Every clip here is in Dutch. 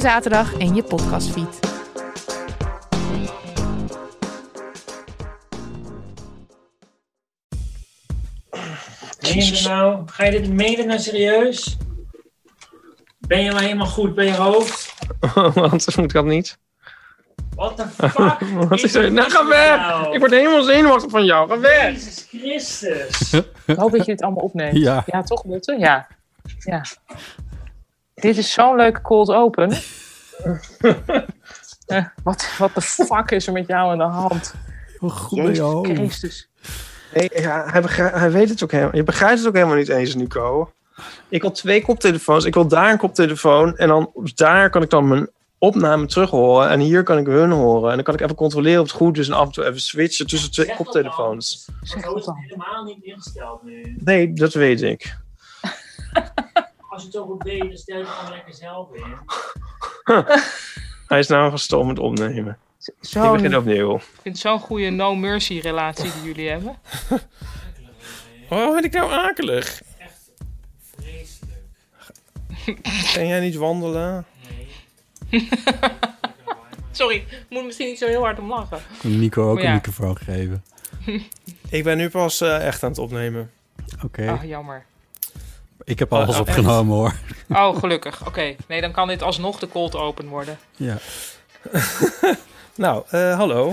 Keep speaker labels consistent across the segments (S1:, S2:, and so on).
S1: zaterdag in je podcastfeed.
S2: Ben je er nou, ga je dit menen nou serieus? Ben je nou helemaal goed bij je hoofd?
S3: Want moet ik dat niet?
S2: What the fuck?
S3: Wat is er? Nou, ga
S2: dit
S3: weg!
S2: nou?
S3: Ik word helemaal zenuwachtig van jou. Ga weg!
S2: Jezus Christus.
S4: Ik hoop dat je dit allemaal opneemt.
S5: Ja.
S4: toch, Botte? Ja. ja. Dit is zo'n leuke cold open. Eh, wat, wat de fuck is er met jou aan de hand?
S5: Hoe goed ben je
S4: Jezus
S5: hoofd?
S4: Christus.
S3: Nee, ja, hij, begrij- hij weet het ook helemaal. Je begrijpt het ook helemaal niet eens, Nico. Ik wil twee koptelefoons. Ik wil daar een koptelefoon. En dan op- daar kan ik dan mijn opname terug horen. En hier kan ik hun horen. En dan kan ik even controleren of het goed is. En af en toe even switchen tussen twee
S2: Zeg dat
S3: koptelefoons.
S2: dan. Want Zo is Oh, het helemaal niet ingesteld nu.
S3: Nee, dat weet ik.
S2: Als je het zo goed weet, dan stel je het gewoon lekker zelf in.
S3: Hij is nou gestopt met opnemen. Ik
S4: Zo'n,
S3: begin opnieuw.
S6: Ik vind zo'n goede no-mercy relatie die jullie hebben.
S3: Oh, vind ik nou akelig?
S2: Vreselijk.
S3: Kan jij niet wandelen?
S2: Nee.
S6: Sorry, ik moet misschien niet zo heel hard om lachen.
S5: Nico ook
S6: Ja.
S5: een microfoon geven.
S3: Ik ben nu pas eh, echt aan het opnemen.
S5: Oké,
S6: Ah, jammer.
S5: ik heb alles
S3: oh, echt?
S5: opgenomen hoor.
S6: Oh, gelukkig. Oké. Nee, dan kan dit alsnog de cold open worden.
S5: Ja.
S3: Nou, eh, hallo.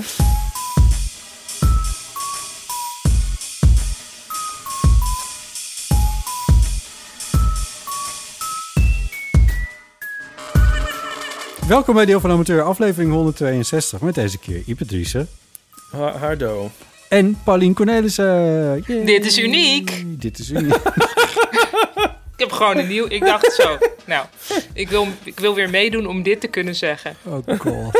S5: Welkom bij Deel van Amateur, aflevering 162. Met deze keer Ipe Driessen
S3: Ha- Hardo.
S5: en Paulien Cornelissen. Yay.
S6: Dit is uniek.
S5: Dit is uniek.
S6: Ik heb gewoon een nieuw... Ik dacht zo, nou, ik wil, ik wil weer meedoen om dit te kunnen zeggen.
S5: Oh god.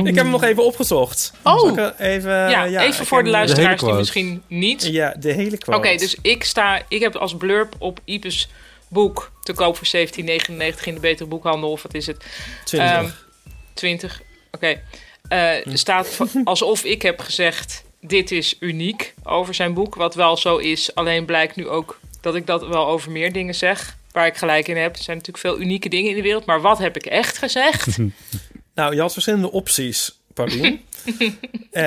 S3: Ik heb hem nog even opgezocht. Zal ik
S6: Oh!
S3: er even, eh,
S6: Ja,
S3: ik
S6: even
S3: heb
S6: voor de
S3: hem-
S6: luisteraars die
S5: quote.
S6: misschien niet...
S3: Ja, de hele
S6: Oké,
S3: quote.
S6: dus ik sta... Ik heb als blurb op Ipes boek te koop voor 17,99 in de Betere Boekhandel. Of wat is het?
S3: 20.
S6: Ehm, 20, oké. Eh,
S3: Hm.
S6: staat van- alsof ik heb gezegd: dit is uniek over zijn boek. Wat wel zo is, alleen blijkt nu ook dat ik dat wel over meer dingen zeg. Waar ik gelijk in heb. Er zijn natuurlijk veel unieke dingen in de wereld. Maar wat heb ik echt gezegd?
S3: Nou, je had verschillende opties, Paulien. Eh,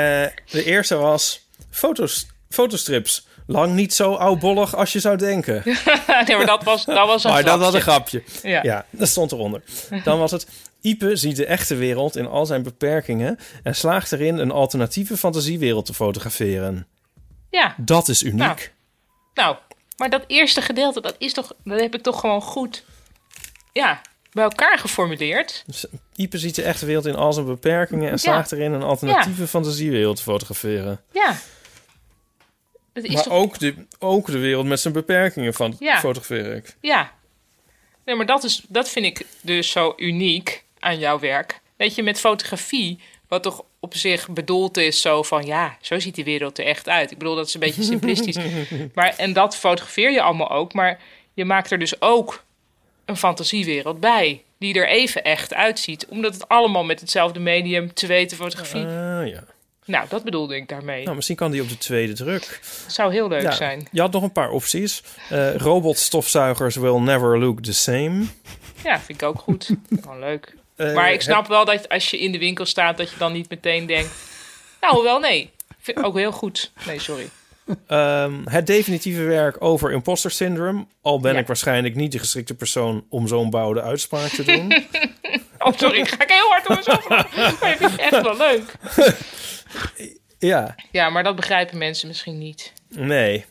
S3: de eerste was foto's, fotostrips. Lang niet zo oudbollig als je zou denken.
S6: nee, maar dat was, dat was een
S3: maar dat was
S6: grapje.
S3: een grapje.
S6: Ja.
S3: Ja, dat stond eronder. Dan was het... Ipe ziet de echte wereld in al zijn beperkingen... en slaagt erin een alternatieve fantasiewereld te fotograferen.
S6: ja,
S3: Dat is uniek.
S6: Nou. nou. Maar dat eerste gedeelte, dat, is toch, dat heb ik toch gewoon goed ja, bij elkaar geformuleerd.
S3: Dus, eh, Ipe ziet de echte wereld in al zijn beperkingen... en slaagt erin een alternatieve fantasiewereld te fotograferen.
S6: Ja. Dat is
S3: maar
S6: toch
S3: ook, de, ook de wereld met zijn beperkingen van
S6: Ja.
S3: fotografeer ik.
S6: Ja. Nee, maar dat, is, dat vind ik dus zo uniek aan jouw werk. Weet je, met fotografie, wat toch op zich bedoeld is zo van... ja, zo ziet die wereld er echt uit. Ik bedoel, dat is een beetje simplistisch. maar, en dat fotografeer je allemaal ook. Maar je maakt er dus ook een fantasiewereld bij... die er even echt uitziet. Omdat het allemaal met hetzelfde medium, te weten fotografie...
S3: Ah ja.
S6: nou, dat bedoelde ik daarmee.
S3: Nou, misschien kan die op de tweede druk.
S6: Dat zou heel leuk
S3: ja,
S6: zijn.
S3: Je had nog een paar opties. Eh, robotstofzuigers will never look the same.
S6: Ja, vind ik ook goed. Gewoon leuk.
S3: Eh,
S6: Maar ik snap wel dat als je in de winkel staat, dat je dan niet meteen denkt. Nou, wel nee. Ik Vind ook heel goed. Nee, sorry.
S3: Ehm, het definitieve werk over imposter syndrome. Al ben
S6: Ja.
S3: ik waarschijnlijk niet de geschikte persoon om zo'n bouwde uitspraak te doen.
S6: Oh, sorry, ik ga ik heel hard om mezelf. Maar ik vind het echt wel leuk.
S3: ja,
S6: Ja, maar dat begrijpen mensen misschien niet.
S3: nee.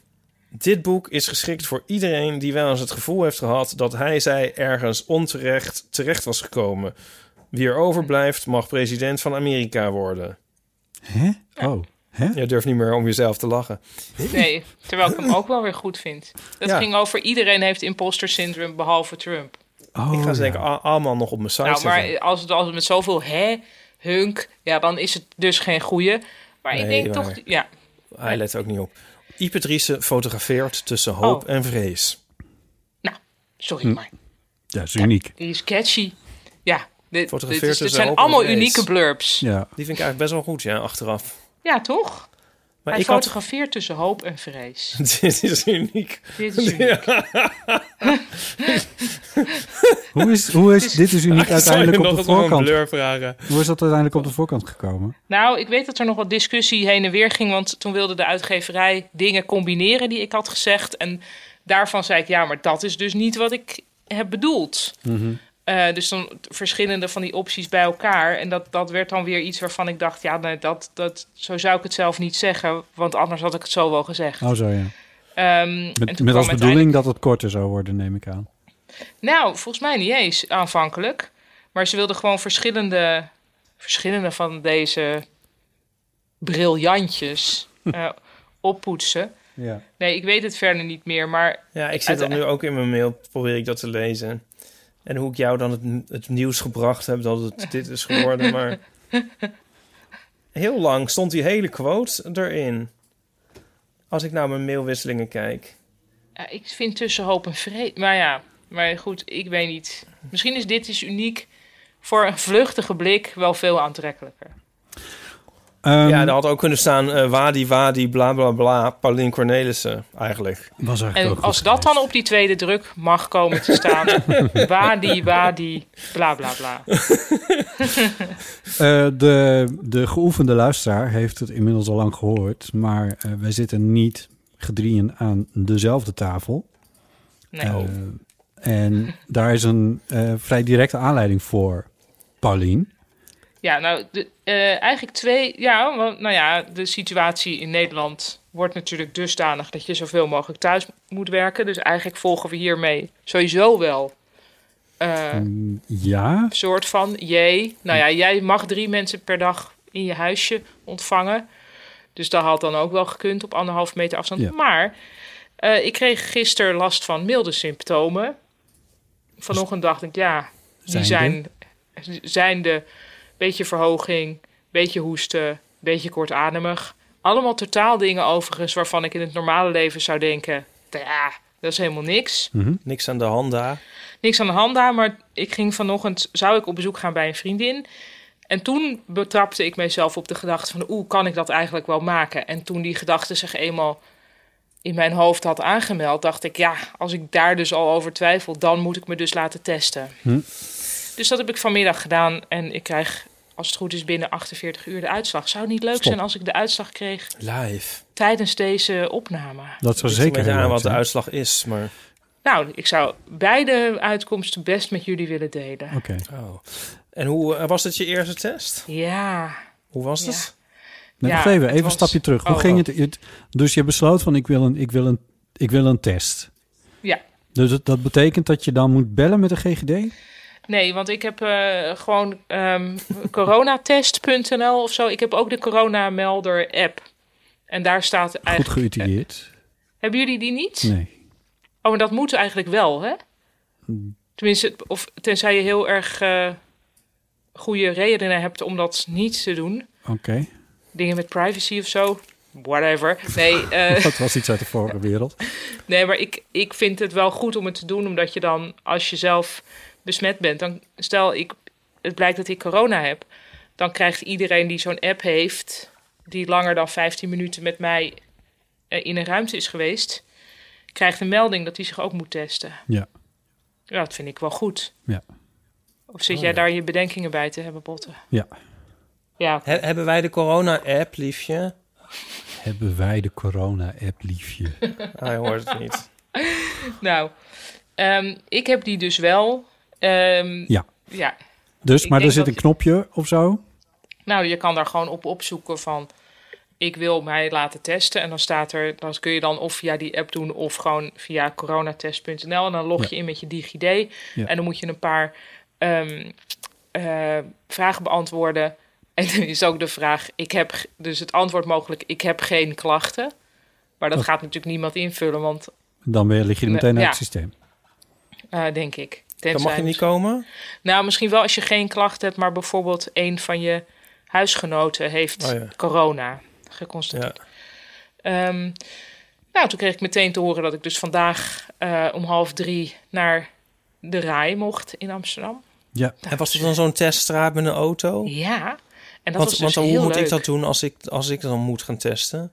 S3: Dit boek is geschikt voor iedereen die wel eens het gevoel heeft gehad dat hij zij ergens onterecht terecht was gekomen. Wie er overblijft mag president van Amerika worden.
S2: Hè? Oh. Hè?
S3: Je durft niet meer om jezelf te lachen.
S6: Nee, terwijl ik hem ook wel weer goed vind. Dat
S3: Ja. Oh,
S6: ging over iedereen heeft imposter syndrome behalve Trump.
S3: ik
S2: Oh,
S3: ga ze denk ik a- allemaal nog op mijn site
S6: Nou,
S3: zetten.
S6: maar als het, als het met zoveel hè, hunk, ja, dan is het dus geen goeie. Maar ik
S3: Nee,
S6: denk
S3: waar.
S6: toch, ja,
S3: Hij let ook niet op. Ipatrice fotografeert tussen hoop
S6: Oh.
S3: en vrees.
S6: sorry,
S3: Hm.
S6: maar
S2: Ja, is uniek.
S6: die is catchy. Ja, dit, dit, is-
S3: Fotografeert
S6: dit
S3: tussen
S6: zijn
S3: hoop en
S6: allemaal
S3: vrees.
S6: unieke blurbs.
S2: Ja.
S3: Die vind ik eigenlijk best wel goed, ja, achteraf.
S6: Ja, toch?
S3: Maar
S6: Hij
S3: ik had-
S6: fotografeert tussen hoop en vrees.
S3: Dit is uniek.
S6: Dit is uniek.
S2: Hoe is, hoe is dit is uniek
S3: Zou je
S2: uiteindelijk op
S3: nog
S2: de
S3: eens om een
S2: voorkant?
S3: blur vragen?
S2: Hoe is dat uiteindelijk op de voorkant gekomen?
S6: Nou, ik weet dat er nog wat discussie heen en weer ging. Want toen wilde de uitgeverij dingen combineren die ik had gezegd. En daarvan zei ik, ja, maar dat is dus niet wat ik heb bedoeld.
S2: Mhm.
S6: Eh, dus dan t- verschillende van die opties bij elkaar. En dat, dat werd dan weer iets waarvan ik dacht, ja, nee, dat, dat, zo zou ik het zelf niet zeggen. Want anders had ik het zo wel gezegd.
S2: Oh, zo ja.
S6: Ehm, en
S2: Met,
S6: toen
S2: met als
S6: kwam
S2: bedoeling dat het korter zou worden, neem ik aan.
S6: Nou, volgens mij niet eens aanvankelijk. Maar ze wilden gewoon verschillende, verschillende van deze briljantjes eh, oppoetsen.
S2: Ja.
S6: Nee, ik weet het verder niet meer, maar...
S3: Ja, ik zit dat nu ook in mijn mail, probeer ik dat te lezen. En hoe ik jou dan het, het nieuws gebracht heb dat het dit is geworden, maar... Heel lang stond die hele quote erin. Als ik naar mijn mailwisselingen kijk.
S6: Ja, eh, ik vind tussen hoop en vrees... Maar nou ja, maar goed, ik weet niet. Misschien is dit is uniek voor een vluchtige blik wel veel aantrekkelijker.
S3: ja, er had ook kunnen staan eh, Wadi Wadi bla bla bla, Paulien Cornelissen eigenlijk.
S2: Was
S6: En als dat dan op die tweede druk mag komen te staan... wadi, wadi, bla, bla, bla.
S2: Eh, de, de geoefende luisteraar heeft het inmiddels al lang gehoord. Maar eh, wij zitten niet gedrieën aan dezelfde tafel.
S6: Nee.
S2: Eh, en daar is een eh, vrij directe aanleiding voor, Paulien.
S6: Ja, nou, de, eh, eigenlijk twee. Ja, want, nou ja, de situatie in Nederland wordt natuurlijk dusdanig dat je zoveel mogelijk thuis moet werken. Dus eigenlijk volgen we hiermee sowieso wel eh, een
S2: Mm, ja,
S6: soort van jee. Nou ja, jij mag drie mensen per dag in je huisje ontvangen. Dus dat had dan ook wel gekund op anderhalf meter afstand.
S2: Ja.
S6: Maar eh, ik kreeg gisteren last van milde symptomen. Vanochtend dacht ik, ja, die
S2: Zijnde?
S6: zijn, zijn de beetje verhoging, beetje hoesten, beetje kortademig. Allemaal totaal dingen overigens waarvan ik in het normale leven zou denken, ja, dat is helemaal niks.
S3: Niks aan de hand daar.
S6: Niks aan de hand daar, maar ik ging vanochtend, zou ik op bezoek gaan bij een vriendin. En toen betrapte ik mezelf op de gedachte van, oeh, kan ik dat eigenlijk wel maken? En toen die gedachte zich eenmaal in mijn hoofd had aangemeld, dacht ik, ja, als ik daar dus al over twijfel, dan moet ik me dus laten testen.
S2: Hm.
S6: Dus dat heb ik vanmiddag gedaan en ik krijg, als het goed is, binnen 48 uur de uitslag. Zou het niet leuk
S3: Stop.
S6: zijn als ik de uitslag kreeg
S3: Live.
S6: tijdens deze opname?
S2: dat zou
S3: Ligt er een
S2: zeker
S3: beetje
S2: heel
S3: aan
S2: leuk
S3: wat de
S2: zijn.
S3: uitslag is, maar...
S6: Nou, ik zou beide uitkomsten best met jullie willen delen.
S2: oké.
S3: Oh. En hoe eh, was het je eerste test?
S6: Ja.
S3: Hoe was het?
S2: Nee,
S6: Ja,
S2: wacht even,
S6: het
S2: even een
S6: was-
S2: stapje terug. Hoe
S6: oh.
S2: ging het? Het- Dus je besloot van ik wil een, ik wil een, ik wil een test.
S6: Ja.
S2: Dus dat, dat betekent dat je dan moet bellen met de GGD?
S6: Nee, want ik heb eh, gewoon ehm, coronatest.nl of zo. Ik heb ook de coronamelder app. En daar staat
S2: Goed
S6: eigenlijk...
S2: geütiliseerd?
S6: Hebben jullie die niet?
S2: Nee. Hm.
S6: Oh, maar dat moet eigenlijk wel, hè? Tenminste, of tenzij je heel erg eh, goede redenen hebt om dat niet te doen.
S2: Oké.
S6: Dingen met privacy of zo. Whatever. Nee, eh,
S2: Dat was iets uit de vorige wereld.
S6: nee maar ik, ik vind het wel goed om het te doen, omdat je dan, als je zelf besmet bent, dan stel ik, het blijkt dat ik corona heb, dan krijgt iedereen die zo'n app heeft, die langer dan 15 minuten met mij eh, in een ruimte is geweest, krijgt een melding dat hij zich ook moet testen.
S2: Ja.
S6: Ja, dat vind ik wel goed.
S2: Ja.
S6: Of zit
S3: Oh,
S6: jij
S3: ja.
S6: daar je bedenkingen bij te hebben, Botten?
S2: Ja.
S6: Ja.
S3: He- hebben wij de corona-app, liefje?
S2: hebben wij de corona-app, liefje?
S3: Hij Ah, hoort het niet.
S6: nou, ehm, ik heb die dus wel. Ehm,
S2: Ja.
S6: ja.
S2: Dus,
S6: Ik
S2: maar er
S6: denk
S2: zit
S6: dat-
S2: een knopje of zo?
S6: Nou, je kan daar gewoon op opzoeken van... ik wil mij laten testen. En dan staat er... dat kun je dan of via die app doen... of gewoon via coronatest.nl. En dan log je in met je DigiD.
S7: Ja.
S6: En dan moet je een paar ehm, eh, vragen beantwoorden. En dan is ook de vraag... Ik heb g- dus het antwoord mogelijk... ik heb geen klachten. Maar dat
S2: Oh.
S6: gaat natuurlijk niemand invullen... want
S2: Dan weer lig je er
S6: Nee,
S2: meteen uit
S6: ja.
S2: het systeem.
S6: eh, denk ik...
S3: Dan mag je niet komen?
S6: Nou, misschien wel als je geen klachten hebt, maar bijvoorbeeld een van je huisgenoten heeft
S3: Oh ja.
S6: corona geconstateerd. Ehm, nou, toen kreeg ik meteen te horen dat ik dus vandaag eh, om half drie naar de RAI mocht in Amsterdam.
S2: Ja.
S3: En was er dan zo'n teststraat met een auto?
S6: Ja, en dat
S3: want,
S6: was
S3: want
S6: dus
S3: hoe
S6: heel
S3: moet
S6: leuk.
S3: ik dat doen als ik, als ik dan moet gaan testen?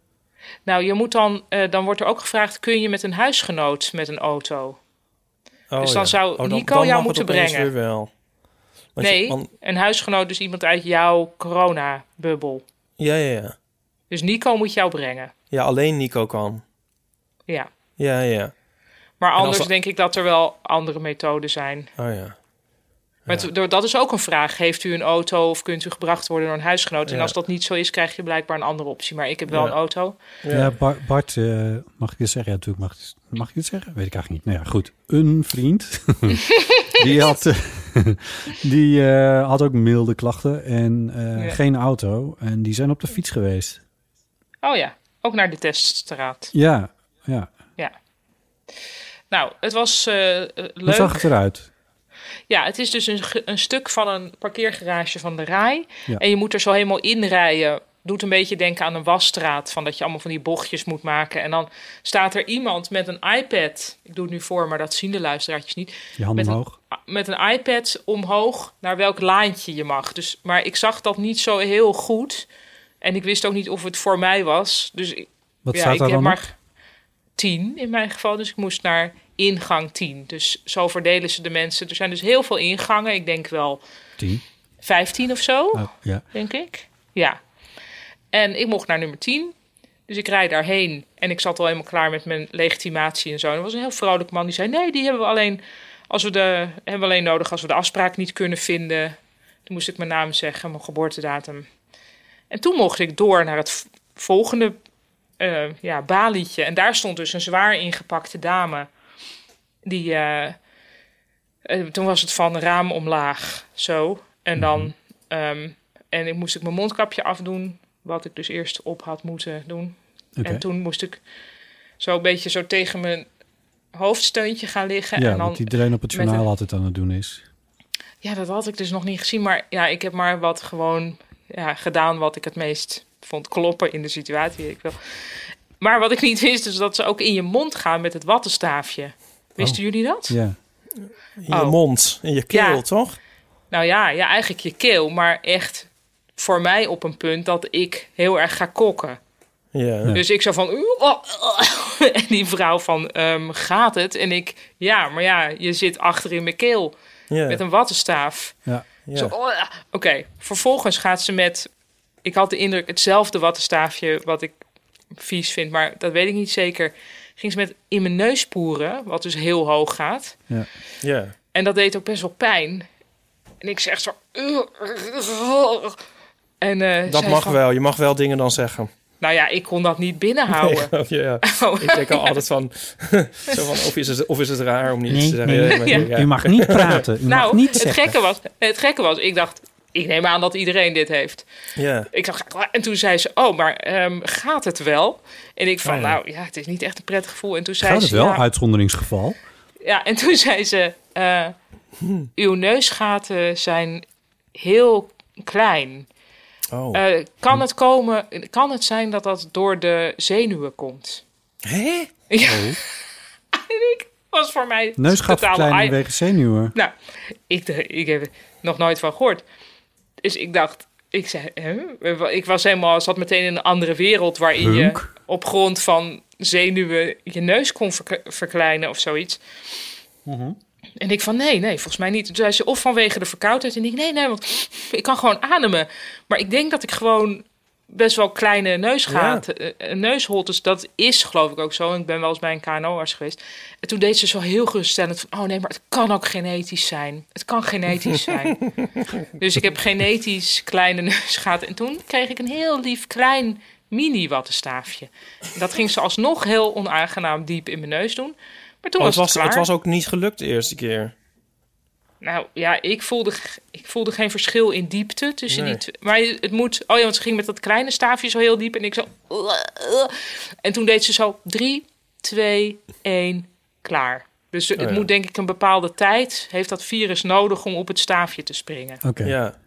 S6: Nou, je moet dan, eh, dan wordt er ook gevraagd, kun je met een huisgenoot met een auto?
S3: Oh,
S6: dus dan
S3: ja.
S6: zou
S3: Oh, dan-
S6: Nico
S3: dan mag
S6: jou
S3: het
S6: moeten
S3: opeens
S6: brengen.
S3: weer wel. Want je-
S6: nee,
S3: want-
S6: een huisgenoot, dus iemand uit jouw corona-bubbel.
S3: ja, ja, ja.
S6: Dus Nico moet jou brengen.
S3: Ja, alleen Nico kan.
S6: Ja.
S3: Ja, ja.
S6: Maar
S3: En als
S6: anders
S3: dat-
S6: denk ik dat er wel andere methoden zijn.
S3: Oh ja.
S6: Maar het- door- dat is ook een vraag. Heeft u een auto of kunt u gebracht worden door een huisgenoot? En
S2: Ja.
S6: als dat niet zo is, krijg je blijkbaar een andere optie. Maar ik heb wel
S3: Ja.
S6: een auto.
S2: Ja, Bar- Bart, eh, mag ik het zeggen? Ja, natuurlijk mag, ik- mag ik het zeggen? Weet ik eigenlijk niet. Nou ja, goed. Een vriend, die, had, eh, die eh, had ook milde klachten en eh,
S6: Ja.
S2: geen auto. En die zijn op de fiets geweest.
S6: Oh ja, ook naar de teststraat.
S2: Ja, ja.
S6: Ja. Nou, het was eh, eh, leuk.
S2: Hoe zag het eruit?
S6: Ja, het is dus een, ge- een stuk van een parkeergarage van de RAI.
S2: Ja.
S6: En je moet er zo helemaal in rijden. Doet een beetje denken aan een wasstraat. Van dat je allemaal van die bochtjes moet maken. En dan staat er iemand met een iPad. Ik doe het nu voor, maar dat zien de luisteraartjes niet.
S2: Je handen
S6: met
S2: omhoog.
S6: Een, met een iPad omhoog naar welk laantje je mag. Dus, maar ik zag dat niet zo heel goed. En ik wist ook niet of het voor mij was. Dus ik-
S2: Wat
S6: ja,
S2: staat
S6: ik
S2: daar
S6: heb
S2: dan
S6: maar
S2: op?
S6: 10 in mijn geval. Dus ik moest naar ingang 10. Dus zo verdelen ze de mensen. Er zijn dus heel veel ingangen. Ik denk wel
S2: Tien.
S6: 15 of zo,
S2: Oh, ja.
S6: denk ik. Ja. En ik mocht naar nummer 10. Dus ik rijd daarheen. En ik zat al helemaal klaar met mijn legitimatie en zo. En er was een heel vrolijk man die zei: Nee, die hebben we alleen, als we de, hebben we alleen nodig als we de afspraak niet kunnen vinden. Toen moest ik mijn naam zeggen, mijn geboortedatum. En toen mocht ik door naar het v- volgende eh ja, balietje. En daar stond dus een zwaar ingepakte dame. Die, eh, eh, toen was het van raam omlaag, zo. En
S2: Mhm.
S6: dan ehm, en ik moest ik mijn mondkapje afdoen, wat ik dus eerst op had moeten doen.
S2: Oké.
S6: En toen moest ik zo een beetje zo tegen mijn hoofdsteuntje gaan liggen.
S2: Ja,
S6: en dan
S2: want iedereen op het
S6: met een-
S2: journaal altijd aan het doen is.
S6: ja, dat had ik dus nog niet gezien. Maar ja, ik heb maar wat gewoon ja, gedaan wat ik het meest vond kloppen in de situatie. Ik wil. Maar wat ik niet wist, is dat ze ook in je mond gaan met het wattenstaafje. Wisten jullie dat?
S2: Ja.
S3: In je
S6: Oh.
S3: mond, in je keel,
S6: Ja.
S3: toch?
S6: Nou ja, ja, eigenlijk je keel, maar echt voor mij op een punt dat ik heel erg ga kokken.
S3: Ja.
S6: Dus ik zo van. "Oeh, oh, oh." en die vrouw van: ehm, gaat het? En ik: ja, maar ja, je zit achter in mijn keel
S3: Ja.
S6: met een wattenstaaf.
S2: Ja.
S6: Zo, oh, ja. Oké, vervolgens gaat ze met. Ik had de indruk hetzelfde wattenstaafje, wat ik vies vind, maar dat weet ik niet zeker. Ging ze met in mijn neus poeren, wat dus heel hoog gaat.
S2: Ja.
S3: Ja.
S6: En dat deed ook best wel pijn. En ik zeg zo. "Ugh, ugh, ugh." En, eh,
S3: Dat
S6: zij
S3: mag
S6: van-
S3: wel. Je mag wel dingen dan zeggen.
S6: Nou ja, ik kon dat niet binnenhouden.
S3: Nee, ja, ja.
S6: Oh.
S3: Ik denk al altijd van, zo van of, is het, of is het raar om niet
S2: Nee,
S3: te zeggen.
S2: nee,
S3: ja, maar
S2: u-
S3: ja.
S2: u mag niet praten. U
S6: nou,
S2: mag niet
S6: het
S2: zeggen.
S6: gekke, was, het gekke was, ik dacht, ik neem aan dat iedereen dit heeft.
S3: Ja.
S6: Ik dacht, en toen zei ze, oh, maar ehm, gaat het wel? En ik van,
S2: Oh ja.
S6: nou ja, het is niet echt een prettig gevoel. En toen zei
S2: Gaat het
S6: ze,
S2: wel?
S6: ja,
S3: Oh,
S2: Uitzonderingsgeval.
S6: ja, en toen zei ze, eh,
S2: Hm.
S6: uw neusgaten zijn heel klein.
S3: Oh.
S6: Eh, kan, het komen, kan het zijn dat dat door de zenuwen komt?
S3: Hé?
S6: Ja.
S2: Oh.
S6: en ik was voor mij totaal...
S2: Neusgatverkleining wegens zenuwen.
S6: Nou, ik, d- ik heb er nog nooit van gehoord. Dus ik dacht, ik zei, hè? ik was helemaal, zat meteen in een andere wereld waarin je
S2: Hunk.
S6: op grond van zenuwen je neus kon verk- verkleinen of zoiets.
S2: Mhm.
S6: En ik van, nee, nee, volgens mij niet. Toen zei ze, of vanwege de verkoudheid. En ik, nee, nee, want ik kan gewoon ademen. Maar ik denk dat ik gewoon best wel kleine neusgaten, eh, neusholtes. Dat is geloof ik ook zo. Ik ben wel eens bij een KNO-arts geweest. En toen deed ze zo heel geruststellend van... oh nee, maar het kan ook genetisch zijn. Het kan genetisch zijn. dus ik heb genetisch kleine neusgaten. En toen kreeg ik een heel lief klein mini-wattenstaafje. Dat ging ze alsnog heel onaangenaam diep in mijn neus doen. Maar toen
S3: Oh,
S6: was
S3: het, was,
S6: het, klaar.
S3: het was ook niet gelukt de eerste keer.
S6: Nou ja, ik voelde, g- ik voelde geen verschil in diepte tussen
S3: Nee.
S6: die twee. Maar het moet. Oh ja, want ze ging met dat kleine staafje zo heel diep. En ik zo. En toen deed ze zo. Drie, twee, één, klaar. Dus het
S3: Oh ja.
S6: moet denk ik een bepaalde tijd. Heeft dat virus nodig om op het staafje te springen?
S3: Oh. Ja.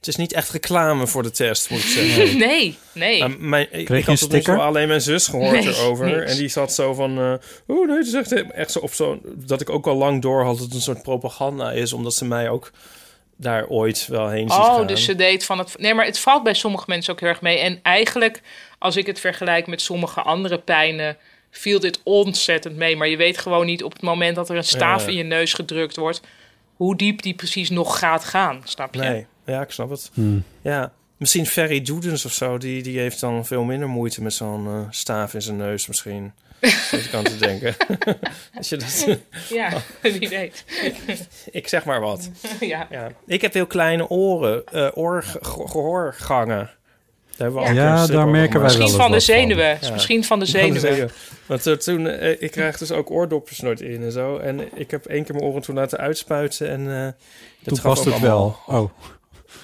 S3: Het is niet echt reclame voor de test, moet ik zeggen.
S6: Nee, nee.
S3: Maar Ehm, mijn, ik-
S2: je een
S3: ik had tot nu toe
S2: sticker?
S3: alleen mijn zus gehoord
S6: Nee,
S3: erover.
S6: niks.
S3: En die zat zo van... eh oh nee, het is echt, echt zo op zo'n... Dat ik ook al lang door had dat het een soort propaganda is. Omdat ze mij ook daar ooit wel heen ziet
S6: Oh,
S3: gaan.
S6: dus ze deed van het. Nee, maar het valt bij sommige mensen ook heel erg mee. En eigenlijk, als ik het vergelijk met sommige andere pijnen, viel dit ontzettend mee. Maar je weet gewoon niet op het moment dat er een staaf
S3: Ja.
S6: in je neus gedrukt wordt, hoe diep die precies nog gaat gaan. Snap je?
S3: Nee, ja, ik snap het.
S2: Hmm.
S3: Ja, misschien Ferry Doedens of zo. Die, die heeft dan veel minder moeite met zo'n eh, staaf in zijn neus misschien. Dat ik aan te denken. Als je dat...
S6: Ja, wie weet.
S3: ik zeg maar wat.
S6: ja.
S3: Ja. Ik heb heel kleine oren, eh oor, ge- gehoorgangen. Daar hebben we al
S2: Ja.
S3: een keer een
S2: Ja,
S3: strip
S2: daar
S3: over
S2: merken wij
S3: gemaakt.
S2: wel
S6: Misschien van de zenuwen. Misschien van de zenuwen.
S3: Want eh, toen, eh, ik krijg dus ook oordopjes nooit in en zo. En ik heb één keer mijn oren toen laten uitspuiten. En eh, dat
S2: Toen
S3: gaf
S2: past
S3: ook
S2: het
S3: allemaal-
S2: wel. Oh,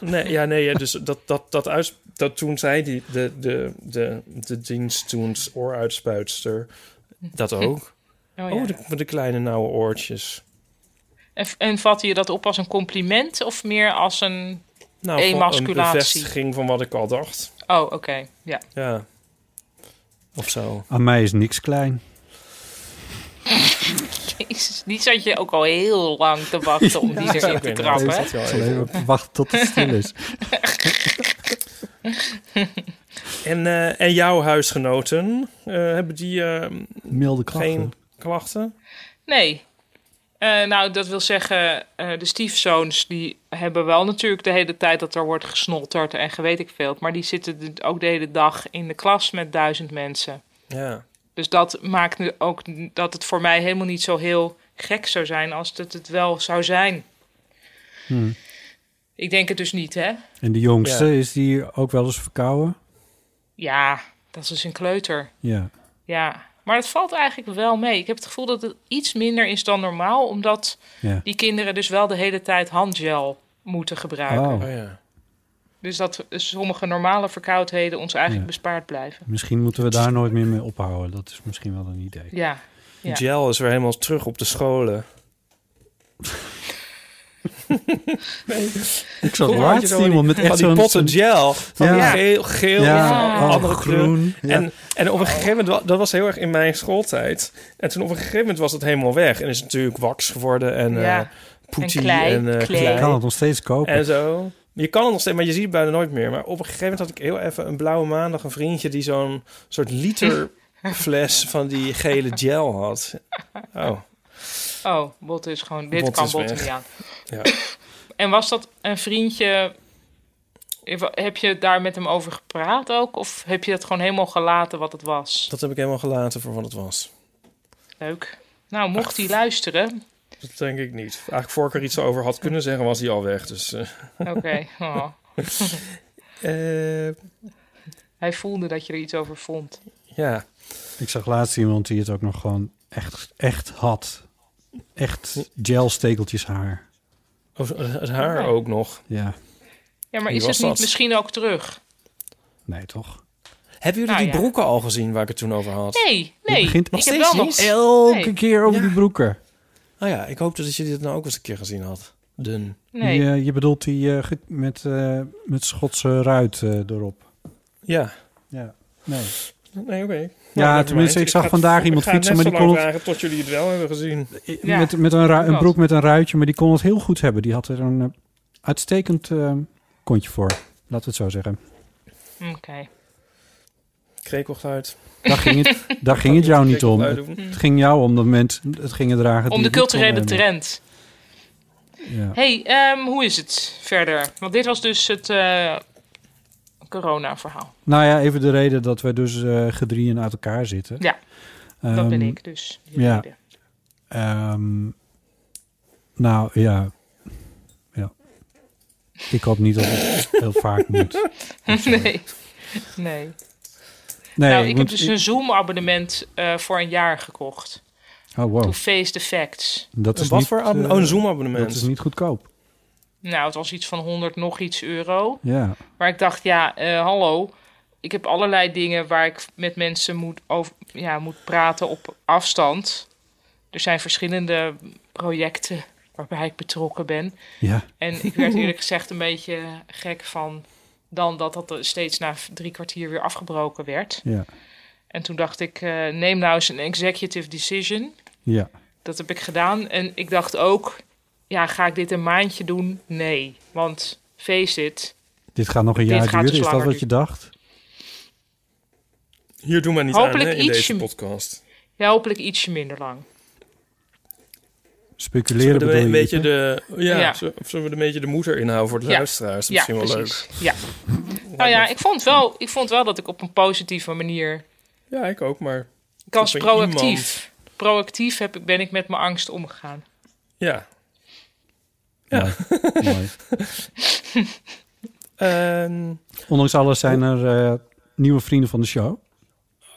S3: Nee, ja, nee, ja, dus dat, dat, dat, uits, dat toen zei die, de, de, de, de dienst toen ooruitspuitster dat ook.
S6: Oh,
S3: Oh,
S6: ja.
S3: de, de kleine nauwe oortjes.
S6: En, en vatte je dat op als een compliment of meer als een
S3: Nou, voor Een
S6: emasculatie?
S3: bevestiging van wat ik al dacht.
S6: Oh, oké. Ja.
S3: Ja. Of zo.
S2: aan mij is niks klein.
S6: Jezus, die zat je ook al heel lang te wachten om die
S3: Ja,
S6: erin
S3: ik
S6: te
S3: weet het.
S6: trappen.
S3: Deze
S6: hè?
S3: zat je al
S2: Ik zal even wachten tot het stil is.
S3: En, eh, en jouw huisgenoten, eh, hebben die eh,
S2: Milde klachten.
S3: geen klachten?
S6: Nee. Eh, nou, dat wil zeggen, eh, de stiefzoons die hebben wel natuurlijk de hele tijd dat er wordt gesnotterd en gewet ik veel. Maar die zitten de- ook de hele dag in de klas met duizend mensen.
S3: Ja.
S6: Dus dat maakt nu ook n- dat het voor mij helemaal niet zo heel gek zou zijn als dat het wel zou zijn.
S2: Hm.
S6: Ik denk het dus niet, hè?
S2: En de jongste,
S3: Ja.
S2: is die ook wel eens verkouden?
S6: Ja, dat is dus een kleuter.
S2: Ja.
S6: Ja, maar het valt eigenlijk wel mee. Ik heb het gevoel dat het iets minder is dan normaal, omdat
S2: Ja.
S6: die kinderen dus wel de hele tijd handgel moeten gebruiken.
S2: Oh. Oh
S3: ja.
S6: Dus dat sommige normale verkoudheden ons eigenlijk
S2: Ja.
S6: bespaard blijven.
S2: Misschien moeten we daar nooit meer mee ophouden. Dat is misschien wel een idee.
S6: Ja. ja.
S3: Gel is weer helemaal terug op de scholen.
S2: Ik zat
S3: Vroeger had je
S2: laatst
S3: zo van
S2: iemand
S3: die-
S2: met echt
S3: van
S2: zo'n...
S3: die potten
S2: zo'n-
S3: gel. Van
S2: Ja.
S3: die geel, geel
S2: Ja,
S3: van
S2: oh,
S3: andere
S2: groen,
S3: kleur. En, en op een gegeven moment, wa- dat was heel erg in mijn schooltijd. En toen op een gegeven moment was het helemaal weg. En is het natuurlijk wax geworden en eh
S6: Ja.
S3: poetie
S6: En klei,
S3: en, eh,
S6: klei.
S2: Je kan het nog steeds kopen.
S3: en zo. Je kan het nog steeds, maar je ziet het bijna nooit meer. Maar op een gegeven moment had ik heel even een blauwe maandag een vriendje die zo'n soort liter fles van die gele gel had. Oh,
S6: Oh, Botte is gewoon... Dit
S3: Botte
S6: kan
S3: is
S6: Botte
S3: weg.
S6: niet aan.
S3: ja.
S6: En was dat een vriendje... Heb je daar met hem over gepraat ook? Of heb je dat gewoon helemaal gelaten wat het was?
S3: Dat heb ik helemaal gelaten voor wat het was.
S6: Leuk. Nou, mocht hij luisteren...
S3: Dat denk ik niet. Eigenlijk voor ik er iets over had kunnen zeggen, was hij al weg. Dus, eh.
S6: Oké. oh.
S3: Eh,
S6: Hij voelde dat je er iets over vond.
S3: ja.
S2: Ik zag laatst iemand die het ook nog gewoon echt, echt had. Echt gelstekeltjes haar.
S3: Oh, het haar
S6: Ja.
S3: ook nog.
S2: Ja.
S6: Ja, maar
S3: Wie
S6: is het
S3: was
S6: niet
S3: dat?
S6: misschien ook terug?
S2: Nee, toch?
S3: Hebben jullie
S6: Nou
S3: die
S6: ja.
S3: broeken al gezien waar ik het toen over had?
S6: Nee,
S2: Je
S6: nee.
S2: begint nog
S6: ik heb
S2: steeds
S6: wel nog
S2: niet? elke
S6: Nee.
S2: keer over die broeken.
S3: Oh ja, ik hoopte dat jullie dat nou ook eens een keer gezien had. Dun.
S6: Nee.
S2: Je, je bedoelt die eh, ge- met, eh, met Schotse ruit eh, erop.
S3: Ja.
S2: Ja. Nee.
S3: Nee, oké. Nou,
S2: Ja,
S3: nevermind.
S2: tenminste, ik zag
S3: ga-
S2: vandaag
S3: ik
S2: iemand
S3: ga
S2: fietsen,
S3: net
S2: maar
S3: zo
S2: die
S3: lang
S2: kon het-
S3: vragen tot jullie het wel hebben gezien.
S6: Ja.
S2: Met, met een, ru- een
S6: Klopt.
S2: broek met een ruitje, maar die kon het heel goed hebben. Die had er een eh, uitstekend eh, kontje voor. Laten we het zo zeggen.
S6: Oké.
S3: Krekelgeluid. uit.
S2: Daar ging het, daar ging het jou niet om.
S3: Krekelgeluid
S2: Het,
S3: doen.
S2: het ging jou om dat mensen het gingen dragen.
S6: Om
S2: die
S6: de
S2: het niet
S6: culturele
S2: konden
S6: trend.
S2: hebben. Ja.
S6: hey, ehm, hoe is het verder? Want dit was dus het eh, corona-verhaal.
S2: Nou ja, even de reden dat wij dus eh gedrieën uit elkaar zitten.
S6: Ja, dat ben ik dus, de
S2: Ehm, Ja.
S6: reden.
S2: Ehm, nou ja. ja. Ik hoop niet dat het heel vaak moet.
S6: nee. nee.
S2: Oh, Nee,
S6: nou,
S2: ik
S6: ik
S2: moet-
S6: heb dus
S2: ik-
S6: een Zoom-abonnement eh, voor een jaar gekocht.
S2: Oh, wow.
S6: To face the facts.
S2: Dat is
S3: Wat
S2: niet,
S3: voor abonne-
S2: eh,
S3: oh, een Zoom-abonnement.
S2: Dat is niet goedkoop.
S6: Nou, het was iets van 100 nog iets euro.
S2: Ja.
S6: Maar ik dacht, ja, eh, hallo. Ik heb allerlei dingen waar ik met mensen moet, over, ja, moet praten op afstand. Er zijn verschillende projecten waarbij ik betrokken ben.
S2: Ja.
S6: En ik werd eerlijk gezegd een beetje gek van... dan dat dat steeds na drie kwartier weer afgebroken werd.
S2: Ja.
S6: En toen dacht ik, eh, neem nou eens een executive decision.
S2: Ja.
S6: Dat heb ik gedaan. En ik dacht ook, ja, ga ik dit een maandje doen? Nee, want face it.
S2: Dit gaat nog een
S6: Dit
S2: jaar
S6: gaat
S2: duren.
S6: dus
S2: Is dat
S6: langer
S2: wat je dacht?
S3: Hier doen we niet
S6: Hopelijk
S3: aan hè, in
S6: ietsje-
S3: deze podcast.
S6: Ja, hopelijk ietsje minder lang.
S2: Speculeren
S3: Zullen we
S2: bedoel
S3: er
S2: je?
S3: een beetje
S2: Ipe?
S3: de, ja,
S6: Ja.
S3: zo- Of zullen we er een beetje de moeder inhouden voor de luisteraars? Dat is misschien wel leuk.
S6: Ja. nou ja, ik vond, wel, ik vond wel dat ik op een positieve manier...
S3: Ja, ik ook, maar...
S6: Ik was
S3: Op een
S6: proactief. Proactief heb, ik- ben ik met mijn angst omgegaan.
S3: Ja.
S2: Ja. Mooi.
S3: Ehm,
S2: Ondanks alles zijn er eh, nieuwe vrienden van de show.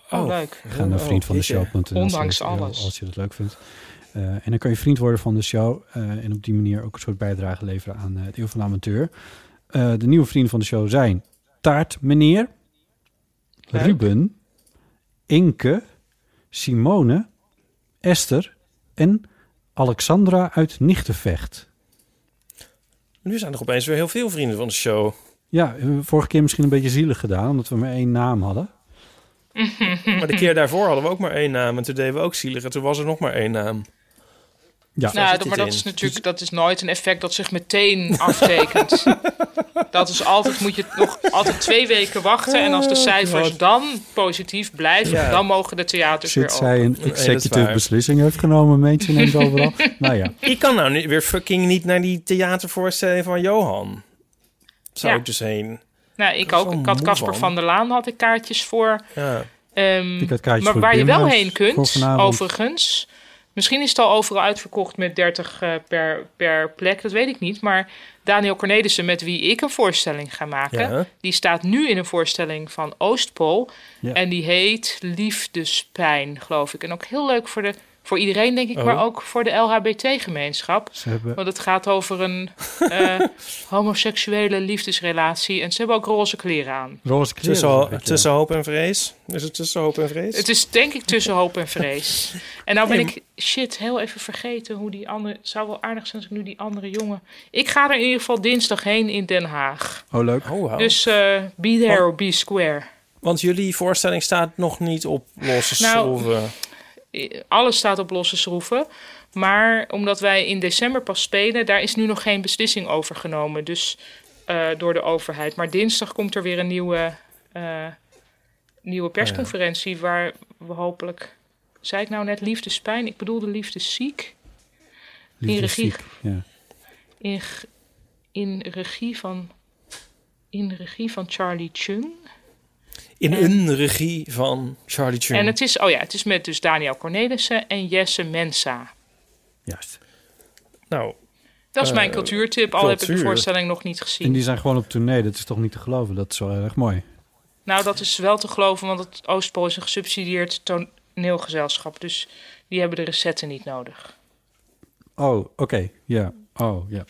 S6: Oh, leuk.
S2: Ga naar
S6: Oh,
S2: vriend van de
S6: jeetje.
S2: show.nl.
S6: Ondanks
S2: slash euro,
S6: alles.
S2: Als je dat leuk vindt. Eh, en dan kan je vriend worden van de show. eh, en op die manier ook een soort bijdrage leveren aan eh, het Eeuw van de Amateur. Eh, de nieuwe vrienden van de show zijn Taart Meneer, Ruben, Inke, Simone, Esther en Alexandra uit Nichtenvecht.
S3: nu zijn er opeens weer heel veel vrienden van de show.
S2: Ja, we hebben vorige keer misschien een beetje zielig gedaan, omdat we maar één naam hadden.
S3: maar de keer daarvoor hadden we ook maar één naam. En toen deden we ook zielig. En toen was er nog maar één naam.
S2: Ja,
S6: nou, dat- maar dat is natuurlijk dat is nooit een effect dat zich meteen aftekent. dat is altijd, moet je nog altijd twee weken wachten. En als de
S3: Oh,
S6: cijfers
S3: God.
S6: dan positief blijven,
S2: Ja.
S6: dan mogen de theaters
S2: Zit
S6: weer
S2: zij
S6: open.
S2: een
S3: Nee, dat is
S2: executive
S3: waar.
S2: beslissing heeft genomen, meent je neemt overal. nou ja,
S3: Ik kan nou niet, weer fucking niet naar die theatervoorstelling van Johan. Zou
S6: Ja.
S3: ik dus heen.
S6: Nou, ik
S3: Dat is
S6: ook.
S3: wel
S6: Ik had
S3: moe
S6: Casper
S3: van.
S6: van der Laan had ik kaartjes voor.
S3: Ja.
S6: Ehm,
S2: Ik had kaartjes
S6: maar
S2: voor
S6: waar je wel
S2: Bimhuis
S6: heen
S2: voor
S6: kunt,
S2: vanavond.
S6: overigens. Misschien is het al overal uitverkocht met 30 eh, per, per plek, dat weet ik niet. Maar Daniel Cornelissen, met wie ik een voorstelling ga maken,
S3: Ja.
S6: die staat nu in een voorstelling van Oostpol.
S3: Ja.
S6: En die heet Liefdespijn, geloof ik. En ook heel leuk voor, de, voor iedereen, denk ik,
S3: Oh.
S6: maar ook voor de LHBT-gemeenschap.
S2: Ze hebben-
S6: Want het gaat over een eh, homoseksuele liefdesrelatie. En ze hebben ook roze kleren aan.
S2: roze kleren.
S3: Tussen,
S2: zag ik, ja.
S3: tussen hoop en vrees. Is het tussen hoop en vrees?
S6: Het is denk ik tussen hoop en vrees. En nou ben
S3: Nee,
S6: ik shit heel even vergeten hoe die andere. Het zou wel aardig zijn als ik nu die andere jongen. Ik ga er in ieder geval dinsdag heen in Den Haag.
S2: Oh, leuk.
S3: Oh, wauw.
S6: Dus eh, be there or be square.
S3: Want jullie voorstelling staat nog niet op losse
S6: Nou,
S3: schroeven.
S6: Eh, Alles staat op losse schroeven. Maar omdat wij in december pas spelen, daar is nu nog geen beslissing over genomen. Dus eh, door de overheid. Maar dinsdag komt er weer een nieuwe, eh, nieuwe persconferentie. Waar we hopelijk. Zei ik nou net liefdespijn? Ik bedoelde liefdesziek.
S2: Liefde
S6: in regie
S2: ziek, Ja.
S6: in, g- in, regie van, in regie van Charlie Chung.
S3: In een regie van Charlie Chung.
S6: En het is, oh ja, het is met dus Daniel Cornelissen en Jesse Mensa.
S2: Juist.
S6: Eh.
S3: Nou,
S6: Dat is
S3: Eh,
S6: mijn cultuurtip, al heb ik de
S3: cultuur.
S6: voorstelling nog niet
S2: En
S6: gezien.
S2: die zijn gewoon op tournee, dat is toch niet te geloven? Dat is wel heel erg mooi.
S6: Nou, dat is wel te geloven, want het Oostpool is een gesubsidieerd toneelgezelschap. Dus die hebben de recetten niet nodig.
S2: Oh, oké, ja. Oh, ja.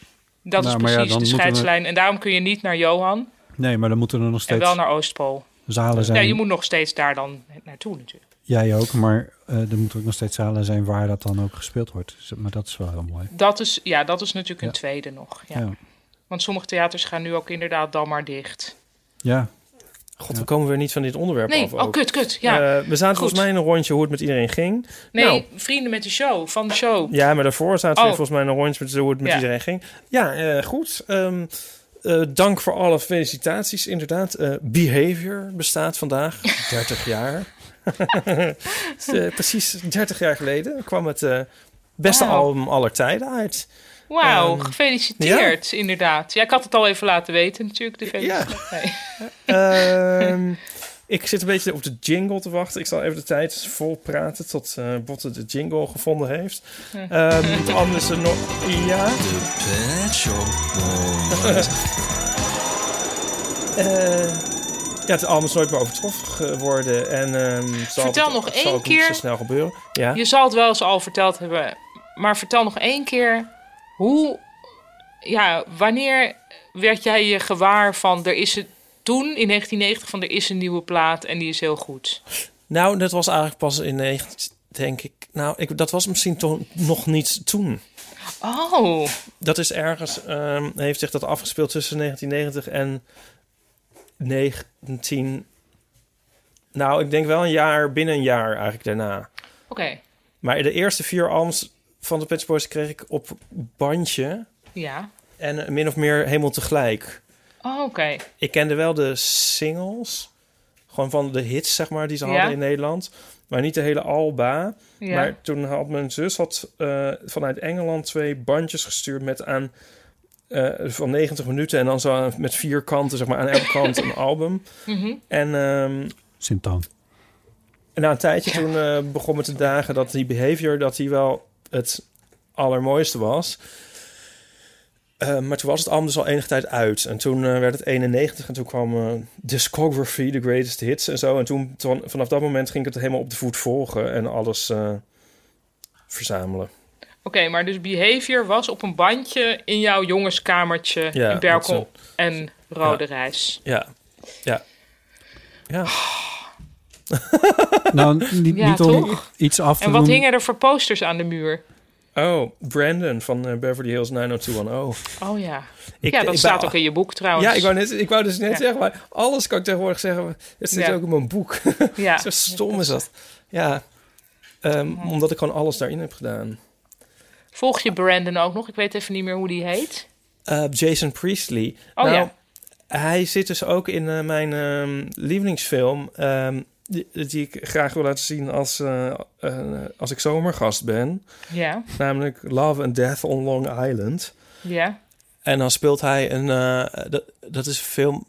S6: Dat
S2: Nou,
S6: is
S2: maar ja,
S6: precies
S2: dan
S6: de
S2: moeten we-
S6: scheidslijn. En daarom kun je niet naar Johan
S2: Nee, maar dan moeten er nog
S6: en
S2: steeds
S6: wel naar Oostpool.
S2: zalen zijn.
S6: Nee, je moet nog steeds daar dan naartoe natuurlijk.
S2: Jij ook, maar eh, er moeten ook nog steeds zalen zijn waar dat dan ook gespeeld wordt. Dus- Maar dat is wel heel mooi.
S6: Dat is, ja, dat is natuurlijk een
S2: Ja.
S6: tweede nog. Ja.
S2: Ja.
S6: Want sommige theaters gaan nu ook inderdaad dan maar dicht.
S2: Ja.
S3: God, we komen weer niet van dit onderwerp
S6: Nee,
S3: af.
S6: oh,
S3: ook.
S6: kut, kut, ja.
S3: Eh, we zaten
S6: Goed.
S3: volgens mij in een rondje hoe het met iedereen ging.
S6: Nee,
S3: Nou,
S6: vrienden met de show, van de show.
S3: ja, maar daarvoor zaten we
S6: Oh.
S3: volgens mij in een rondje met hoe het met
S6: Ja.
S3: iedereen ging. Ja, eh, goed. Ehm, eh, dank voor alle felicitaties. Inderdaad, eh, Behavior bestaat vandaag 30 jaar. Het is, eh, precies 30 jaar geleden kwam het eh, beste
S6: Wauw.
S3: album aller tijden uit.
S6: Wauw,
S3: Ehm,
S6: gefeliciteerd inderdaad. Ja, ik had het al even laten weten natuurlijk. De felicitatie.
S3: Ehm, ik zit een beetje op de jingle te wachten. Ik zal even de tijd volpraten tot eh Botte de jingle gevonden heeft.
S6: Ja.
S3: Ehm, anders er nog... Ja? Eh, ja, het album is nooit meer overtroffen geworden. En, ehm, zal
S6: Vertel
S3: het-
S6: nog
S3: zal
S6: één
S3: het niet
S6: keer.
S3: zo snel gebeuren. Ja.
S6: Je zal het wel eens al verteld hebben. Maar vertel nog één keer. Hoe, ja, wanneer werd jij je gewaar van... Er is het toen, in 1990, van er is een nieuwe plaat en die is heel goed.
S3: Nou, dat was eigenlijk pas in 19, denk ik. Nou, ik, dat was misschien toen nog niet toen.
S6: Oh.
S3: Dat is ergens, ehm, heeft zich dat afgespeeld tussen 1990 en 19. Nou, ik denk wel een jaar, binnen een jaar eigenlijk daarna.
S6: Oké,
S3: Maar de eerste vier albums van de Pet Shop Boys kreeg ik op bandje.
S6: ja.
S3: En eh, min of meer helemaal tegelijk.
S6: Oh, oké.
S3: Ik kende wel de singles. Gewoon van de hits, zeg maar, die ze
S6: Ja.
S3: hadden in Nederland. Maar niet de hele Alba.
S6: Ja.
S3: Maar toen had mijn zus had, eh, vanuit Engeland twee bandjes gestuurd met aan... eh, van 90 minuten en dan zo aan- met vier kanten, zeg maar, aan elke kant een album.
S6: Mhm.
S3: En ehm,
S2: Symptoom.
S3: en na een tijdje toen eh, begon me te dagen dat die behavior dat die wel het allermooiste was. Eh, maar toen was het album dus al enige tijd uit. En toen eh, werd het 91 en toen kwam eh, Discography, The Greatest Hits en zo. En toen, toen- vanaf dat moment ging ik het helemaal op de voet volgen en alles eh, verzamelen.
S6: Oké, maar dus Behavior was op een bandje in jouw jongenskamertje
S3: Ja,
S6: in Berkel
S3: dat
S6: en Rode Reis.
S3: Ja, ja. Ja.
S2: Nou, niet,
S6: Ja,
S2: niet om
S6: toch?
S2: iets af te
S6: En wat
S2: doen.
S6: hingen er voor posters aan de muur?
S3: Oh, Brandon van eh, Beverly Hills 90210.
S6: Oh ja.
S3: Ik-
S6: ja,
S3: ik
S6: dat
S3: ben
S6: staat
S3: al-
S6: ook in je boek trouwens.
S3: Ja, ik wou, net, ik wou dus net
S6: Ja.
S3: zeggen, maar alles kan ik tegenwoordig zeggen. Het zit
S6: Ja.
S3: ook in mijn boek.
S6: Ja.
S3: Zo stom is dat. Ja, Ehm, omdat ik gewoon alles daarin heb gedaan.
S6: Volg je Brandon ook nog? Ik weet even niet meer hoe die heet.
S3: Eh, Jason Priestley.
S6: Oh,
S3: nou,
S6: ja.
S3: Hij zit dus ook in eh, mijn ehm, lievelingsfilm... ehm, die, die ik graag wil laten zien als, eh, eh, als ik zomergast ben.
S6: Ja.
S3: Namelijk Love and Death on Long Island.
S6: Ja.
S3: En dan speelt hij een... eh, dat, dat is een film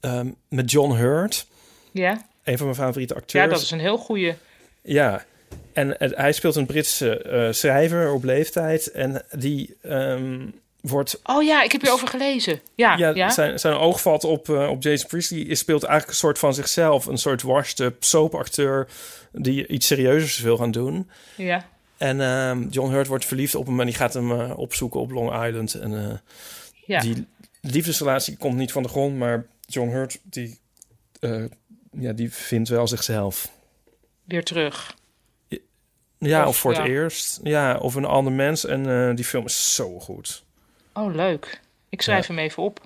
S3: ehm, met John Hurt.
S6: Ja.
S3: Een van mijn favoriete acteurs.
S6: Ja, dat is een heel goede.
S3: Ja, en eh, hij speelt een Britse eh, schrijver op leeftijd. En die ehm, wordt.
S6: Oh ja, ik heb hierover gelezen. Ja, ja.
S3: Zijn, zijn oog valt op, eh, op Jason Priestley. Hij speelt eigenlijk een soort van zichzelf. Een soort washed-up soapacteur die iets serieuzers wil gaan doen.
S6: Ja.
S3: En ehm, John Hurt wordt verliefd op hem en die gaat hem eh, opzoeken op Long Island. En eh,
S6: Ja.
S3: die liefdesrelatie komt niet van de grond, maar John Hurt die, eh, ja, die vindt wel zichzelf.
S6: Weer terug.
S3: Ja,
S6: Of-
S3: of, voor
S6: ja.
S3: het eerst. Ja, of een ander mens. En eh, die film is zo goed.
S6: Oh, leuk. Ik schrijf hem even op.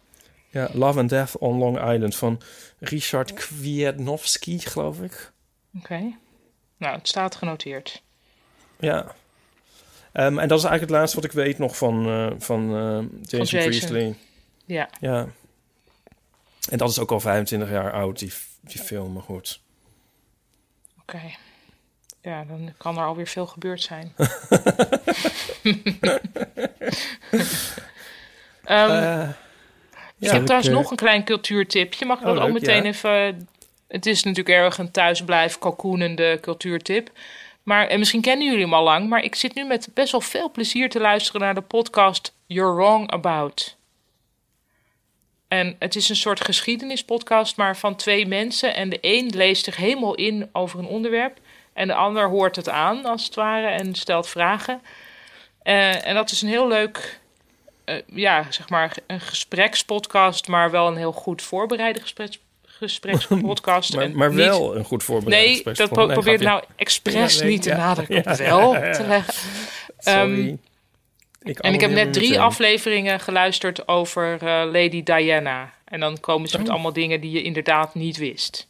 S3: Ja, Love and Death on Long Island van Richard Kwiatkowski, geloof ik.
S6: Oké. Nou, het staat genoteerd.
S3: Ja. Ehm, en dat is eigenlijk het laatste wat ik weet nog van, eh, van eh, Jason,
S6: Jason.
S3: Priestley.
S6: Ja.
S3: ja. En dat is ook al 25 jaar oud, die, die film. Maar goed.
S6: Oké. Ja, dan kan er alweer veel gebeurd zijn. Ehm,
S3: Eh,
S6: ik
S3: ja.
S6: heb
S3: Zal ik,
S6: trouwens
S3: eh,
S6: nog een klein cultuurtipje. Mag ik
S3: Oh,
S6: dat ook
S3: leuk,
S6: meteen
S3: ja.
S6: even... Het is natuurlijk erg een thuisblijf, kalkoenende cultuurtip. Maar, en misschien kennen jullie hem al lang... maar ik zit nu met best wel veel plezier te luisteren naar de podcast You're Wrong About. En het is een soort geschiedenispodcast, maar van twee mensen. En de een leest zich helemaal in over een onderwerp... en de ander hoort het aan, als het ware, en stelt vragen. Eh, en dat is een heel leuk eh, ja, zeg maar een gesprekspodcast, maar wel een heel goed voorbereide gespreks, gesprekspodcast.
S3: Maar-
S6: En
S3: maar
S6: niet-
S3: wel een goed voorbereide
S6: Nee, dat
S3: gesprekspodcast.
S6: pro-
S3: Nee,
S6: probeer ik nou
S3: grapje.
S6: expres
S3: Ja, nee,
S6: niet te
S3: ja.
S6: nadrukken op
S3: Ja,
S6: wel
S3: ja, ja.
S6: te leggen.
S3: Sorry.
S6: Ehm,
S3: Ik
S6: en ik heb
S3: abonneer me
S6: net drie
S3: meteen.
S6: afleveringen geluisterd over eh, Lady Diana. En dan komen
S2: Oh.
S6: ze met allemaal dingen die je inderdaad niet wist.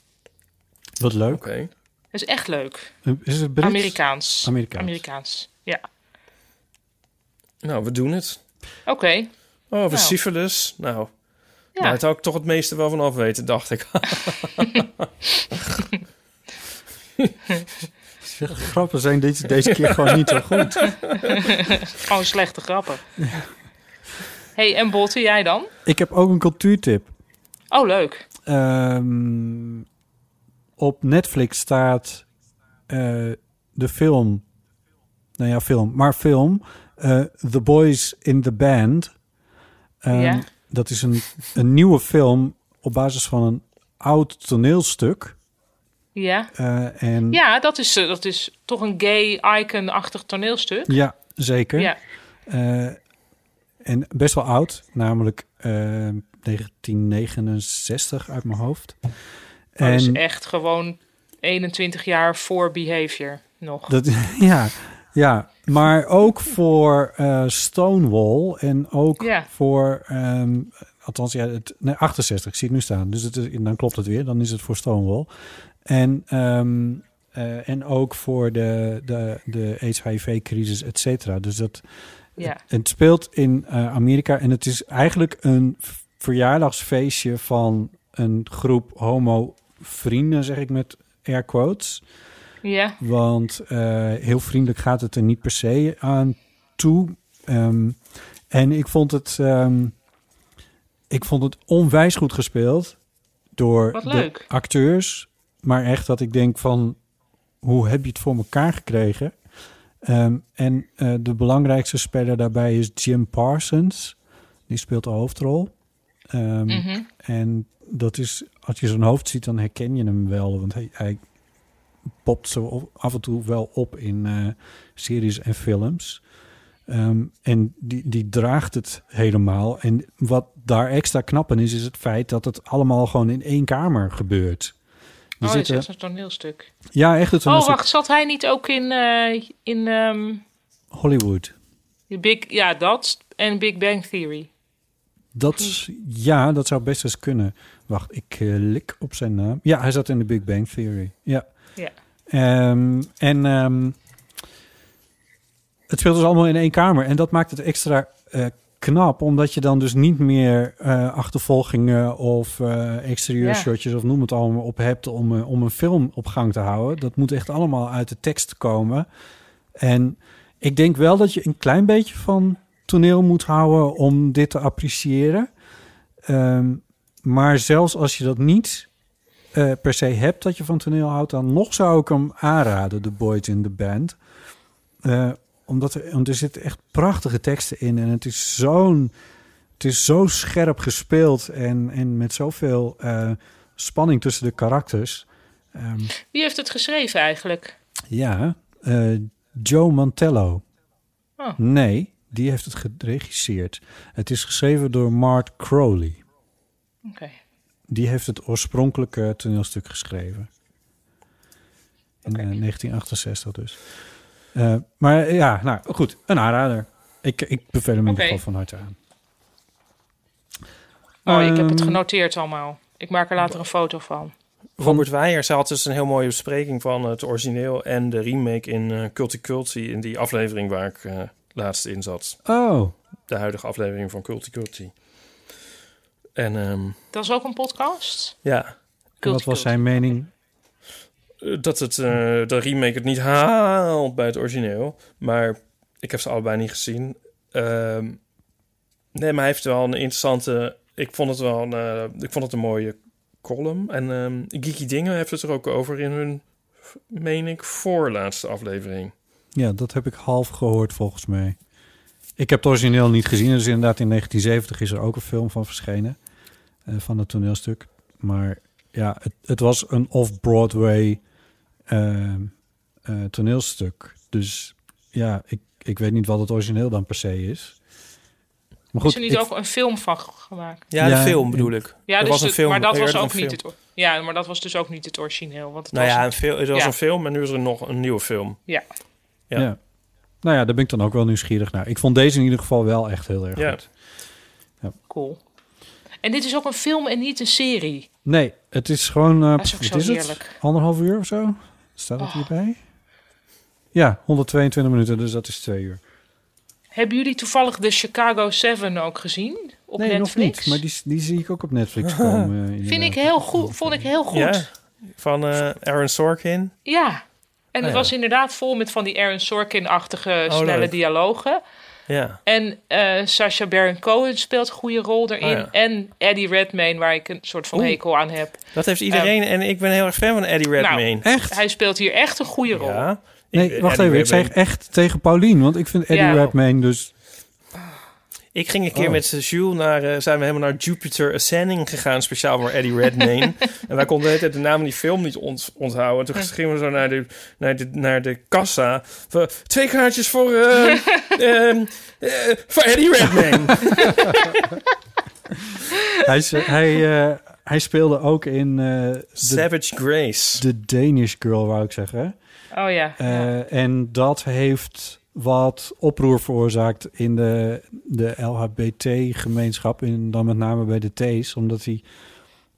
S2: Wat leuk.
S6: Dat is echt leuk.
S2: Is het Brits?
S6: Amerikaans.
S2: Amerikaans.
S6: Amerikaans. Ja.
S3: Nou, we doen het.
S6: Oké.
S3: Oh, over
S6: Nou.
S3: syfilis. Nou,
S6: Ja.
S3: daar zou ik toch het meeste wel van af weten, dacht ik.
S2: Grappen zijn deze, deze keer gewoon niet zo goed.
S6: Gewoon slechte Oh, grappen. hey, en Botte, jij dan?
S2: Ik heb ook een cultuurtip.
S6: Oh, leuk.
S2: Ehm, op Netflix staat eh, de film. Nou ja, film, maar film. eh, the Boys in the Band. Ehm,
S7: Ja.
S2: Dat is een, een nieuwe film op basis van een oud toneelstuk.
S6: Ja.
S2: Eh, en
S6: Ja, dat is, eh, dat is toch een gay icon-achtig toneelstuk.
S2: Ja, zeker.
S6: Ja.
S2: Eh, en best wel oud, namelijk eh, 1969 uit mijn hoofd.
S6: Oh, Dat is echt gewoon 21 jaar voor behavior nog.
S2: Dat, ja, ja, maar ook voor eh, Stonewall en ook
S6: Ja.
S2: voor, ehm, althans, ja, het, nee, 68, ik zie het nu staan. Dus het, is- dan klopt het weer, dan is het voor Stonewall. En, ehm, eh, en ook voor de, de, de AIDS-HIV-crisis, et cetera. Dus dat,
S6: Ja.
S2: het speelt in eh, Amerika en het is eigenlijk een v- verjaardagsfeestje van een groep homo-vrienden, zeg ik met air quotes.
S6: Ja.
S2: Want eh, heel vriendelijk gaat het er niet per se aan toe. Ehm, en ik vond het, ehm, ik vond het onwijs goed gespeeld door
S6: Wat
S2: de
S6: leuk.
S2: acteurs. Maar echt dat ik denk van, hoe heb je het voor elkaar gekregen? Ehm, en eh, de belangrijkste speler daarbij is Jim Parsons. Die speelt de hoofdrol. Ehm,
S6: Mhm.
S2: En dat is, als je zijn hoofd ziet, dan herken je hem wel. Want hij, hij popt zo op- af en toe wel op in eh, series en films. Ehm, en die, die draagt het helemaal. En wat daar extra knap aan is, is het feit dat het allemaal gewoon in één kamer gebeurt. Er
S6: Oh, dat is
S2: zitten-
S6: echt een toneelstuk.
S2: Ja, echt een
S6: Oh,
S2: toneelstuk.
S6: wacht, zat hij niet ook in, eh, in ehm,
S2: Hollywood.
S6: die Big... Ja, dat en Big Bang Theory.
S2: Dat, is- ja, dat zou best eens kunnen. Wacht, ik eh, lik op zijn naam. Ja, hij zat in de Big Bang Theory. Ja.
S6: Ja.
S2: Ehm, en ehm, het speelt dus allemaal in één kamer. En dat maakt het extra eh, knap, omdat je dan dus niet meer eh, achtervolgingen of eh exterieur
S6: Ja.
S2: shotjes of noem het allemaal op hebt om, eh, om een film op gang te houden. Dat moet echt allemaal uit de tekst komen. En ik denk wel dat je een klein beetje van toneel moet houden om dit te appreciëren. Ehm, maar zelfs als je dat niet eh, per se hebt dat je van toneel houdt, dan nog zou ik hem aanraden, The Boys in the Band. Eh, omdat er, want er zitten echt prachtige teksten in en het is zo'n. Het is zo scherp gespeeld en, en met zoveel eh, spanning tussen de karakters. Ehm,
S6: Wie heeft het geschreven eigenlijk?
S2: ja, eh, Joe Mantello.
S6: Oh.
S2: Nee, die heeft het geregisseerd. Het is geschreven door Mark Crowley.
S6: Oké.
S2: Die heeft het oorspronkelijke toneelstuk geschreven. In eh, 1968 dus. Eh, maar eh, ja, nou goed, een aanrader. Ik, ik beveel hem in
S6: Oké.
S2: ieder geval van harte aan.
S6: Oh, ik heb het
S3: Ehm.
S6: genoteerd allemaal. Ik maak er later een foto van.
S3: Robert Weijers had dus een heel mooie bespreking van het origineel en de remake in eh Culti Culti in die aflevering waar ik eh, laatst in zat.
S2: Oh.
S3: De huidige aflevering van Culti Culti. En ehm,
S6: Dat is ook een podcast?
S3: ja,
S2: En wat was zijn mening?
S3: eh, dat het, eh, de remake het niet haalt bij het origineel, maar ik heb ze allebei niet gezien. Ehm, nee, maar hij heeft wel een interessante. Ik vond het wel een, eh, ik vond het een mooie column. En ehm, Geeky Dingen heeft het er ook over in hun, meen ik, voorlaatste aflevering.
S2: Ja, dat heb ik half gehoord volgens mij. Ik heb het origineel niet gezien. Dus inderdaad in 1970 is er ook een film van verschenen. eh, van het toneelstuk. Maar ja, het, het was een off-Broadway ehm, eh, toneelstuk. Dus ja, ik, ik weet niet wat het origineel dan per se is. Maar goed,
S6: is er niet
S2: ik-
S6: ook een film van g- gemaakt?
S3: Ja, de film bedoel ik.
S6: Ja,
S3: Er
S6: dus
S3: was een
S6: het-
S3: film,
S6: maar dat was
S3: eerder
S6: ook
S3: een
S6: niet
S3: film.
S6: het, ja, maar dat was dus ook niet het origineel. Want het
S3: nou
S6: was
S3: ja,
S6: een-
S3: een film, er was
S6: ja.
S3: een film en nu is er nog een nieuwe film.
S6: Ja.
S3: Ja.
S2: Ja. Nou ja, daar ben ik dan ook wel nieuwsgierig naar. Ik vond deze in ieder geval wel echt heel erg
S3: Ja.
S2: goed. Ja.
S6: Cool. En dit is ook een film en niet een serie.
S2: Nee, het is gewoon... eh,
S6: Dat is ook
S2: pff,
S6: zo Oh.
S2: wat is het?
S6: heerlijk.
S2: Anderhalf uur of zo? Staat het hierbij? Ja, 122 minuten, dus dat is twee uur.
S6: Hebben jullie toevallig de Chicago 7 ook gezien? Op
S2: nee,
S6: Netflix?
S2: nog niet. Maar die, die zie ik ook op Netflix komen. eh,
S6: Vind
S2: inderdaad.
S6: ik heel goed. Vond ik heel goed.
S3: Ja,
S6: Ja.
S3: van eh, Aaron Sorkin.
S6: En
S3: Ah,
S6: het
S3: ja.
S6: was inderdaad vol met van die Aaron Sorkin-achtige
S3: Oh,
S6: snelle
S3: leuk.
S6: dialogen.
S3: Ja.
S6: En eh Sacha Baron Cohen speelt een goede rol daarin.
S3: Oh ja.
S6: En Eddie Redmayne, waar ik een soort van
S3: Oeh.
S6: hekel aan heb. Nou,
S3: Dat heeft iedereen. en ik ben heel erg fan van Eddie Redmayne.
S6: Hij speelt hier echt een goede rol.
S3: Ja.
S2: Nee, wacht
S3: Eddie
S2: even. Ik zeg
S3: Redmayne.
S2: echt tegen Paulien, want ik vind Eddie
S3: Ja.
S2: Redmayne dus...
S3: Ik ging een keer
S2: Oh.
S3: met Jules naar, eh, zijn we helemaal naar Jupiter Ascending gegaan, speciaal voor Eddie Redmayne. en wij konden de hele tijd de naam van die film niet ont- onthouden. En toen gingen we zo naar de, naar de, naar de kassa. Van, Twee kaartjes voor, eh, ehm, eh, voor Eddie Redmayne.
S2: hij, is- hij, eh, hij speelde ook in... eh, de-
S3: Savage Grace.
S2: De Danish Girl, wou ik zeggen.
S6: Oh ja.
S2: Eh, En dat heeft wat oproer veroorzaakt in de, de LHBT-gemeenschap. En dan met name bij de T's. Omdat hij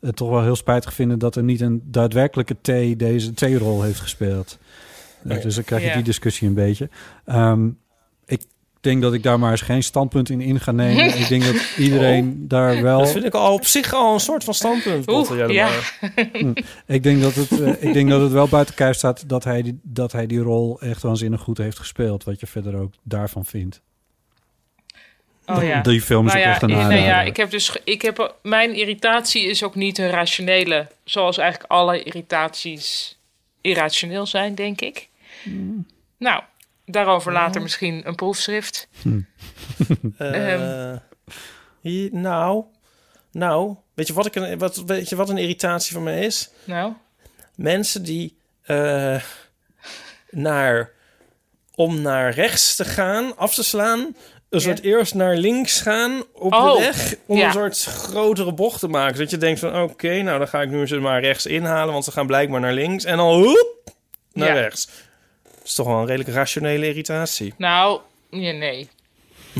S2: het toch wel heel spijtig vinden dat er niet een daadwerkelijke T deze T-rol heeft gespeeld. Eh,
S3: Nee.
S2: dus dan krijg je
S3: Ja.
S2: die discussie een beetje. Ehm, ik denk dat ik daar maar eens geen standpunt in in ga nemen. ik denk dat iedereen daar wel...
S3: Dat vind ik al op zich al een soort van standpunt. Botte
S6: Oeh, ja.
S3: Jellema.
S2: Hm. Ik, denk dat het, eh, ik denk dat het wel buiten kijf staat dat hij, die, dat hij die rol echt waanzinnig goed heeft gespeeld. Wat je verder ook daarvan vindt.
S6: Oh, ja.
S2: Die film is
S6: Nou
S2: ook
S6: ja,
S2: echt een
S6: eh, nou
S2: aanrader.
S6: ja, ik heb dus, ge- ik heb, mijn irritatie is ook niet een rationele, zoals eigenlijk alle irritaties irrationeel zijn, denk ik.
S2: Hmm.
S6: Nou, daarover later misschien een proefschrift.
S3: Eh,
S6: Ehm,
S3: hier- nou, nou, weet je wat, ik een, wat, weet je wat een irritatie van me is?
S6: Nou,
S3: Mensen die eh, naar, om naar rechts te gaan, af te slaan, een soort eerst naar links gaan op
S6: Oh,
S3: de weg, om
S6: ja.
S3: een soort grotere bocht te maken. Dat je denkt van, oké, nou dan ga ik nu eens maar rechts inhalen, want ze gaan blijkbaar naar links en dan hoep, naar
S6: Ja.
S3: rechts. Dat is toch wel een redelijk rationele irritatie.
S6: nou, nee, nee.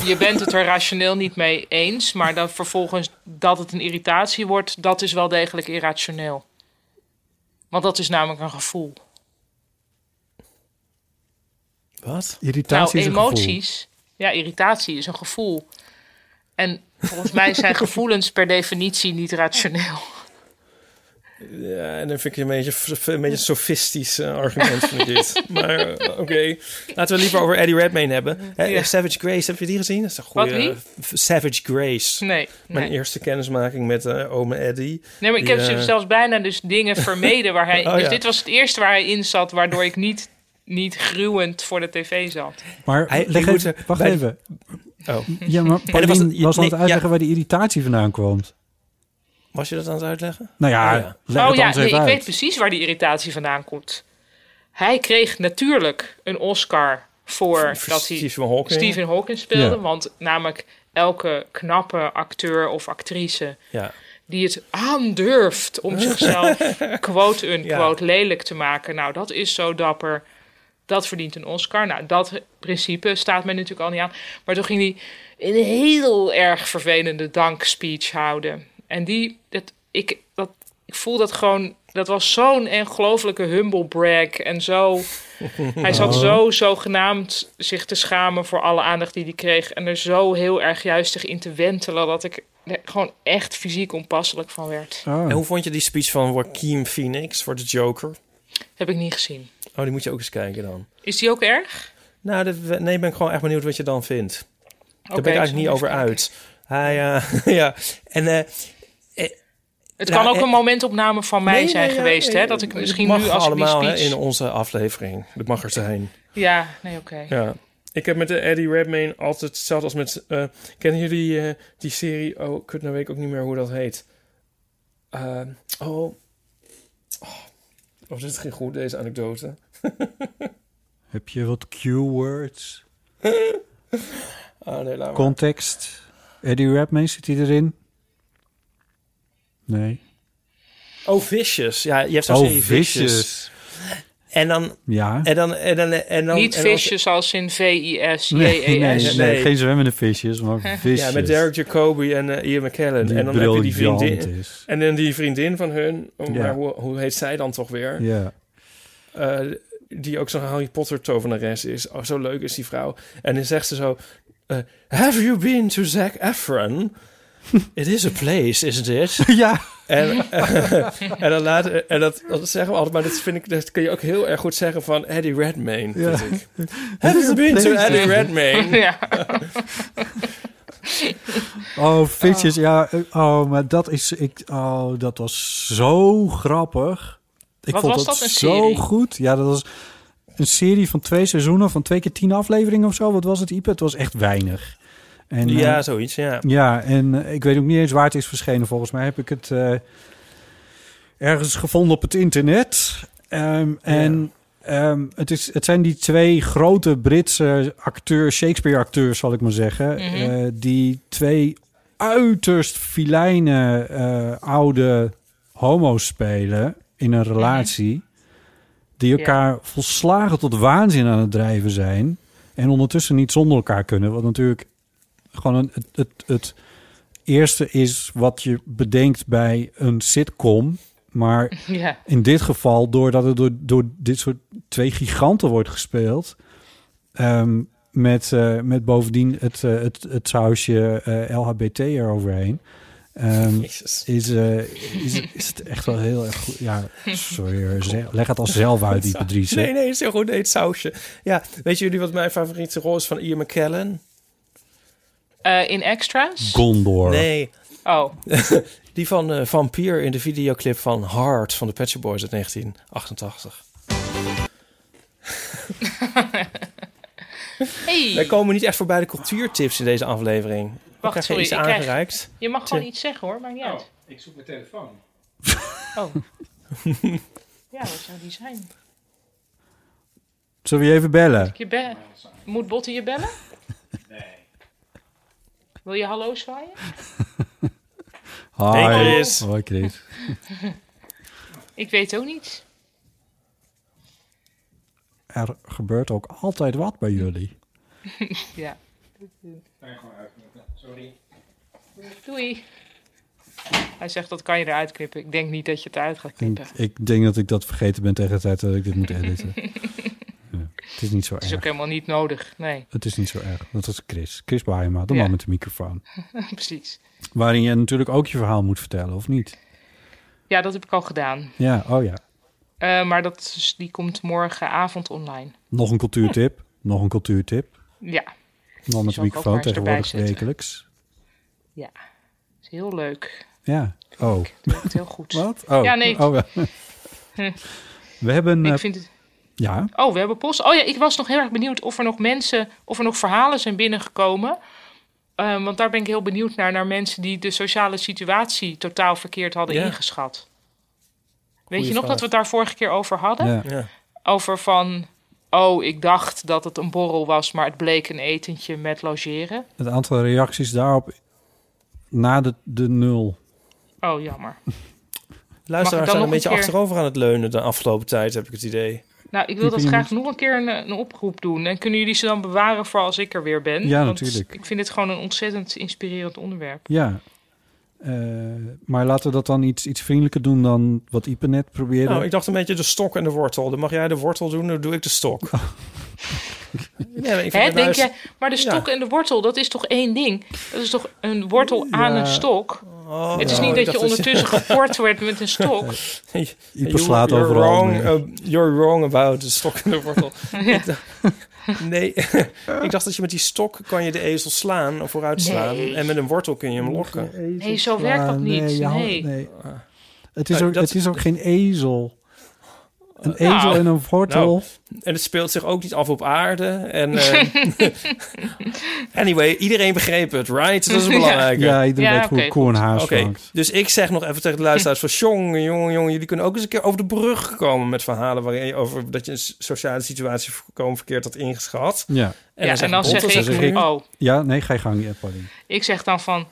S6: Je bent het er rationeel niet mee eens, maar dan vervolgens dat het een irritatie wordt, dat is wel degelijk irrationeel. Want dat is namelijk een gevoel.
S3: Wat?
S2: Irritatie is
S6: nou,
S2: een gevoel.
S6: emoties. Ja, irritatie is een gevoel. En volgens mij zijn gevoelens per definitie niet rationeel.
S3: Ja, en dan vind ik een beetje een beetje een sofistisch eh, argument vind ik dit. Maar eh, oké, laten we het liever over Eddie Redmayne hebben. Hè,
S6: Mhm. Ja.
S3: Savage Grace, heb je die gezien? Dat is een
S6: Wat,
S3: goede
S6: wie?
S3: Savage Grace.
S6: Nee,
S3: Mijn
S6: nee.
S3: eerste kennismaking met eh ome Eddie.
S6: Nee, maar ik heb
S3: Die, eh,
S6: zelfs bijna dus dingen vermeden waar hij...
S3: Oh,
S6: dus
S3: ja.
S6: dit was het eerste waar hij in zat, waardoor ik niet, niet gruwend voor de tv zat.
S2: Maar
S3: Hij-
S2: leg
S3: die
S2: even,
S3: moet er-
S2: wacht
S3: bij-
S2: even.
S3: Oh.
S2: Ja, maar
S3: En
S2: Paulien
S3: er was
S2: was,
S3: een-
S2: aan het
S3: nee,
S2: uitleggen waar die irritatie vandaan komt.
S3: Was je dat aan het uitleggen?
S2: Nou ja,
S3: Oh, ja.
S2: leg
S6: oh
S2: het
S6: ja,
S2: anders
S6: nee, ik
S2: even uit.
S6: weet precies waar die irritatie vandaan komt. Hij kreeg natuurlijk een Oscar voor
S3: Voor
S6: dat hij
S3: Stephen Hawking.
S6: Stephen Hawking speelde.
S3: Ja.
S6: Want namelijk elke knappe acteur of actrice
S3: Ja.
S6: die het aandurft om zichzelf quote unquote lelijk te maken. Nou, dat is zo dapper. Dat verdient een Oscar. Nou, dat principe staat mij natuurlijk al niet aan. Maar toen ging hij een heel erg vervelende dankspeech houden. En die, dat, ik, dat, ik voel dat gewoon... Dat was zo'n ongelofelijke humble brag. En zo... Hij zat
S7: Oh.
S6: zo zogenaamd zich te schamen voor alle aandacht die hij kreeg. En er zo heel erg juistig in te wentelen dat ik er gewoon echt fysiek onpasselijk van werd.
S2: Oh.
S3: En hoe vond je die speech van Joaquin Phoenix voor de Joker?
S6: Heb ik niet gezien.
S3: Oh, die moet je ook eens kijken dan.
S6: Is die ook erg?
S3: Nou, dat- nee, ben ik gewoon echt benieuwd wat je dan vindt. Daar
S6: Oké,
S3: ben ik
S6: zal
S3: eigenlijk niet
S6: ik
S3: over uit. Hij, eh, ja, en... eh, eh,
S6: Het
S3: nou,
S6: kan ook
S3: eh,
S6: een momentopname van mij
S3: Nee,
S6: zijn
S3: nee, ja,
S6: geweest, hè?
S3: nee,
S6: Dat ik
S3: het
S6: misschien
S3: mag
S6: nu als ik die
S3: allemaal hè,
S6: speech...
S3: in onze aflevering. Dat mag er zijn.
S6: Ja, nee, oké.
S3: Ja. Ik heb met de Eddie Redmayne altijd hetzelfde als met... eh, kennen jullie eh, die serie? Oh, kut, nou weet ik ook niet meer hoe dat heet. Eh, oh. oh. Oh, dit ging goed, deze anekdote.
S2: Heb je wat Q-words?
S3: Ah, nee, laat maar.
S2: Context? Eddie Redmayne, zit hij erin? Nee.
S3: Oh, Vicious. Ja, je hebt zo'n
S2: Oh,
S3: serie Vicious.
S2: Vicious.
S3: En dan...
S2: Ja.
S3: En dan... En dan, en dan
S6: Niet
S3: en dan-
S6: visjes als in V-I-S,
S2: Nee, nee,
S6: J-E-S.
S2: nee, geen zwemmende visjes,
S6: Oh.
S2: maar visjes.
S3: Ja, met Derek Jacobi en eh, Ian McKellen.
S2: Die
S3: en dan heb je die
S2: briljant
S3: vriendin.
S2: is.
S3: En dan die vriendin van hun, oh,
S2: Ja.
S3: maar hoe, hoe heet zij dan toch weer?
S2: Ja.
S3: Eh, die ook zo'n Harry Potter tovenares is. Oh, zo leuk is die vrouw. En dan zegt ze zo... eh, Have you been to Zac Efron? It is a place, isn't it?
S2: ja.
S3: En, eh, en, dan later, en dat, dat zeggen we altijd, maar dat, vind ik, dat kun je ook heel erg goed zeggen van Eddie Redmayne,
S2: Ja.
S3: vind ik.
S2: Dit
S3: Have
S2: is
S3: you
S2: een
S3: been to
S2: place.
S3: Eddie Redmayne?
S6: Ja.
S2: Oh, Fitches, ja. eh, Oh, maar dat is... Ik, oh, dat was zo grappig. Ik
S6: Wat
S2: vond
S6: was
S2: dat,
S6: dat, een
S2: zo
S6: serie?
S2: goed. Ja, dat was een serie van twee seizoenen... van twee keer tien afleveringen of zo. Wat was het, Ipe? Het was echt weinig. En, eh,
S3: ja, zoiets, ja.
S2: Ja, en eh, ik weet ook niet eens waar het is verschenen. Volgens mij heb ik het eh, ergens gevonden op het internet. Ehm, En ehm, het, is, het zijn die twee grote Britse acteurs, Shakespeare-acteurs zal ik maar zeggen.
S7: Mhm.
S2: eh, die twee uiterst filijne eh, oude homo's spelen in een relatie. Die
S7: Mhm. Ja.
S2: elkaar volslagen tot waanzin aan het drijven zijn. En ondertussen niet zonder elkaar kunnen. Wat natuurlijk gewoon een, het, het, het eerste is wat je bedenkt bij een sitcom. Maar
S6: Ja.
S2: in dit geval, doordat het door, door dit soort twee giganten wordt gespeeld. ehm, met, eh, met bovendien het, eh, het, het sausje eh, LHBT eroverheen. ehm, is, eh, is, is het echt wel heel erg goed. Ja, sorry, hoor. Ze- leg het al zelf uit, die Patrice.
S3: Nee, nee, het is heel goed. Nee, het sausje. Ja, weet jullie wat mijn favoriete rol is van Ian McKellen?
S6: Eh, in extras?
S2: Gondor.
S3: Nee.
S6: Oh.
S3: Die van eh, Vampier in de videoclip van Heart van de Pet Shop Boys uit 1988.
S6: Hey.
S3: Wij komen niet echt voorbij de cultuurtips in deze aflevering.
S6: Wacht,
S3: Wacht,
S6: sorry,
S3: sorry, iets
S6: ik krijg-
S3: aangereikt.
S6: Je mag gewoon
S3: Tip.
S6: iets zeggen hoor, maakt niet uit.
S8: Ik zoek mijn telefoon.
S6: Oh. ja, wat zou die zijn?
S2: Zullen we je even bellen?
S6: Je be- Moet Botte je bellen? Nee. Wil je hallo zwaaien?
S2: Hi.
S3: Hey, Chris.
S2: Hoi, Chris.
S6: Ik weet ook niet.
S2: Er gebeurt ook altijd wat bij jullie.
S6: ja.
S8: Sorry.
S6: Doei. Hij zegt dat kan je eruit knippen. Ik denk niet dat je het eruit gaat
S2: Ik,
S6: knippen.
S2: ik denk dat ik dat vergeten ben tegen de tijd dat ik dit moet editen. ja, het is niet zo
S6: Het is
S2: erg.
S6: ook helemaal niet nodig. Nee.
S2: Het is niet zo erg. Dat is Chris. Chris Baaiema, de
S6: Ja.
S2: man met de microfoon.
S6: Precies.
S2: Waarin je natuurlijk ook je verhaal moet vertellen, of niet?
S6: Ja, dat heb ik al gedaan.
S2: Ja, oh ja.
S6: Eh, maar dat is- die komt morgenavond online. Hm.
S2: Nog een cultuurtip. Nog een cultuurtip.
S6: Ja.
S2: De man met de
S6: zal ik ook maar
S2: microfoon
S6: eens erbij
S2: tegenwoordig
S6: zetten.
S2: wekelijks.
S6: Ja. is heel leuk.
S2: Ja. Oh.
S6: Het heel goed.
S2: Wat? Oh.
S6: Ja, nee.
S2: Oh, ja.
S6: Hm.
S2: We hebben...
S6: Ik
S2: eh,
S6: vind het-
S2: Ja.
S6: Oh, we hebben post. Oh ja, ik was nog heel erg benieuwd of er nog mensen, of er nog verhalen zijn binnengekomen. Eh, want daar ben ik heel benieuwd naar, naar mensen die de sociale situatie totaal verkeerd hadden
S3: Ja.
S6: ingeschat. Weet je
S3: Goeie
S6: nog
S3: vraag.
S6: dat we het daar vorige keer over hadden?
S3: Ja. Ja.
S6: Over van, oh, ik dacht dat het een borrel was, maar het bleek een etentje met logeren.
S2: Het aantal reacties daarop na de, de nul.
S6: Oh, jammer. Mag ik dan
S3: Luisteraars
S6: nog
S3: zijn een
S6: een
S3: beetje
S6: keer-
S3: achterover aan het leunen de afgelopen tijd, heb ik het idee.
S6: Nou, ik wil dat
S3: Pieper, je
S6: graag nog een keer een, een oproep doen. En kunnen jullie ze dan bewaren voor als ik er weer ben?
S2: Ja,
S6: Want
S2: natuurlijk.
S6: Ik vind dit gewoon een ontzettend inspirerend onderwerp.
S2: Ja. Eh, maar laten we dat dan iets, iets vriendelijker doen dan wat Ipe net probeerde.
S3: Nou, ik dacht een beetje de stok en de wortel. Dan mag jij de wortel doen, dan doe ik de stok. nee, maar ik vind
S6: Hè,
S3: het
S6: denk
S3: juist-
S6: je, maar de stok en de wortel, dat is toch één ding? Dat is toch een wortel aan
S3: Ja.
S6: een stok?
S3: Oh,
S6: het is
S3: ik
S6: niet dat
S3: dacht
S6: je ondertussen geport werd met een stok.
S3: Je
S2: Ieper slaat
S3: you're
S2: overal
S3: Wrong,
S2: mee.
S3: ab- you're wrong about de stok en de wortel.
S6: Ja.
S3: Ik dacht- nee, ik dacht dat je met die stok kan je de ezel slaan of vooruit slaan.
S6: Nee.
S3: En met een wortel kun je hem lokken.
S6: Nee, zo werkt dat
S2: slaan.
S6: niet.
S2: Nee, je hand-
S6: Nee.
S2: nee. Het, is
S3: Nou,
S2: ook,
S3: dat-
S2: het is ook geen ezel. Een
S3: Nou,
S2: ezel en een wortel.
S3: nou, en het speelt zich ook niet af op aarde. En, eh, anyway, iedereen begreep het, right? Dat is het
S2: Ja.
S3: belangrijke.
S2: Ja, iedereen Ja, weet hoe oké, een koe een goed. haas
S3: Oké,
S2: vangt.
S3: Dus ik zeg nog even tegen de luisteraars van... jongen, jongen, jongen, jullie kunnen ook eens een keer over de brug komen... met verhalen waarin je over dat je een s- sociale situatie voorkomen verkeerd had ingeschat.
S2: Ja.
S6: Ja, en dan
S3: Botte,
S6: zeg ik, oh.
S2: Ja, nee, ga je gang, ja, Pauline.
S6: Ik zeg dan van,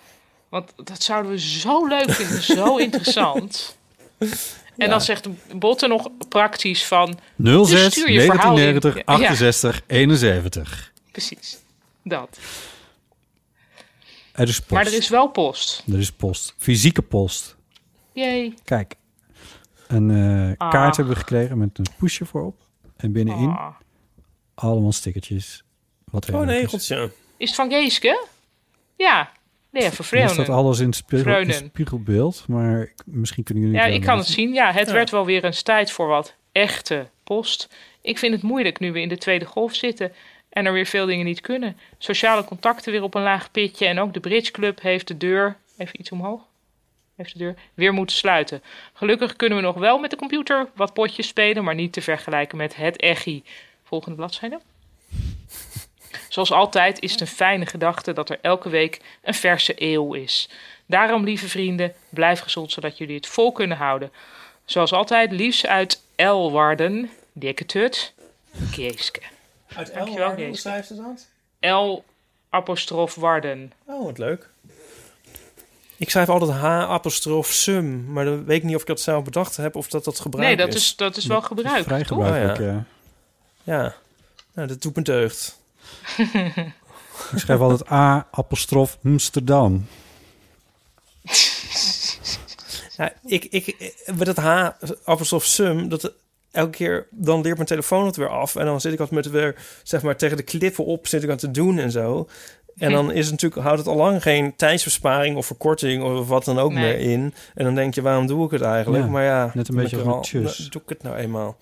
S6: want dat zouden we zo leuk vinden, zo interessant. En
S2: Ja.
S6: dan zegt Botte nog praktisch van... dus
S2: 06
S6: stuur je verhaal in.
S2: 1990
S6: Ja,
S2: 68 71.
S6: ja, precies. Dat.
S2: Er is post.
S6: Maar er is wel post.
S2: Er is post. Fysieke post.
S6: Jee.
S2: Kijk. Een eh,
S6: Ah.
S2: kaart hebben we gekregen met een poesje voorop. En binnenin allemaal stickertjes. Wat
S3: Oh, een
S2: heerlijk is.
S3: egeltje.
S6: Is het van Geeske? Ja. Nee, vervreemden.
S2: Er staat alles in het, spiegel- in het
S6: Vreunen.
S2: spiegelbeeld, maar ik- misschien kunnen jullie...
S6: Ja,
S2: daar
S6: ik kan het
S2: nog-
S6: zien. Ja, het
S2: Ja.
S6: werd wel weer eens tijd voor wat echte post. Ik vind het moeilijk nu we in de tweede golf zitten en er weer veel dingen niet kunnen. Sociale contacten weer op een laag pitje en ook de Bridge Club heeft de deur, even iets omhoog, heeft de deur weer moeten sluiten. Gelukkig kunnen we nog wel met de computer wat potjes spelen, maar niet te vergelijken met het echi. Volgende bladzijde. Zoals altijd is het een fijne gedachte dat er elke week een verse eeuw is. Daarom, lieve vrienden, blijf gezond zodat jullie het vol kunnen houden. Zoals altijd, liefst uit Elwarden, dikke tut, Geeske.
S3: Uit
S6: Dankjewel,
S3: Elwarden, hoe
S6: Geeske.
S3: schrijft ze dat?
S6: El apostrof Warden.
S3: Oh, wat leuk. Ik schrijf altijd H-apostrof sum, maar dan weet ik niet of ik dat zelf bedacht heb of dat dat gebruikt
S6: Nee,
S3: is.
S6: dat is, dat is wel gebruikt.
S2: vrij
S6: toch?
S2: gebruikelijk,
S3: Oh,
S2: ja.
S3: Ja, nou, dat doet me deugd.
S2: Ik schrijf altijd A, apostrof, Amsterdam.
S3: Ja, Nou, ik, ik, eh, met dat H, apostrof sum, dat elke keer, dan leert mijn telefoon het weer af. En dan zit ik altijd met weer, zeg maar, tegen de klippen op, zit ik aan te doen en zo. En dan is het natuurlijk, houdt het al lang geen tijdsbesparing of verkorting of wat dan ook
S6: Nee.
S3: meer in. En dan denk je, waarom doe ik het eigenlijk?
S2: Ja,
S3: maar ja,
S2: net een
S3: dan
S2: beetje
S3: ben ik er
S2: als
S3: al-
S2: met tjus.
S3: nou, Doe ik het nou eenmaal?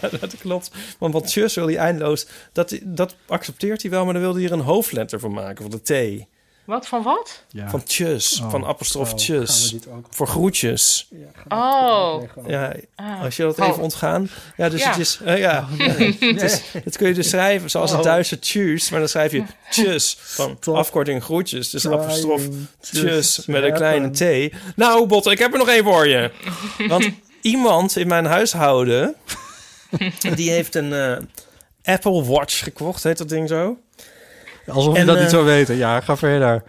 S3: dat klopt. Want wat tjus wil hij eindeloos, dat, dat accepteert hij wel, maar dan wilde hij er een hoofdletter van maken, van de T.
S6: Wat van wat?
S3: Van tjus,
S2: Oh,
S3: van apostrof
S2: oh, gaan
S3: tjus.
S2: we dit ook-
S3: Voor groetjes.
S6: Oh.
S3: Ja,
S6: Ah.
S3: als je dat even ontgaan. Ja, dus
S6: Ja.
S3: het is... eh, ja, het, is, het kun je dus schrijven zoals het
S2: Oh.
S3: Duitse tjus, maar dan schrijf je tjus van afkorting groetjes. Dus
S2: trying
S3: apostrof
S2: to
S3: tjus met een kleine
S2: happen.
S3: t. Nou, Botte, ik heb er nog één voor je. Want iemand in mijn huishouden, die heeft een eh, Apple Watch gekocht, heet dat ding zo?
S2: Alsof je
S3: En,
S2: dat
S3: eh,
S2: niet zou weten. Ja, ga verder.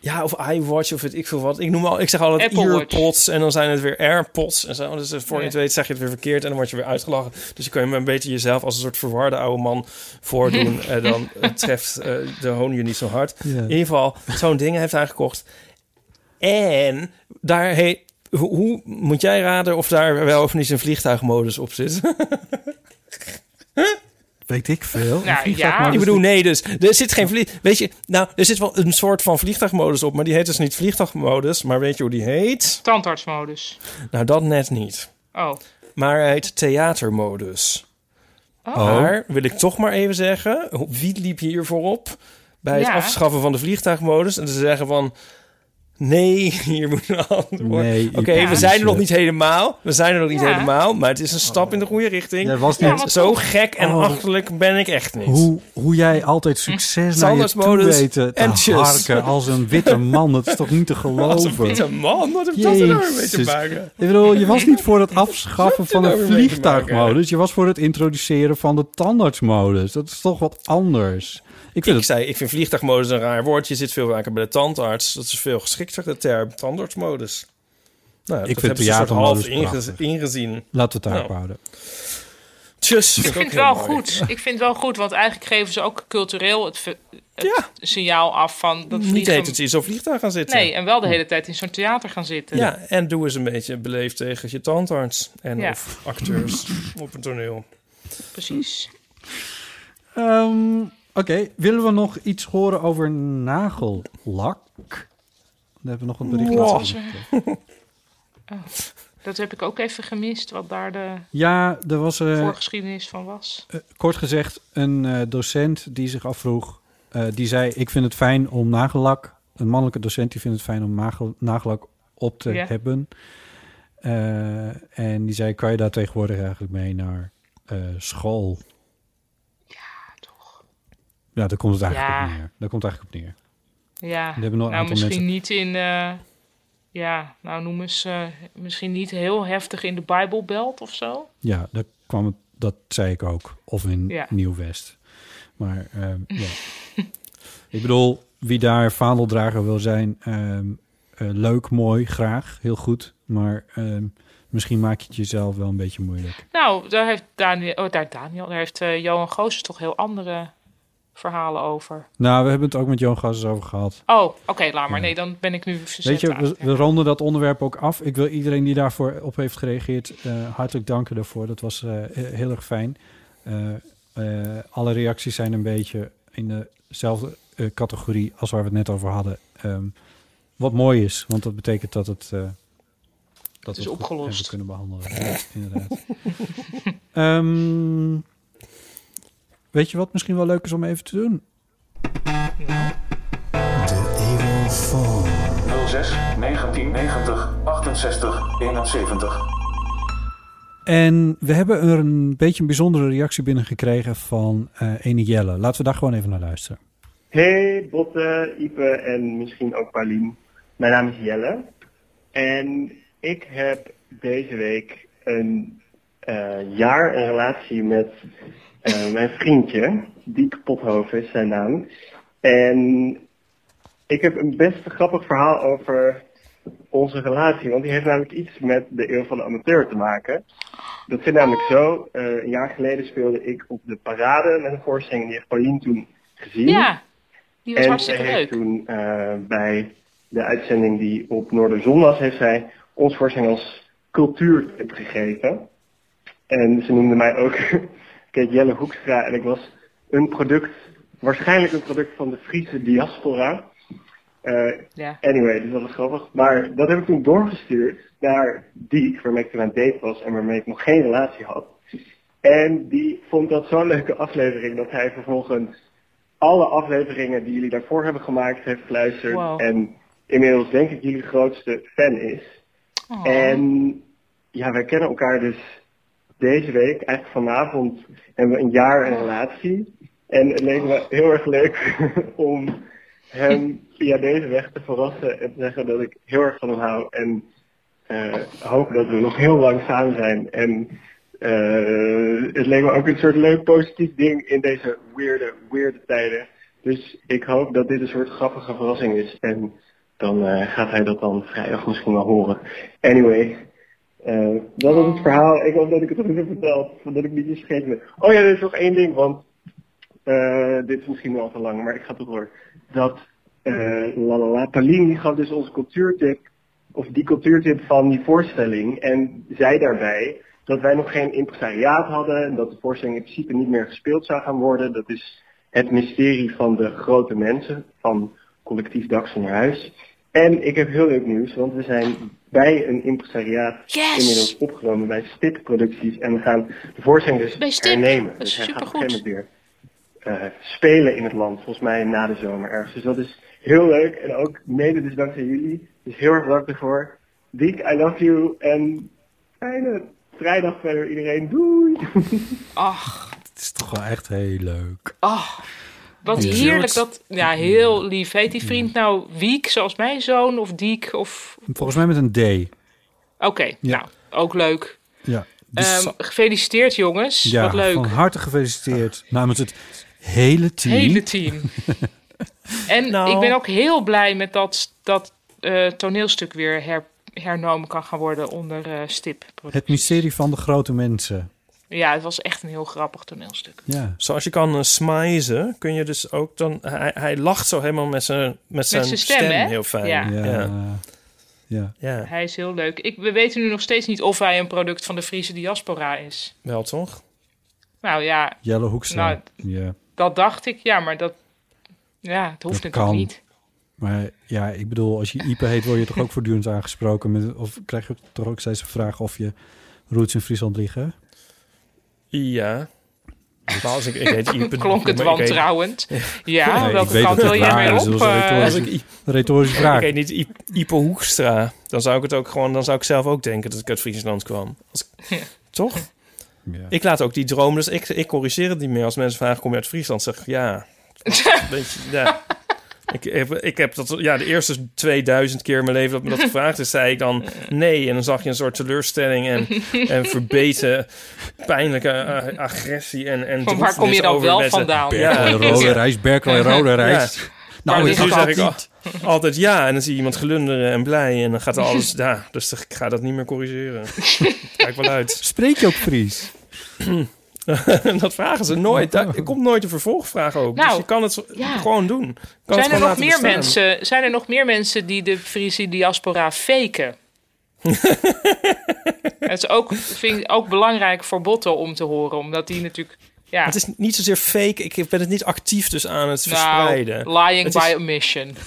S3: ja, of iWatch of weet ik veel wat. Ik, noem al, ik zeg altijd
S2: Apple Watch.
S3: earpods en dan zijn het weer airpods. En zo. Dus voor je
S2: Ja.
S3: het weet zeg je het weer verkeerd en dan word je weer uitgelachen. Dus je kan je maar een beetje jezelf als een soort verwarde oude man voordoen. en dan eh, treft eh, de hoon je niet zo hard.
S2: Ja.
S3: In ieder geval, zo'n ding heeft hij gekocht. En daar heet... Hoe, hoe moet jij raden of daar wel of niet zijn vliegtuigmodus op zit?
S2: Weet ik veel.
S3: Nou,
S2: vliegtuigmodus-
S3: Ik bedoel, nee, dus er zit geen vlieg... Weet je, nou, er zit wel een soort van vliegtuigmodus op, maar die heet dus niet vliegtuigmodus, maar weet je hoe die heet?
S6: Tandartsmodus.
S3: Nou, dat net niet.
S6: Oh.
S3: Maar hij heet theatermodus.
S6: Oh.
S3: Maar wil ik toch maar even zeggen, hoe- wie liep hier voorop bij het
S6: Ja.
S3: afschaffen van de vliegtuigmodus en te zeggen van... Nee, hier moet een ander worden.
S2: Nee,
S3: Oké,
S2: je
S3: we
S2: piece
S3: zijn er nog
S2: of-
S3: niet helemaal. We zijn er nog niet
S2: Ja.
S3: helemaal, maar het is een stap in de goede richting.
S2: Jij was
S3: En
S2: niet-
S3: Zo gek en
S2: Oh.
S3: achterlijk ben ik echt niet.
S2: Hoe, hoe jij altijd succes naar je toe
S3: Standaardmodus
S2: weten te
S3: en tjus.
S2: harken als een witte man. Dat is toch niet te geloven?
S3: Als een witte man, wat heeft dat er nou mee te
S2: Jezus.
S3: maken?
S2: Ik bedoel, je was niet voor het afschaffen van
S3: nou
S2: de
S3: weer mee te
S2: vliegtuigmodus. Je was voor het introduceren van de tandartsmodus. Dat is toch wat anders.
S3: Ik, zei, ik vind vliegtuigmodus een raar woord. Je zit veel vaker bij de tandarts. Dat is veel geschikter, de term tandartsmodus. Nou,
S2: Ik
S3: dat
S2: vind
S3: hebben ze een soort
S2: theatermodus
S3: half inge-
S2: prachtig.
S3: ingezien.
S2: Laten we het
S3: Nou,
S2: daarop houden.
S3: Tjus.
S6: Ik vind het wel goed. Ik vind het wel goed, want eigenlijk geven ze ook cultureel het, ver- het signaal af van... Dat
S3: Niet
S6: vliegen-
S3: heet het iets of vliegtuig gaan zitten.
S6: Nee, en wel de hele tijd in zo'n theater gaan zitten.
S3: Ja, en doe eens een beetje beleefd tegen je tandarts en
S6: Ja.
S3: of acteurs op een toneel.
S6: Precies.
S2: Ehm, Oké, willen we nog iets horen over nagellak? Dan hebben we nog een bericht
S6: Wow.
S2: laten zien.
S6: Oh, dat heb ik ook even gemist, wat daar de
S2: Ja, er was eh,
S6: voorgeschiedenis van was.
S2: eh, kort gezegd een eh, docent die zich afvroeg. eh, die zei: Ik vind het fijn om nagellak. Een mannelijke docent die vindt het fijn om nagel- nagellak op te
S6: Ja.
S2: hebben. Eh, en die zei: Kan je daar tegenwoordig eigenlijk mee naar eh, school? Ja, toch. Ja, daar komt het eigenlijk
S6: Ja.
S2: op neer. Daar komt het eigenlijk op neer.
S6: Ja,
S2: Er hebben nog een
S6: nou
S2: aantal
S6: misschien
S2: mensen-
S6: niet in... eh, ja, nou noem eens... eh, misschien niet heel heftig in de Bijbelbelt of zo.
S2: Ja, daar kwam het, dat zei ik ook. Of in
S6: Ja.
S2: Nieuw-West. Maar ehm, ja. ik bedoel, wie daar vaandeldrager wil zijn, ehm, eh, leuk, mooi, graag, heel goed. Maar ehm, misschien maak je het jezelf wel een beetje moeilijk.
S6: Nou, daar heeft Daniel, oh, daar, Daniel, daar heeft eh, Johan Goossens toch heel andere verhalen over.
S2: Nou, we hebben het ook met Johan Gassens over gehad.
S6: Oh, oké, laat maar.
S2: Ja.
S6: Nee, dan ben ik nu verzet
S2: Weet je,
S6: aan.
S2: we, we ronden dat onderwerp ook af. Ik wil iedereen die daarvoor op heeft gereageerd eh, hartelijk danken daarvoor. Dat was eh, he- heel erg fijn. Eh, eh, alle reacties zijn een beetje in dezelfde eh, categorie als waar we het net over hadden. Ehm,
S1: Wat mooi is, want dat betekent dat het... eh, dat
S6: is
S1: we goed
S6: opgelost.
S1: hebben kunnen behandelen. Ja, inderdaad. Ehm, weet je wat misschien wel leuk is om even te doen?
S9: 06 1990 68 71.
S1: En we hebben er een beetje een bijzondere reactie binnengekregen van eh ene Jelle. Laten we daar gewoon even naar luisteren.
S3: Hey Botte, Ipe en misschien ook Paulien. Mijn naam is Jelle. En ik heb deze week een eh, jaar een relatie met eh, mijn vriendje. Diek Pothoven is zijn naam. En ik heb een best grappig verhaal over onze relatie. Want die heeft namelijk iets met de eeuw van de amateur te maken. Dat zit namelijk zo. eh, een jaar geleden speelde ik op de parade met een voorstelling. Die heeft Paulien toen gezien
S6: Ja, die
S3: Hmm?
S6: was
S3: en
S6: hartstikke
S3: zij heeft
S6: leuk.
S3: toen eh, bij de uitzending die op Noorderzon was, heeft zij ons voorstelling als cultuurtip gegeven. En ze noemde mij ook Kate Jelle Hoekstra en ik was een product, waarschijnlijk een product van de Friese diaspora. Eh,
S6: Ja.
S3: Anyway, dus dat was grappig. Maar dat heb ik toen doorgestuurd naar Diek, waarmee ik toen aan het date was en waarmee ik nog geen relatie had. En die vond dat zo'n leuke aflevering dat hij vervolgens alle afleveringen die jullie daarvoor hebben gemaakt heeft geluisterd.
S10: Wow.
S3: En inmiddels denk ik jullie grootste fan is.
S10: Oh.
S3: En ja, wij kennen elkaar dus deze week, eigenlijk vanavond, hebben we een jaar een relatie. En het leek me heel erg leuk om hem via deze weg te verrassen en te zeggen dat ik heel erg van hem hou. En eh, hoop dat we nog heel lang samen zijn. En eh, het leek me ook een soort leuk positief ding in deze weirde, weirde tijden. Dus ik hoop dat dit een soort grappige verrassing is. En dan eh, gaat hij dat dan vrijdag misschien wel horen. Anyway, eh, dat was het verhaal. Ik hoop dat ik het goed heb verteld. Dat ik niet iets vergeten ben. Oh ja, er is nog één ding, want eh, dit is misschien wel te lang, maar ik ga toch door. Dat eh la la la, Paulien die gaf dus onze cultuurtip, of die cultuurtip van die voorstelling. En zei daarbij dat wij nog geen impresariaat hadden. En dat de voorstelling in principe niet meer gespeeld zou gaan worden. Dat is het mysterie van de grote mensen, van collectief Dak zonder huis. En ik heb heel leuk nieuws, want we zijn bij een impresariaat inmiddels opgenomen bij Stip Producties. En we gaan de voorstelling dus
S6: Bij Stip,
S3: hernemen.
S6: dat
S3: Dus
S6: is
S3: hij gaat op een
S6: supergoed.
S3: gegeven moment weer eh, spelen in het land, volgens mij na de zomer ergens. Dus dat is heel leuk en ook mede dus dankzij jullie. Dus heel erg bedankt daarvoor. Diek, I love you en fijne vrijdag verder iedereen. Doei!
S6: Ach,
S1: Het is toch wel echt heel leuk.
S6: ach, wat
S1: Ja.
S6: heerlijk dat... Ja, heel lief. Heet die vriend nou Wiek, zoals mijn zoon, of Diek, of...
S1: Volgens mij met een D.
S6: Oké, nou, ook leuk.
S1: Ja. Dus-
S6: Ehm, gefeliciteerd, jongens.
S1: ja,
S6: wat leuk.
S1: van harte gefeliciteerd namens het hele team.
S6: Hele team. En
S2: Nou.
S6: ik ben ook heel blij met dat dat eh, toneelstuk weer her- hernomen kan gaan worden onder eh, stip.
S1: Het mysterie van de grote mensen.
S6: Ja, het was echt een heel grappig toneelstuk.
S1: Ja.
S2: Zoals je kan eh, smijzen, kun je dus ook dan... Hij, hij lacht zo helemaal met zijn, met zijn,
S6: zijn stem, hè?
S2: heel fijn.
S6: Ja.
S2: Ja.
S1: Ja. ja.
S6: Hij is heel leuk. Ik, we weten nu nog steeds niet of hij een product van de Friese diaspora is.
S2: Wel toch?
S6: Nou ja,
S1: Jelle Hoekstra.
S6: Nou,
S1: ja.
S6: dat dacht ik. Ja, maar dat, ja, het hoeft
S1: Dat
S6: natuurlijk
S1: kan.
S6: niet.
S1: Maar ja, ik bedoel, als je Ipe heet, word je toch ook voortdurend aangesproken. Met, of krijg je toch ook steeds de vraag of je roots in Friesland liggen?
S2: Ja. Maar als ik, ik heet Iep,
S6: Klonk het
S2: maar ik heet-
S6: wantrouwend. Ja,
S2: Nee,
S6: welke
S2: ik weet
S6: kant
S2: dat
S6: wil
S2: het
S6: jij
S2: waar
S6: mee
S2: is. dus
S6: op?
S2: Dat was een
S6: eh?
S2: retorische- Als ik-
S1: Retorische vraag.
S2: Ik heet niet Iep- Ipe Hoekstra. Dan zou ik het ook gewoon... Dan zou ik zelf ook denken dat ik uit Friesland kwam. Als ik- Toch? Ik laat ook die droom... Dus ik, ik corrigeer het niet meer. Als mensen vragen, kom je uit Friesland? Zeg ik, ja. Weet je, ja. Ik heb, ik heb dat, ja, de eerste 2000 keer in mijn leven dat me dat gevraagd is, zei ik dan nee. En dan zag je een soort teleurstelling en, en verbeten, pijnlijke eh, agressie. En, en
S6: Van waar kom je
S2: droefenis
S6: dan wel
S2: over mensen.
S6: vandaan?
S1: Berkel en rode rijst, Berkel en rode rijst. Nou,
S2: Maar
S1: ik
S2: nu
S1: had
S2: zeg ik al-
S1: altijd-
S2: altijd ja. En dan zie je iemand gelunderen en blij. En dan gaat er alles, ja. Dus ik ga dat niet meer corrigeren. Kijk wel uit.
S1: Spreek je ook Fries?
S2: dat vragen ze nooit. Daar, er komt nooit een vervolgvraag ook.
S6: Nou,
S2: dus je kan het zo-
S6: ja.
S2: gewoon doen. Je Kan het
S6: Zijn er,
S2: gewoon
S6: nog
S2: laten
S6: meer
S2: bestaan.
S6: mensen, zijn er nog meer mensen die de Friese diaspora faken? Het is ook, vind ik ook belangrijk voor Botten om te horen, omdat die natuurlijk... Ja,
S2: Het is niet zozeer fake. Ik ben het niet actief dus aan het
S6: nou,
S2: verspreiden.
S6: lying
S2: Het
S6: by
S2: is-
S6: omission.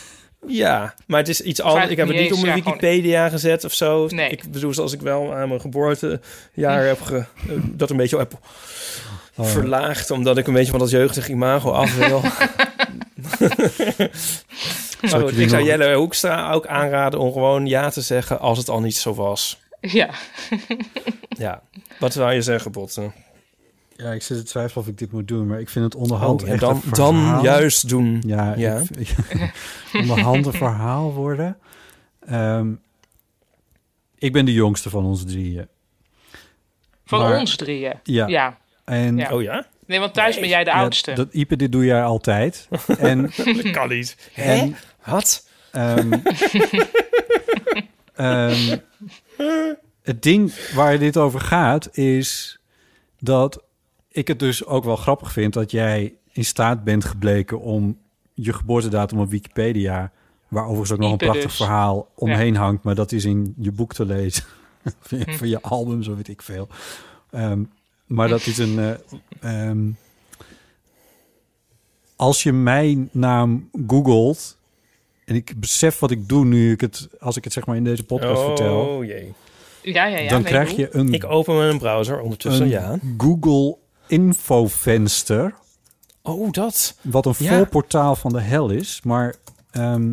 S3: Ja, maar het is iets
S6: Vraag
S3: anders. Ik
S6: ik
S3: heb
S6: niet
S3: het niet
S6: eens,
S3: op mijn
S6: ja, gewoon-
S3: Wikipedia gezet of zo. Ik bedoel, zoals ik wel aan mijn
S6: Hm.
S3: geboortejaar heb ge, eh, dat een beetje heb
S1: Oh.
S3: verlaagd, omdat ik een beetje van dat jeugdig imago af wil. maar goed,
S1: jullie
S3: ik zou
S1: nog-
S3: Jelle Hoekstra ook aanraden om gewoon ja te zeggen als het al niet zo was.
S6: Ja.
S3: Ja, wat zou je zeggen, Botten?
S1: Ja, ik zit te twijfelen of ik dit moet doen, maar ik vind het onderhand
S3: Oh, en
S1: echt
S3: dan-
S1: een
S3: dan
S1: verhaal.
S3: juist doen.
S1: Ja,
S3: Ja.
S1: ik- ik- onderhand een verhaal worden. Ehm, ik ben de jongste van ons drieën.
S6: Van
S1: Maar-
S6: ons drieën.
S1: Ja. En,
S3: Oh
S6: Nee, want thuis ben jij de oudste.
S1: Ja, dat Ipe, dit doe jij altijd. En,
S3: Dat kan niet. Hè?
S1: En,
S3: Wat?
S1: Ehm, ehm, het ding waar dit over gaat is dat ik het dus ook wel grappig vind dat jij in staat bent gebleken om je geboortedatum op Wikipedia, waar overigens ook nog een
S6: Ipe
S1: prachtig
S6: dus.
S1: verhaal omheen
S6: Ja.
S1: hangt, maar dat is in je boek te lezen, van
S6: Hm.
S1: je- van je album, zo weet ik veel. Ehm, maar dat is een. eh, ehm, als je mijn naam googelt. En ik besef wat ik doe nu ik het, als ik het zeg maar in deze podcast vertel.
S3: Oh jee.
S6: Ja, ja, ja.
S1: dan
S6: nee,
S1: krijg
S6: doe.
S1: je een,
S3: Ik open mijn browser ondertussen,
S1: Hm. een hm.
S3: ja.
S1: Google infovenster.
S3: Oh, dat.
S1: Wat een
S3: Ja.
S1: voorportaal van de hel is. Maar, ehm,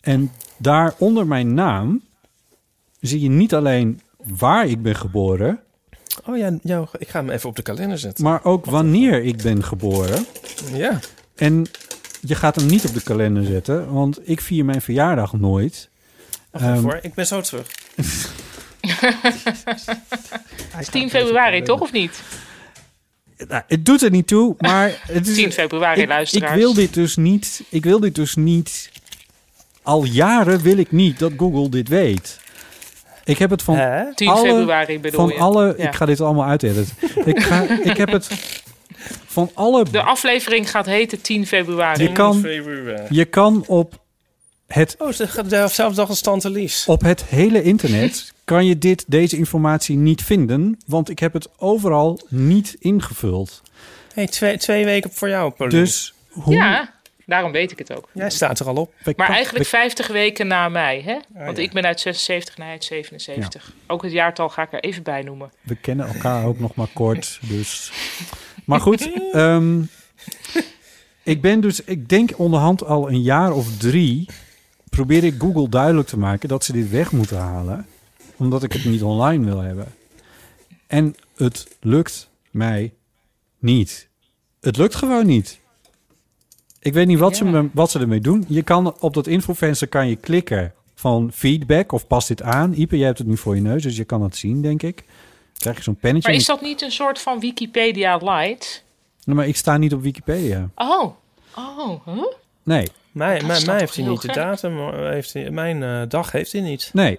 S1: en daar onder mijn naam zie je niet alleen waar ik ben geboren,
S3: Oh ja, jou, ik ga hem even op de kalender zetten.
S1: maar ehm, ook wanneer ik ben geboren.
S3: Ja.
S1: En je gaat hem niet op de kalender zetten, want ik vier mijn verjaardag nooit.
S3: Wacht even
S1: Ehm,
S3: hoor, ik ben zo terug.
S6: Het is 10 februari, toch of niet?
S1: nou, het doet er niet toe, maar het is,
S6: 10 februari,
S1: ik, ik
S6: luisteraars.
S1: wil dit dus niet. Ik wil dit dus niet. Al jaren wil ik niet dat Google dit weet. Ik heb het van
S3: Hè?
S6: 10
S1: alle,
S6: februari bedoel
S1: van
S6: je?
S1: alle.
S6: Ja.
S1: Ik ga dit allemaal uitediten. ik, ga, ik heb het van alle
S6: De aflevering gaat heten 10 februari.
S1: Je kan, je kan op het,
S3: eh. Oh, ze gaat dezelfde dag als Tante Lies.
S1: op het hele internet kan je dit, deze informatie niet vinden, want ik heb het overal niet ingevuld.
S3: Hey, twee, twee weken voor jou, Paulien.
S1: Dus hoe?
S6: Ja, daarom weet ik het ook.
S3: Jij staat er al op.
S6: Maar eigenlijk 50 weken na mij, hè? Want ik ben uit 76 naar uit 77. Ook het jaartal ga ik er even bij noemen.
S1: We kennen elkaar ook nog maar kort, dus. Maar goed, ehm, ik ben dus, ik denk onderhand al een jaar of drie probeer ik Google duidelijk te maken dat ze dit weg moeten halen, omdat ik het niet online wil hebben. En het lukt mij niet. Het lukt gewoon niet. Ik weet niet wat, ze, me- wat ze ermee doen. Je kan op dat infovenster kan je klikken van feedback of pas dit aan. Ipe, jij hebt het nu voor je neus, dus je kan dat zien, denk ik. Krijg je zo'n pennetje.
S6: Maar is dat niet een soort van Wikipedia light?
S1: Nee, maar ik sta niet op Wikipedia.
S6: Oh, oh, huh?
S1: Nee,
S3: Mij,
S6: Oh, Dat
S3: mij,
S6: is
S3: mij
S6: toch
S3: heeft hij
S6: heel
S3: niet. De
S6: gek?
S3: datum eh, heeft hij, mijn eh, dag heeft hij niet.
S1: nee.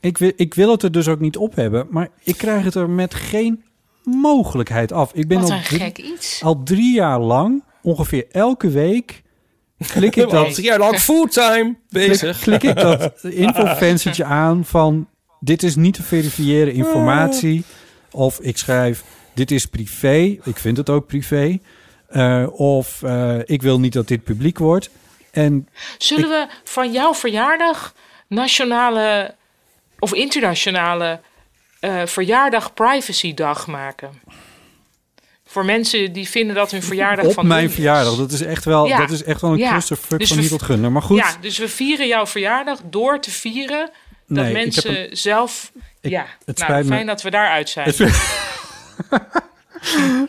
S1: Ik wil, ik wil het er dus ook niet op hebben, maar ik krijg het er met geen mogelijkheid af. Ik ben
S6: Wat
S1: al
S6: een
S1: drie-
S6: gek iets.
S1: al drie jaar lang, ongeveer elke week, klik ik
S3: Al
S1: dat
S3: drie jaar lang fulltime bezig.
S1: Klik, klik ik dat infofensertje aan van dit is niet te verifiëren informatie. Of ik schrijf dit is privé. Ik vind het ook privé. Eh, of eh, ik wil niet dat dit publiek wordt. En
S6: Zullen we van jouw verjaardag nationale of internationale eh, verjaardag privacydag maken? Voor mensen die vinden dat hun verjaardag
S1: op
S6: van
S1: mijn
S6: hun is.
S1: verjaardag, dat is echt wel,
S6: Ja.
S1: dat is echt wel een
S6: Ja.
S1: clusterfuck
S6: Dus
S1: van
S6: we-
S1: niet tot gunnen. Maar goed,
S6: Ja, dus we vieren jouw verjaardag door te vieren dat
S1: Nee, ik heb
S6: mensen zelf. ja,
S1: het
S6: nou,
S1: spijt me.
S6: fijn dat we daaruit zijn.
S1: Het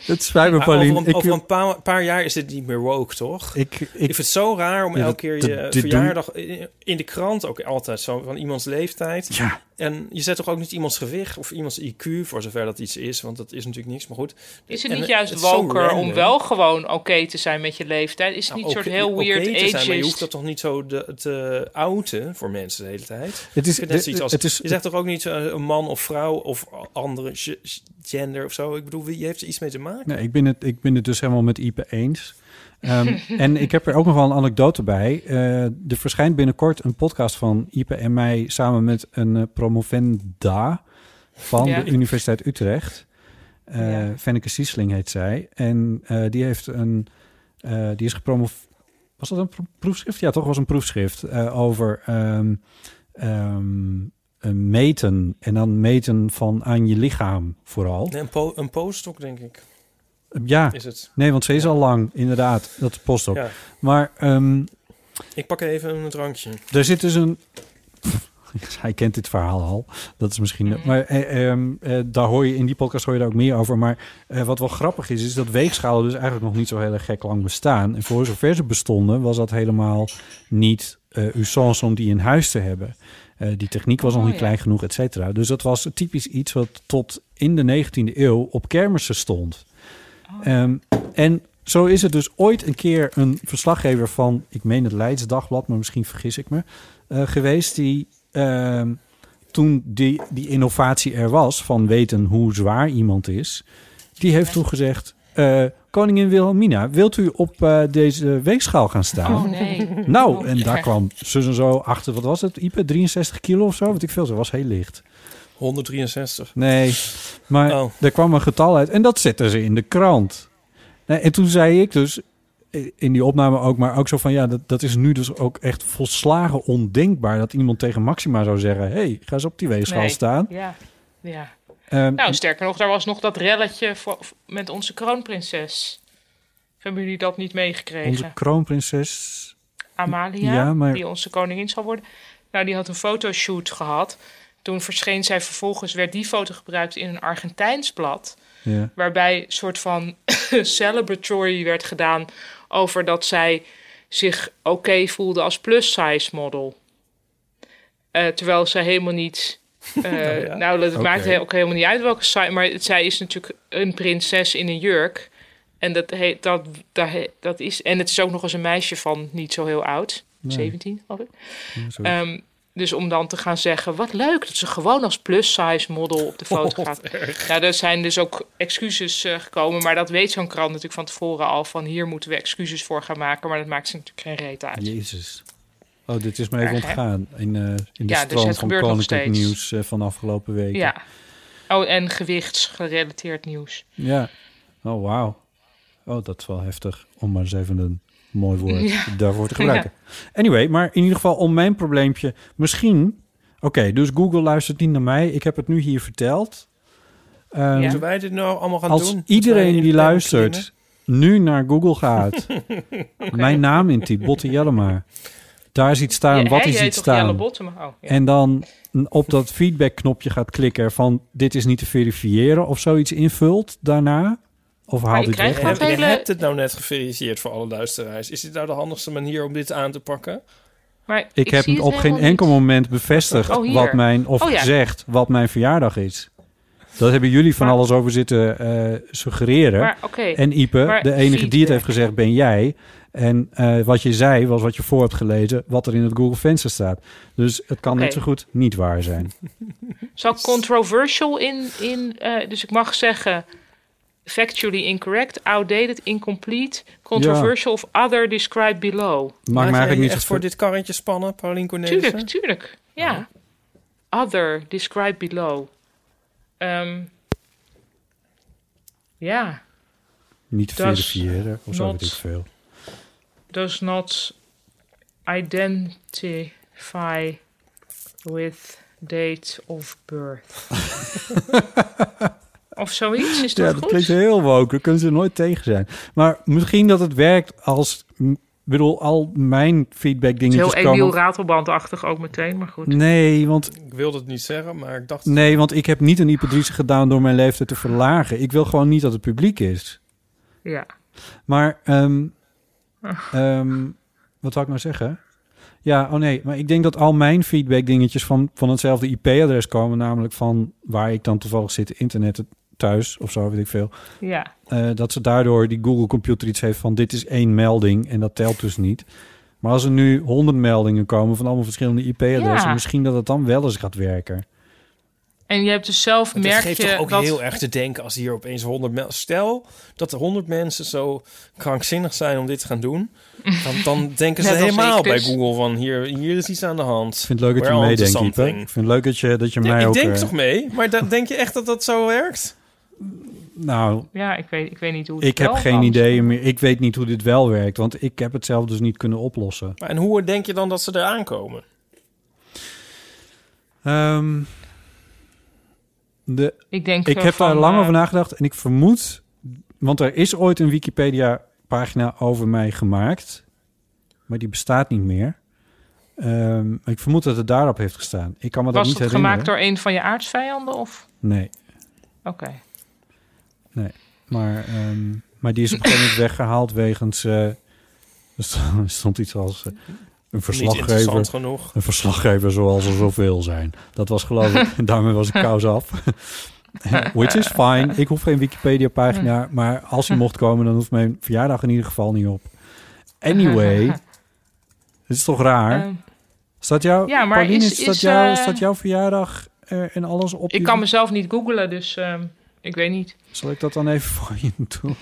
S1: het spijt me,
S3: Maar over,
S1: Paulien.
S3: een, over een paar, paar jaar is dit niet meer woke, toch?
S1: Ik, ik,
S3: vind het zo raar om
S1: Ja,
S3: elke
S1: dat-
S3: keer
S1: dat-
S3: je
S1: dit doen-
S3: verjaardag in- in de krant ook altijd zo van iemands leeftijd.
S1: Ja.
S3: En je zet toch ook niet iemands gewicht of iemands IQ voor zover dat iets is, want dat is natuurlijk niks. Maar goed.
S6: Is het
S3: En,
S6: niet
S3: eh,
S6: juist
S3: het is zo
S6: woker om
S3: random.
S6: wel gewoon oké te zijn met je leeftijd? Is het
S3: Nou,
S6: niet een soort
S3: oké-
S6: heel
S3: oké
S6: weird
S3: te zijn, maar je hoeft
S6: ageist?
S3: dat toch niet zo de, te outen voor mensen de hele tijd?
S1: Het is-
S3: Ik vind net
S1: de-
S3: zoiets als-
S1: het is-
S3: je zegt toch ook niet eh, een man of vrouw of andere ge- gender of zo? Ik bedoel, wie heeft er iets mee te maken?
S1: Nee, ik ben het, ik ben het dus helemaal met Ipe eens. Ehm, en ik heb er ook nog wel een anekdote bij. Eh, er verschijnt binnenkort een podcast van Ipe en mij samen met een eh, promovenda van
S6: Ja.
S1: de Universiteit Utrecht. Eh Fenneke Siesling heet zij. En eh, die heeft een. eh, die is gepromoveerd.
S2: Was dat een pro- proefschrift? Ja, toch was een proefschrift eh, over ehm, ehm, een meten. En dan meten van aan je lichaam vooral.
S3: Nee, een, po een postdoc, denk ik.
S2: Ehm, Ja,
S3: Is het?
S2: nee, want ze is al lang, inderdaad. Dat is postdoc.
S3: Ja.
S2: Maar ehm,
S3: Ik pak even een drankje.
S2: er zit dus een. Hij kent dit verhaal al. Dat is misschien.
S11: Mhm.
S2: Maar eh, ehm, eh, daar hoor je in die podcast hoor je daar ook meer over. Maar eh, wat wel grappig is, is dat weegschalen dus eigenlijk nog niet zo heel erg gek lang bestaan. En voor zover ze bestonden, was dat helemaal niet eh usance om die in huis te hebben. Eh, die techniek was nog
S11: Oh,
S2: niet
S11: ja.
S2: klein genoeg, et cetera. Dus dat was typisch iets wat tot in de 19e eeuw op kermissen stond.
S11: Oh.
S2: Ehm, en zo is er dus ooit een keer een verslaggever van, ik meen het Leids Dagblad, maar misschien vergis ik me, eh, geweest die ehm, toen die, die innovatie er was van weten hoe zwaar iemand is, die heeft toen gezegd, eh, koningin Wilhelmina, wilt u op eh, deze weegschaal gaan staan?
S11: Oh, nee.
S2: Nou, en daar kwam zus en zo achter, wat was het, Ipe, 63 kilo of zo? Wat ik veel, ze was heel licht.
S3: 163.
S2: Nee, maar
S3: Oh.
S2: er kwam een getal uit en dat zetten ze in de krant. Nee, en toen zei ik dus eh, in die opname ook, maar ook zo van ja, dat, dat is nu dus ook echt volslagen ondenkbaar dat iemand tegen Maxima zou zeggen: hey, ga eens op die weegschaal
S6: Nee.
S2: staan.
S6: Ja, ja.
S2: Ehm,
S6: nou, sterker nog, daar was nog dat relletje voor, met onze kroonprinses. Hebben jullie dat niet meegekregen?
S2: Onze kroonprinses.
S6: Amalia,
S2: Ja, maar-
S6: die onze koningin zal worden. Nou, die had een fotoshoot gehad. Toen verscheen zij vervolgens, werd die foto gebruikt in een Argentijns blad.
S2: Ja.
S6: Waarbij een soort van celebratory werd gedaan over dat zij zich oké voelde als plus size model. Eh, terwijl zij helemaal niet. eh,
S11: Oh ja.
S6: Nou, dat
S11: Oké.
S6: maakt he- ook helemaal niet uit welke size. Maar het- zij is natuurlijk een prinses in een jurk. En dat, he- dat, dat, he- dat is. En het is ook nog eens een meisje van niet zo heel oud.
S11: Nee.
S6: 17, geloof ik.
S11: Ja, zoiets.
S6: Ehm, dus om dan te gaan zeggen, wat leuk dat ze gewoon als plus-size model op de foto gaat. Nou, er zijn dus ook excuses eh, gekomen, maar dat weet zo'n krant natuurlijk van tevoren al. Van hier moeten we excuses voor gaan maken, maar dat maakt ze natuurlijk geen reet uit.
S2: Jezus. Oh, dit is me even
S6: Erg, hè?
S2: ontgaan in, eh, in de
S6: Ja, dus
S2: stroom
S6: het
S2: van
S6: gebeurt nog
S2: koninklijk
S6: steeds.
S2: nieuws eh, van de afgelopen weken.
S6: Ja. Oh, en gewichtsgerelateerd nieuws.
S2: Ja. Oh, wauw. Oh, dat is wel heftig. Om maar eens even een mooi woord
S6: Ja.
S2: daarvoor te gebruiken. Anyway, maar in ieder geval om mijn probleempje. Misschien... Oké, dus Google luistert niet naar mij. Ik heb het nu hier verteld. Ehm,
S3: Moeten wij dit nou allemaal gaan
S2: als
S3: doen? Moeten wij
S2: iedereen die
S3: in de pen
S2: luistert nu naar Google gaat... mijn naam intypt, Botte Jellema. Daar ziet staan,
S6: Ja,
S2: wat
S6: hij
S2: is
S6: heet
S2: iets
S6: toch
S2: staan?
S6: Jelle Bottema? Oh, ja.
S2: En dan op dat feedback-knopje gaat klikken van... dit is niet te verifiëren of zoiets invult daarna. Of haal dit weg.
S3: je, hebt- je hebt het nou net geverifieerd voor alle luisteraars. Is dit nou de handigste manier om dit aan te pakken?
S6: Maar
S2: Ik, heb
S3: zie het
S2: op geen
S3: helemaal
S2: enkel moment bevestigd
S3: Oh, hier.
S2: wat mijn, of
S3: Oh, ja.
S2: gezegd wat mijn verjaardag is. Dat hebben jullie van alles over zitten eh, suggereren.
S6: Maar, oké.
S2: En Ipe,
S6: Maar
S2: de enige die het heeft gezegd, ben jij. En eh, wat je zei was wat je voor hebt gelezen, wat er in het Google Venster staat. Dus het kan net
S6: Oké.
S2: zo goed niet waar zijn.
S6: Zal controversial in, in eh, dus ik mag zeggen factually incorrect, outdated, incomplete, controversial of other described below.
S2: Maakt me
S3: jij
S2: eigenlijk
S3: je
S2: niet
S3: echt
S2: zo-
S3: voor dit karretje spannen, Paulien Cornelissen?
S6: Tuurlijk, tuurlijk. Ja. Other described below. Ehm, ja,
S2: Niet te
S6: Dat is
S2: verifiëren of zo
S6: not-
S2: weet ik veel.
S6: does not identify with date of birth. of zoiets, is dat
S2: ja,
S6: goed?
S2: dat klinkt heel woke. Daar kunnen ze nooit tegen zijn. Maar misschien dat het werkt als... Ik bedoel, al mijn feedback
S6: Het is
S2: dingetjes
S6: heel Emiel
S2: komen...
S6: Ratelbandachtig ook meteen, maar goed.
S2: Nee, want
S3: Ik wilde het niet zeggen, maar ik dacht...
S2: Nee, want ik heb niet een hyperdrice gedaan door mijn leeftijd te verlagen. Ik wil gewoon niet dat het publiek is.
S6: Ja.
S2: Maar, ehm, ehm, wat zou ik nou zeggen? Ja, oh nee, maar ik denk dat al mijn feedback dingetjes van, van hetzelfde IP-adres komen. Namelijk van waar ik dan toevallig zit, internet thuis of zo, weet ik veel.
S6: Ja.
S2: Eh, dat ze daardoor die Google-computer iets heeft van dit is één melding en dat telt dus niet. Maar als er nu honderd meldingen komen van allemaal verschillende IP-adressen,
S6: Ja.
S2: misschien dat het dan wel eens gaat werken.
S6: En je hebt dus zelf
S3: Het
S6: merk
S3: geeft
S6: je
S3: toch ook
S6: dat...
S3: heel erg te denken als hier opeens 100 mensen... Stel dat er 100 mensen zo krankzinnig zijn om dit te gaan doen. Dan, dan denken ze
S6: Net als
S3: helemaal
S6: ik
S3: bij
S6: dus.
S3: Google van hier, hier is iets aan de hand.
S2: Ik vind het leuk dat je
S3: We're onto
S2: meedenkt, Ipe.
S3: something.
S2: Ik vind het leuk dat je, dat je mij eh,
S3: ik
S2: ook...
S3: denk
S2: eh,
S3: toch mee? Maar dan denk je echt dat dat zo werkt?
S2: Nou,
S6: Ja, ik weet, ik weet niet hoe het
S2: ik heb
S6: wel
S2: geen
S6: was.
S2: idee meer. Ik weet niet hoe dit wel werkt, want ik heb het zelf dus niet kunnen oplossen.
S3: Maar en hoe denk je dan dat ze eraan komen?
S2: Ehm, de,
S6: Ik denk,
S2: ik
S6: eh,
S2: heb daar
S6: van,
S2: lang
S6: eh,
S2: over nagedacht en ik vermoed, want er is ooit een Wikipedia-pagina over mij gemaakt, maar die bestaat niet meer. Ehm, ik vermoed dat het daarop heeft gestaan. Ik kan me dat
S6: Was
S2: niet
S6: het
S2: herinneren.
S6: gemaakt door een van je aardsvijanden? Of?
S2: Nee,
S6: Oké.
S2: nee. Maar, ehm, maar die is op een gegeven moment weggehaald wegens. eh, er stond- er stond iets als. eh, een verslaggever,
S3: interessant genoeg.
S2: een verslaggever zoals er zoveel zijn. Dat was geloof ik, daarmee was ik kous af. Which is fine. Ik hoef geen Wikipedia-pagina. Maar als hij mocht komen, dan hoeft mijn verjaardag in ieder geval niet op. Anyway, het is toch raar?
S6: Ehm.
S2: Staat jou,
S6: Ja, maar
S2: Pauline,
S6: is-
S2: staat,
S6: is,
S2: jou,
S6: eh,
S2: staat jouw verjaardag eh, en alles op?
S6: Ik
S2: die-
S6: kan mezelf niet googlen, dus ehm, ik weet niet.
S2: Zal ik dat dan even voor je doen?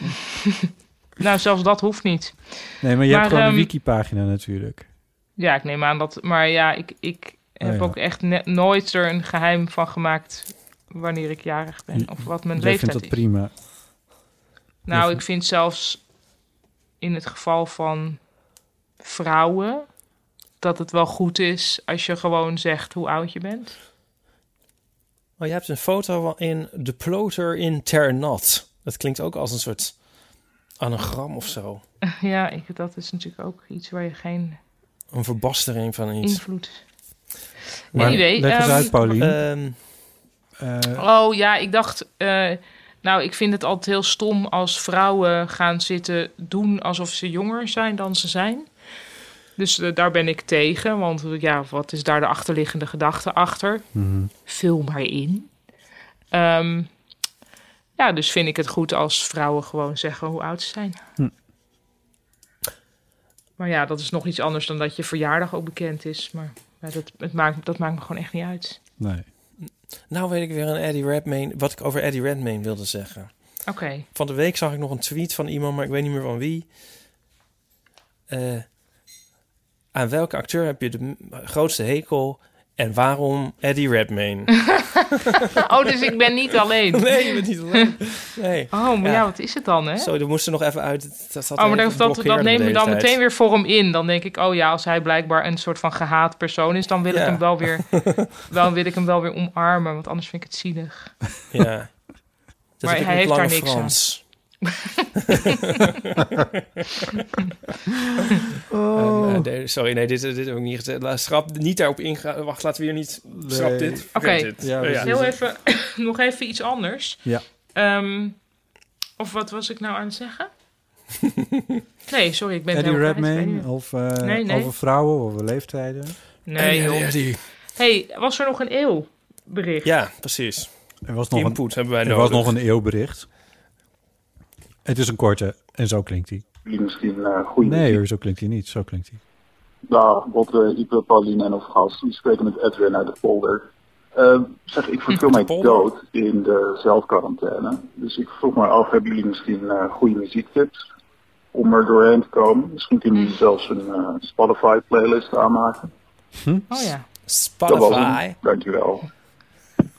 S6: Nou, zelfs dat hoeft niet.
S2: Nee, maar je hebt gewoon
S6: ehm,
S2: een wikipagina natuurlijk.
S6: Ja, ik neem aan dat. Maar ja, ik, ik
S2: Oh,
S6: heb
S2: ja.
S6: ook echt ne- nooit er een geheim van gemaakt wanneer ik jarig ben. Of wat mijn
S2: Jij
S6: leeftijd
S2: vindt dat
S6: is.
S2: prima.
S6: Nou, ik vind zelfs in het geval van vrouwen dat het wel goed is als je gewoon zegt hoe oud je bent.
S3: Oh, je hebt een foto in De Ploter in Ternat. Dat klinkt ook als een soort anagram of zo.
S6: ja, ik, dat is natuurlijk ook iets waar je geen
S3: Een verbastering van iets.
S6: invloed. Anyway,
S2: leg eens
S6: ehm,
S2: uit, Pauline.
S3: Ehm,
S6: Oh ja, ik dacht. eh, nou, ik vind het altijd heel stom als vrouwen gaan zitten doen alsof ze jonger zijn dan ze zijn. Dus eh, daar ben ik tegen, want eh, ja, wat is daar de achterliggende gedachte achter? Vul maar in. Ehm, ja, dus vind ik het goed als vrouwen gewoon zeggen hoe oud ze zijn.
S2: Hm.
S6: Maar ja, dat is nog iets anders dan dat je verjaardag ook bekend is. Maar ja, dat, het maakt, dat maakt me gewoon echt niet uit.
S2: Nee.
S3: Nou weet ik weer een Eddie Redmayne, wat ik over Eddie Redmayne wilde zeggen.
S6: Oké.
S3: Van de week zag ik nog een tweet van iemand, maar ik weet niet meer van wie. Eh, aan welke acteur heb je de m- grootste hekel en waarom Eddie Redmayne?
S6: Oh, dus ik ben niet alleen.
S3: Nee, je bent niet alleen. Nee.
S6: Oh, maar ja, wat is het dan, hè?
S3: Zo, dat moest er nog even uit. Dat zat
S6: oh, maar
S3: even
S6: dat, dat,
S3: blokkeerde
S6: dat neem
S3: de
S6: je
S3: hele
S6: dan
S3: tijd.
S6: meteen weer voor hem in. Dan denk ik, oh ja, als hij blijkbaar een soort van gehaat persoon is, dan wil
S3: Ja.
S6: ik hem wel weer, wel, wil ik hem wel weer omarmen, want anders vind ik het zielig.
S3: Ja. Dat heb
S6: maar
S3: ik met
S6: hij heeft daar
S3: Lange
S6: niks
S3: Frans.
S6: aan.
S3: Ehm,
S2: Oh.
S3: eh, nee, sorry, nee, dit, dit heb ik niet gezegd. La- Schrap niet daarop ingaan. Wacht, laten we hier niet... Schrap dit.
S6: Oké,
S3: vergeet dit. Eh,
S6: heel even, nog even iets anders.
S3: Ja.
S6: Ehm, of wat was ik nou aan het zeggen? nee, sorry, ik ben het
S2: Eddie
S6: helemaal kwijt, ik weet
S2: Redmayne
S6: niet meer.
S2: of eh,
S6: Nee, nee.
S2: over vrouwen, over leeftijden.
S6: Nee,
S3: eh,
S6: joh. hey, was er nog een eeuw bericht?
S3: Ja, precies.
S2: Er was nog
S3: Input
S2: een,
S3: hebben wij
S2: er
S3: nodig.
S2: was nog een eeuwbericht. Het is een korte en zo klinkt hij.
S11: Die misschien eh goed
S2: Nee hoor, zo klinkt hij niet. Zo klinkt hij.
S11: Dag, Botte, Ipe, eh, Pauline en of Gast. Die spreken met Edwin uit de polder. Eh, zeg, ik verveel mij dood in de zelfquarantaine. Dus ik vroeg me af, hebben jullie misschien eh, goede muziektips om er doorheen te komen? Misschien kunnen jullie zelfs een eh, Spotify-playlist aanmaken.
S6: Oh ja.
S11: Dat was hem. Dankjewel.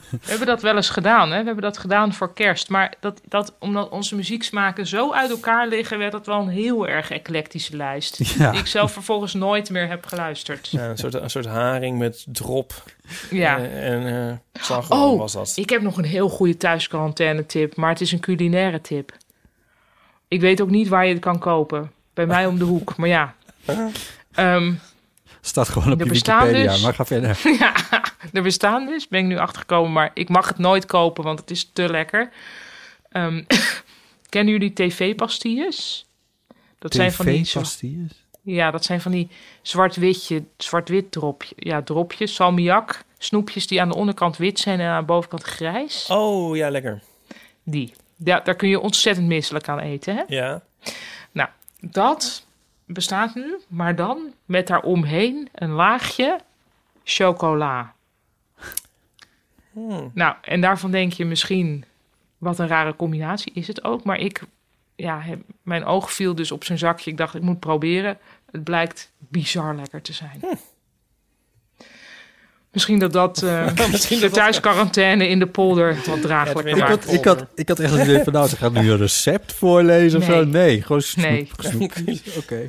S6: We hebben dat wel eens gedaan, hè? We hebben dat gedaan voor kerst. Maar dat, dat, omdat onze muzieksmaken zo uit elkaar liggen, werd dat wel een heel erg eclectische lijst.
S3: Ja.
S6: Die ik zelf vervolgens nooit meer heb geluisterd.
S3: Ja, een, soort, een soort haring met drop.
S6: Ja.
S3: Eh, en eh slagroom
S6: Oh,
S3: was dat.
S6: ik heb nog een heel goede thuisquarantaine tip, maar het is een culinaire tip. Ik weet ook niet waar je het kan kopen. Bij mij om de hoek, maar ja. Ehm,
S2: Staat gewoon op
S6: Er
S2: je
S6: bestaan
S2: Wikipedia,
S6: dus-
S2: maar ga verder.
S6: ja, er bestaan dus, ben ik nu achtergekomen, maar ik mag het nooit kopen, want het is te lekker. Ehm, kennen jullie tv-pastilles? Dat zijn van die zo-
S2: TV-pastilles?
S6: ja, dat zijn van die zwart-witje, zwart-wit dropje, ja, dropjes, salmiak, snoepjes die aan de onderkant wit zijn en aan de bovenkant grijs.
S3: Oh, ja, lekker.
S6: Die. Ja, daar kun je ontzettend misselijk aan eten, hè?
S3: Ja.
S6: Nou, dat bestaat nu, maar dan met daaromheen een laagje chocola. Nou, en daarvan denk je misschien, wat een rare combinatie is het ook. Maar ik, ja, heb- mijn oog viel dus op zijn zakje. Ik dacht, ik Hmm. moet proberen. Het blijkt bizar lekker te zijn. Misschien dat dat eh, de thuisquarantaine in de polder wat draaglijk
S2: Ik
S6: maakt.
S2: had, ik, had, ik had echt het idee van, nou, ze gaat nu een recept voorlezen of
S6: Nee.
S2: zo. Nee, gewoon snoep.
S6: Nee.
S2: snoep. Oké.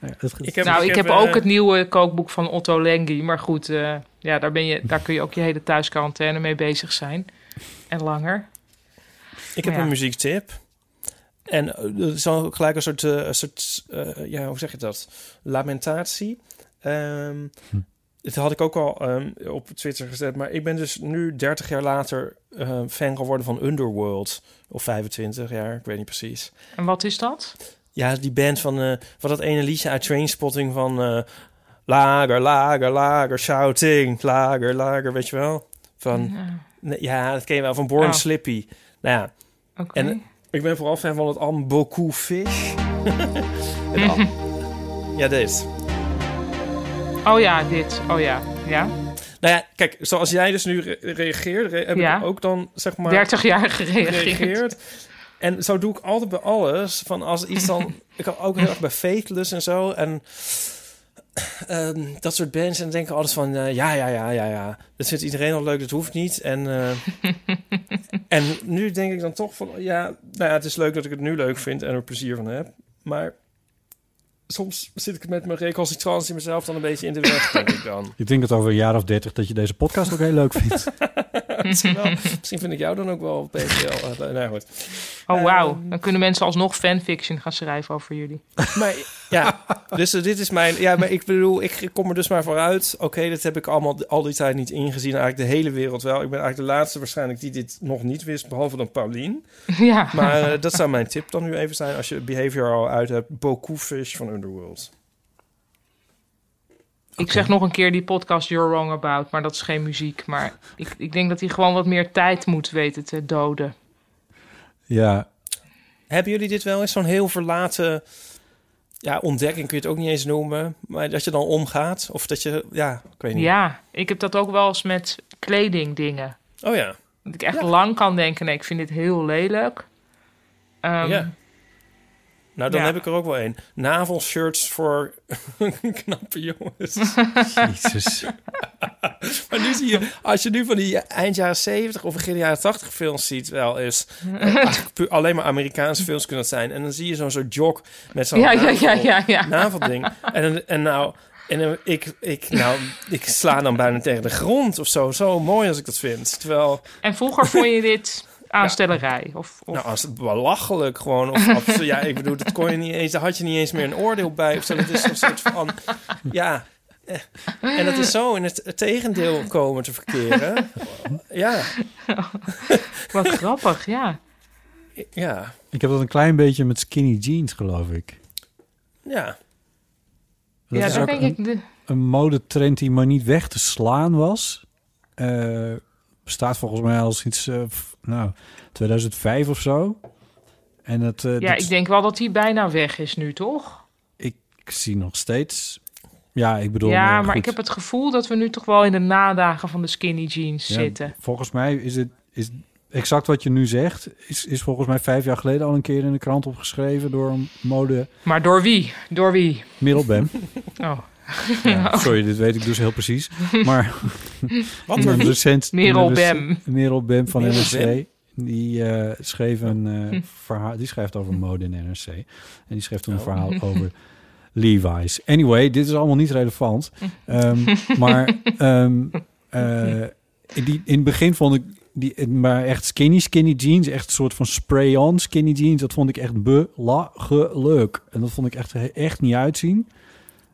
S2: Ja, dat-
S6: nou, ik heb, ook het nieuwe kookboek van Otto Lengi. Maar goed, eh, ja, daar, ben je, daar kun je ook je hele thuisquarantaine mee bezig zijn. En langer.
S3: Ik heb
S6: Ja.
S3: een muziektip. En eh, dat is dan gelijk een soort, eh, een soort eh, ja, hoe zeg je dat? Lamentatie. Ehm Dat had ik ook al ehm, op Twitter gezet. Maar ik ben dus nu 30 jaar later eh, fan geworden van Underworld. Of 25 jaar, ik weet niet precies.
S6: En wat is dat?
S3: Ja, die band van eh wat dat ene liedje uit Trainspotting van eh, lager, lager, lager, shouting, lager, lager, weet je wel? Van,
S6: Ja.
S3: Nee, ja, dat ken je wel van Born
S6: Oh.
S3: Slippy. Nou ja,
S6: Oké.
S3: en ik ben vooral fan van het album Boku Fish. Het al- ja, dit.
S6: Oh ja, dit. Oh ja. ja.
S3: Nou ja, kijk, zoals jij dus nu re- reageert, re- heb
S6: Ja.
S3: ik ook dan zeg maar...
S6: 30 jaar gereageerd.
S3: En zo doe ik altijd bij alles. Van als iets dan... ik had ook heel erg bij Faithless en zo. En ehm, dat soort bands. En dan denk ik altijd van... eh, ja, ja, ja, ja, ja. Dat vindt iedereen al leuk. Dat hoeft niet. En, eh, en nu denk ik dan toch van... Ja, nou ja, het is leuk dat ik het nu leuk vind. En er plezier van heb. Maar... Soms zit ik met mijn recalcitrantie mezelf dan een beetje in de weg, denk ik dan.
S2: Ik denk dat over een jaar of dertig dat je deze podcast ook heel leuk vindt.
S3: misschien, wel, misschien vind ik jou dan ook wel een beetje wel. eh, nou ja, goed.
S6: Oh wauw. Dan kunnen mensen alsnog fanfiction gaan schrijven over jullie.
S3: Maar ja, dus eh, dit is mijn. Ja, maar ik bedoel, ik kom er dus maar vooruit. Oké, dat heb ik allemaal al die tijd niet ingezien. Eigenlijk de hele wereld wel. Ik ben eigenlijk de laatste waarschijnlijk die dit nog niet wist, behalve dan Paulien.
S6: Ja.
S3: Maar eh, dat zou mijn tip dan nu even zijn als je Behavior al uit hebt. Boku Fish van Underworld.
S6: Ik zeg nog een keer die podcast You're Wrong About, maar dat is geen muziek. Maar ik, ik denk dat hij gewoon wat meer tijd moet weten te doden.
S2: Ja,
S3: Hebben jullie dit wel eens zo'n heel verlaten ja, ontdekking kun je het ook niet eens noemen, maar dat je dan omgaat of dat je ja, ik weet niet.
S6: Ja, ik heb dat ook wel eens met kledingdingen.
S3: Oh ja.
S6: Dat ik echt lang kan denken, nee, ik vind dit heel lelijk. Ehm,
S3: Ja. Nou, dan
S6: Ja.
S3: heb ik er ook wel een. Navelshirts voor knappe jongens.
S2: Jezus.
S3: maar nu zie je, als je nu van die eind jaren 70 of begin jaren 80 films ziet, wel eens. eh, eigenlijk puur- alleen maar Amerikaanse films kunnen dat zijn. En dan zie je zo'n soort jok met zo'n
S6: Ja, ja,
S3: navel-
S6: ja, ja, ja.
S3: navelding. En, dan- en nou. En dan- ik, ik, nou, ik sla dan bijna tegen de grond of zo. Zo mooi als ik dat vind. Terwijl
S6: En vroeger vond je dit aanstellerij? Of, of...
S3: nou, als het belachelijk gewoon. Of, abs- ja, ik bedoel, dat kon je niet eens, daar had je niet eens meer een oordeel bij. Of zo. Dat is een soort van. Ja. eh, En dat is zo in het het tegendeel komen te verkeren. Ja.
S6: Wat grappig, ja.
S3: Ja.
S2: ik heb dat een klein beetje met skinny jeans, geloof ik.
S3: Ja.
S2: Dat
S6: Ja,
S2: is
S6: dat
S2: ook
S6: denk
S2: een, eh,
S6: ik de-
S2: een modetrend die maar niet weg te slaan was. Eh, bestaat volgens mij al sinds eh, f- nou, 2005 of zo. En dat, eh,
S6: Ja,
S2: dat-
S6: ik denk wel dat hij bijna weg is nu, toch?
S2: ik zie nog steeds. Ja, ik bedoel.
S6: ja,
S2: eh,
S6: maar
S2: goed.
S6: ik heb het gevoel dat we nu toch wel in de nadagen van de skinny jeans
S2: Ja,
S6: zitten.
S2: Volgens mij is het is exact wat je nu zegt. Is, is volgens mij vijf jaar geleden al een keer in de krant opgeschreven door een mode
S6: Maar door wie? Door wie?
S2: middelbem.
S6: Oh.
S2: Ja, sorry, dit weet ik dus heel precies. Maar
S6: Wat
S2: een
S6: voor wie?
S2: recent
S6: Merel
S2: een rec-
S6: Bem.
S2: Merel Bem van
S6: Merel
S2: NRC.
S6: Bem.
S2: Die, eh, schreef een, eh,
S6: Hm.
S2: verhaal, die schrijft over mode in NRC. En die schreef toen een
S3: Oh.
S2: verhaal over Levi's. Anyway, dit is allemaal niet relevant. Ehm, maar ehm, eh, in die, in het begin vond ik die, eh, maar echt skinny, skinny jeans. Echt een soort van spray-on skinny jeans. Dat vond ik echt belachelijk. En dat vond ik echt, echt niet uitzien.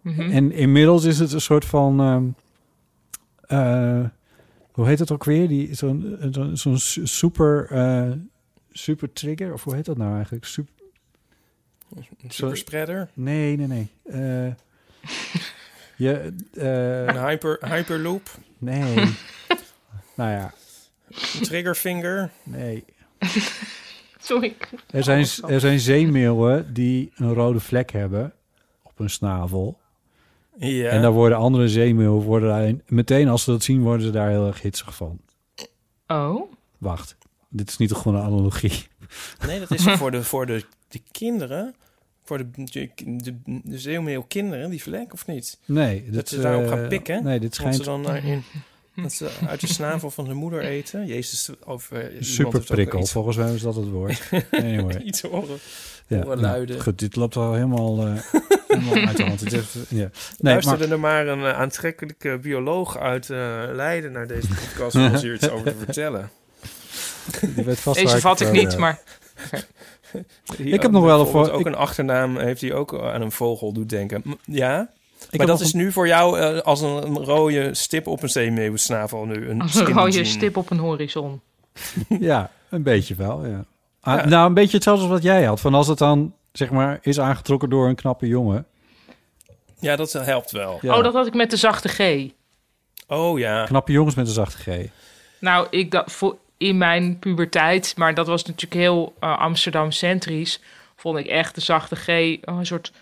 S6: Mhm.
S2: En inmiddels is het een soort van. ehm, eh, hoe heet het ook weer? Die, zo'n, eh, zo'n, zo'n su- super, eh, super trigger. Of hoe heet dat nou eigenlijk? Super,
S3: Oh, Superspreader?
S2: Nee, nee, nee. Eh, je, eh,
S3: Een hyper, hyperloop.
S2: Nee. nou ja,
S3: Triggerfinger.
S2: Nee.
S6: Sorry.
S2: Er zijn, er zijn zeemeeuwen die een rode vlek hebben op hun snavel.
S3: Ja.
S2: En daar worden andere zeemeeuwen worden daar, meteen als ze dat zien, worden ze daar heel erg hitsig van.
S6: Oh.
S2: Wacht, dit is niet gewoon een analogie.
S3: Nee, dat is voor de, voor de, de kinderen. Voor de, de, de, de zeemeeuw kinderen, die vlek, of niet?
S2: Nee,
S3: dat,
S2: dit,
S3: ze daarop
S2: eh,
S3: gaan pikken.
S2: nee, dit
S3: want
S2: schijnt-
S3: ze dan daarin Dat ze uit de snavel van hun moeder eten. Jezus, of eh, iemand heeft ook
S2: Superprikkel,
S3: iets-
S2: volgens mij is dat het woord. Anyway.
S3: Iets horen.
S2: Ja,
S3: horen
S2: nou,
S3: luiden.
S2: goed, dit loopt al helemaal, eh, helemaal uit de hand. Het is- ja. Nee, maar
S3: Luisterde er maar een eh, aantrekkelijke bioloog uit eh, Leiden naar deze podcast om ons hier iets over te vertellen.
S2: die weet vast waar
S6: Deze vat ik
S2: het, eh,
S6: niet, maar...
S3: Die
S2: Ik heb nog wel een
S3: bijvoorbeeld
S2: voor-
S3: ook een achternaam heeft die ook aan een vogel doet denken. M- Ja.
S2: heb
S3: maar dat
S2: nog
S3: is nu voor jou eh, als een, een rode stip op een zeemeeuwensnavel nu een
S6: Als een
S3: skin
S6: rode
S3: jean.
S6: stip op een horizon.
S2: Ja, een beetje wel, ja. Ah,
S3: Ja.
S2: Nou, een beetje hetzelfde als wat jij had. Van als het dan, zeg maar, is aangetrokken door een knappe jongen.
S3: Ja, dat helpt wel.
S2: Ja.
S6: Oh, dat had ik met de zachte G.
S3: Oh ja.
S2: Knappe jongens met een zachte G.
S6: Nou, ik dacht voor, in mijn puberteit, maar dat was natuurlijk heel eh, Amsterdam-centrisch, vond ik echt de zachte G oh, een soort,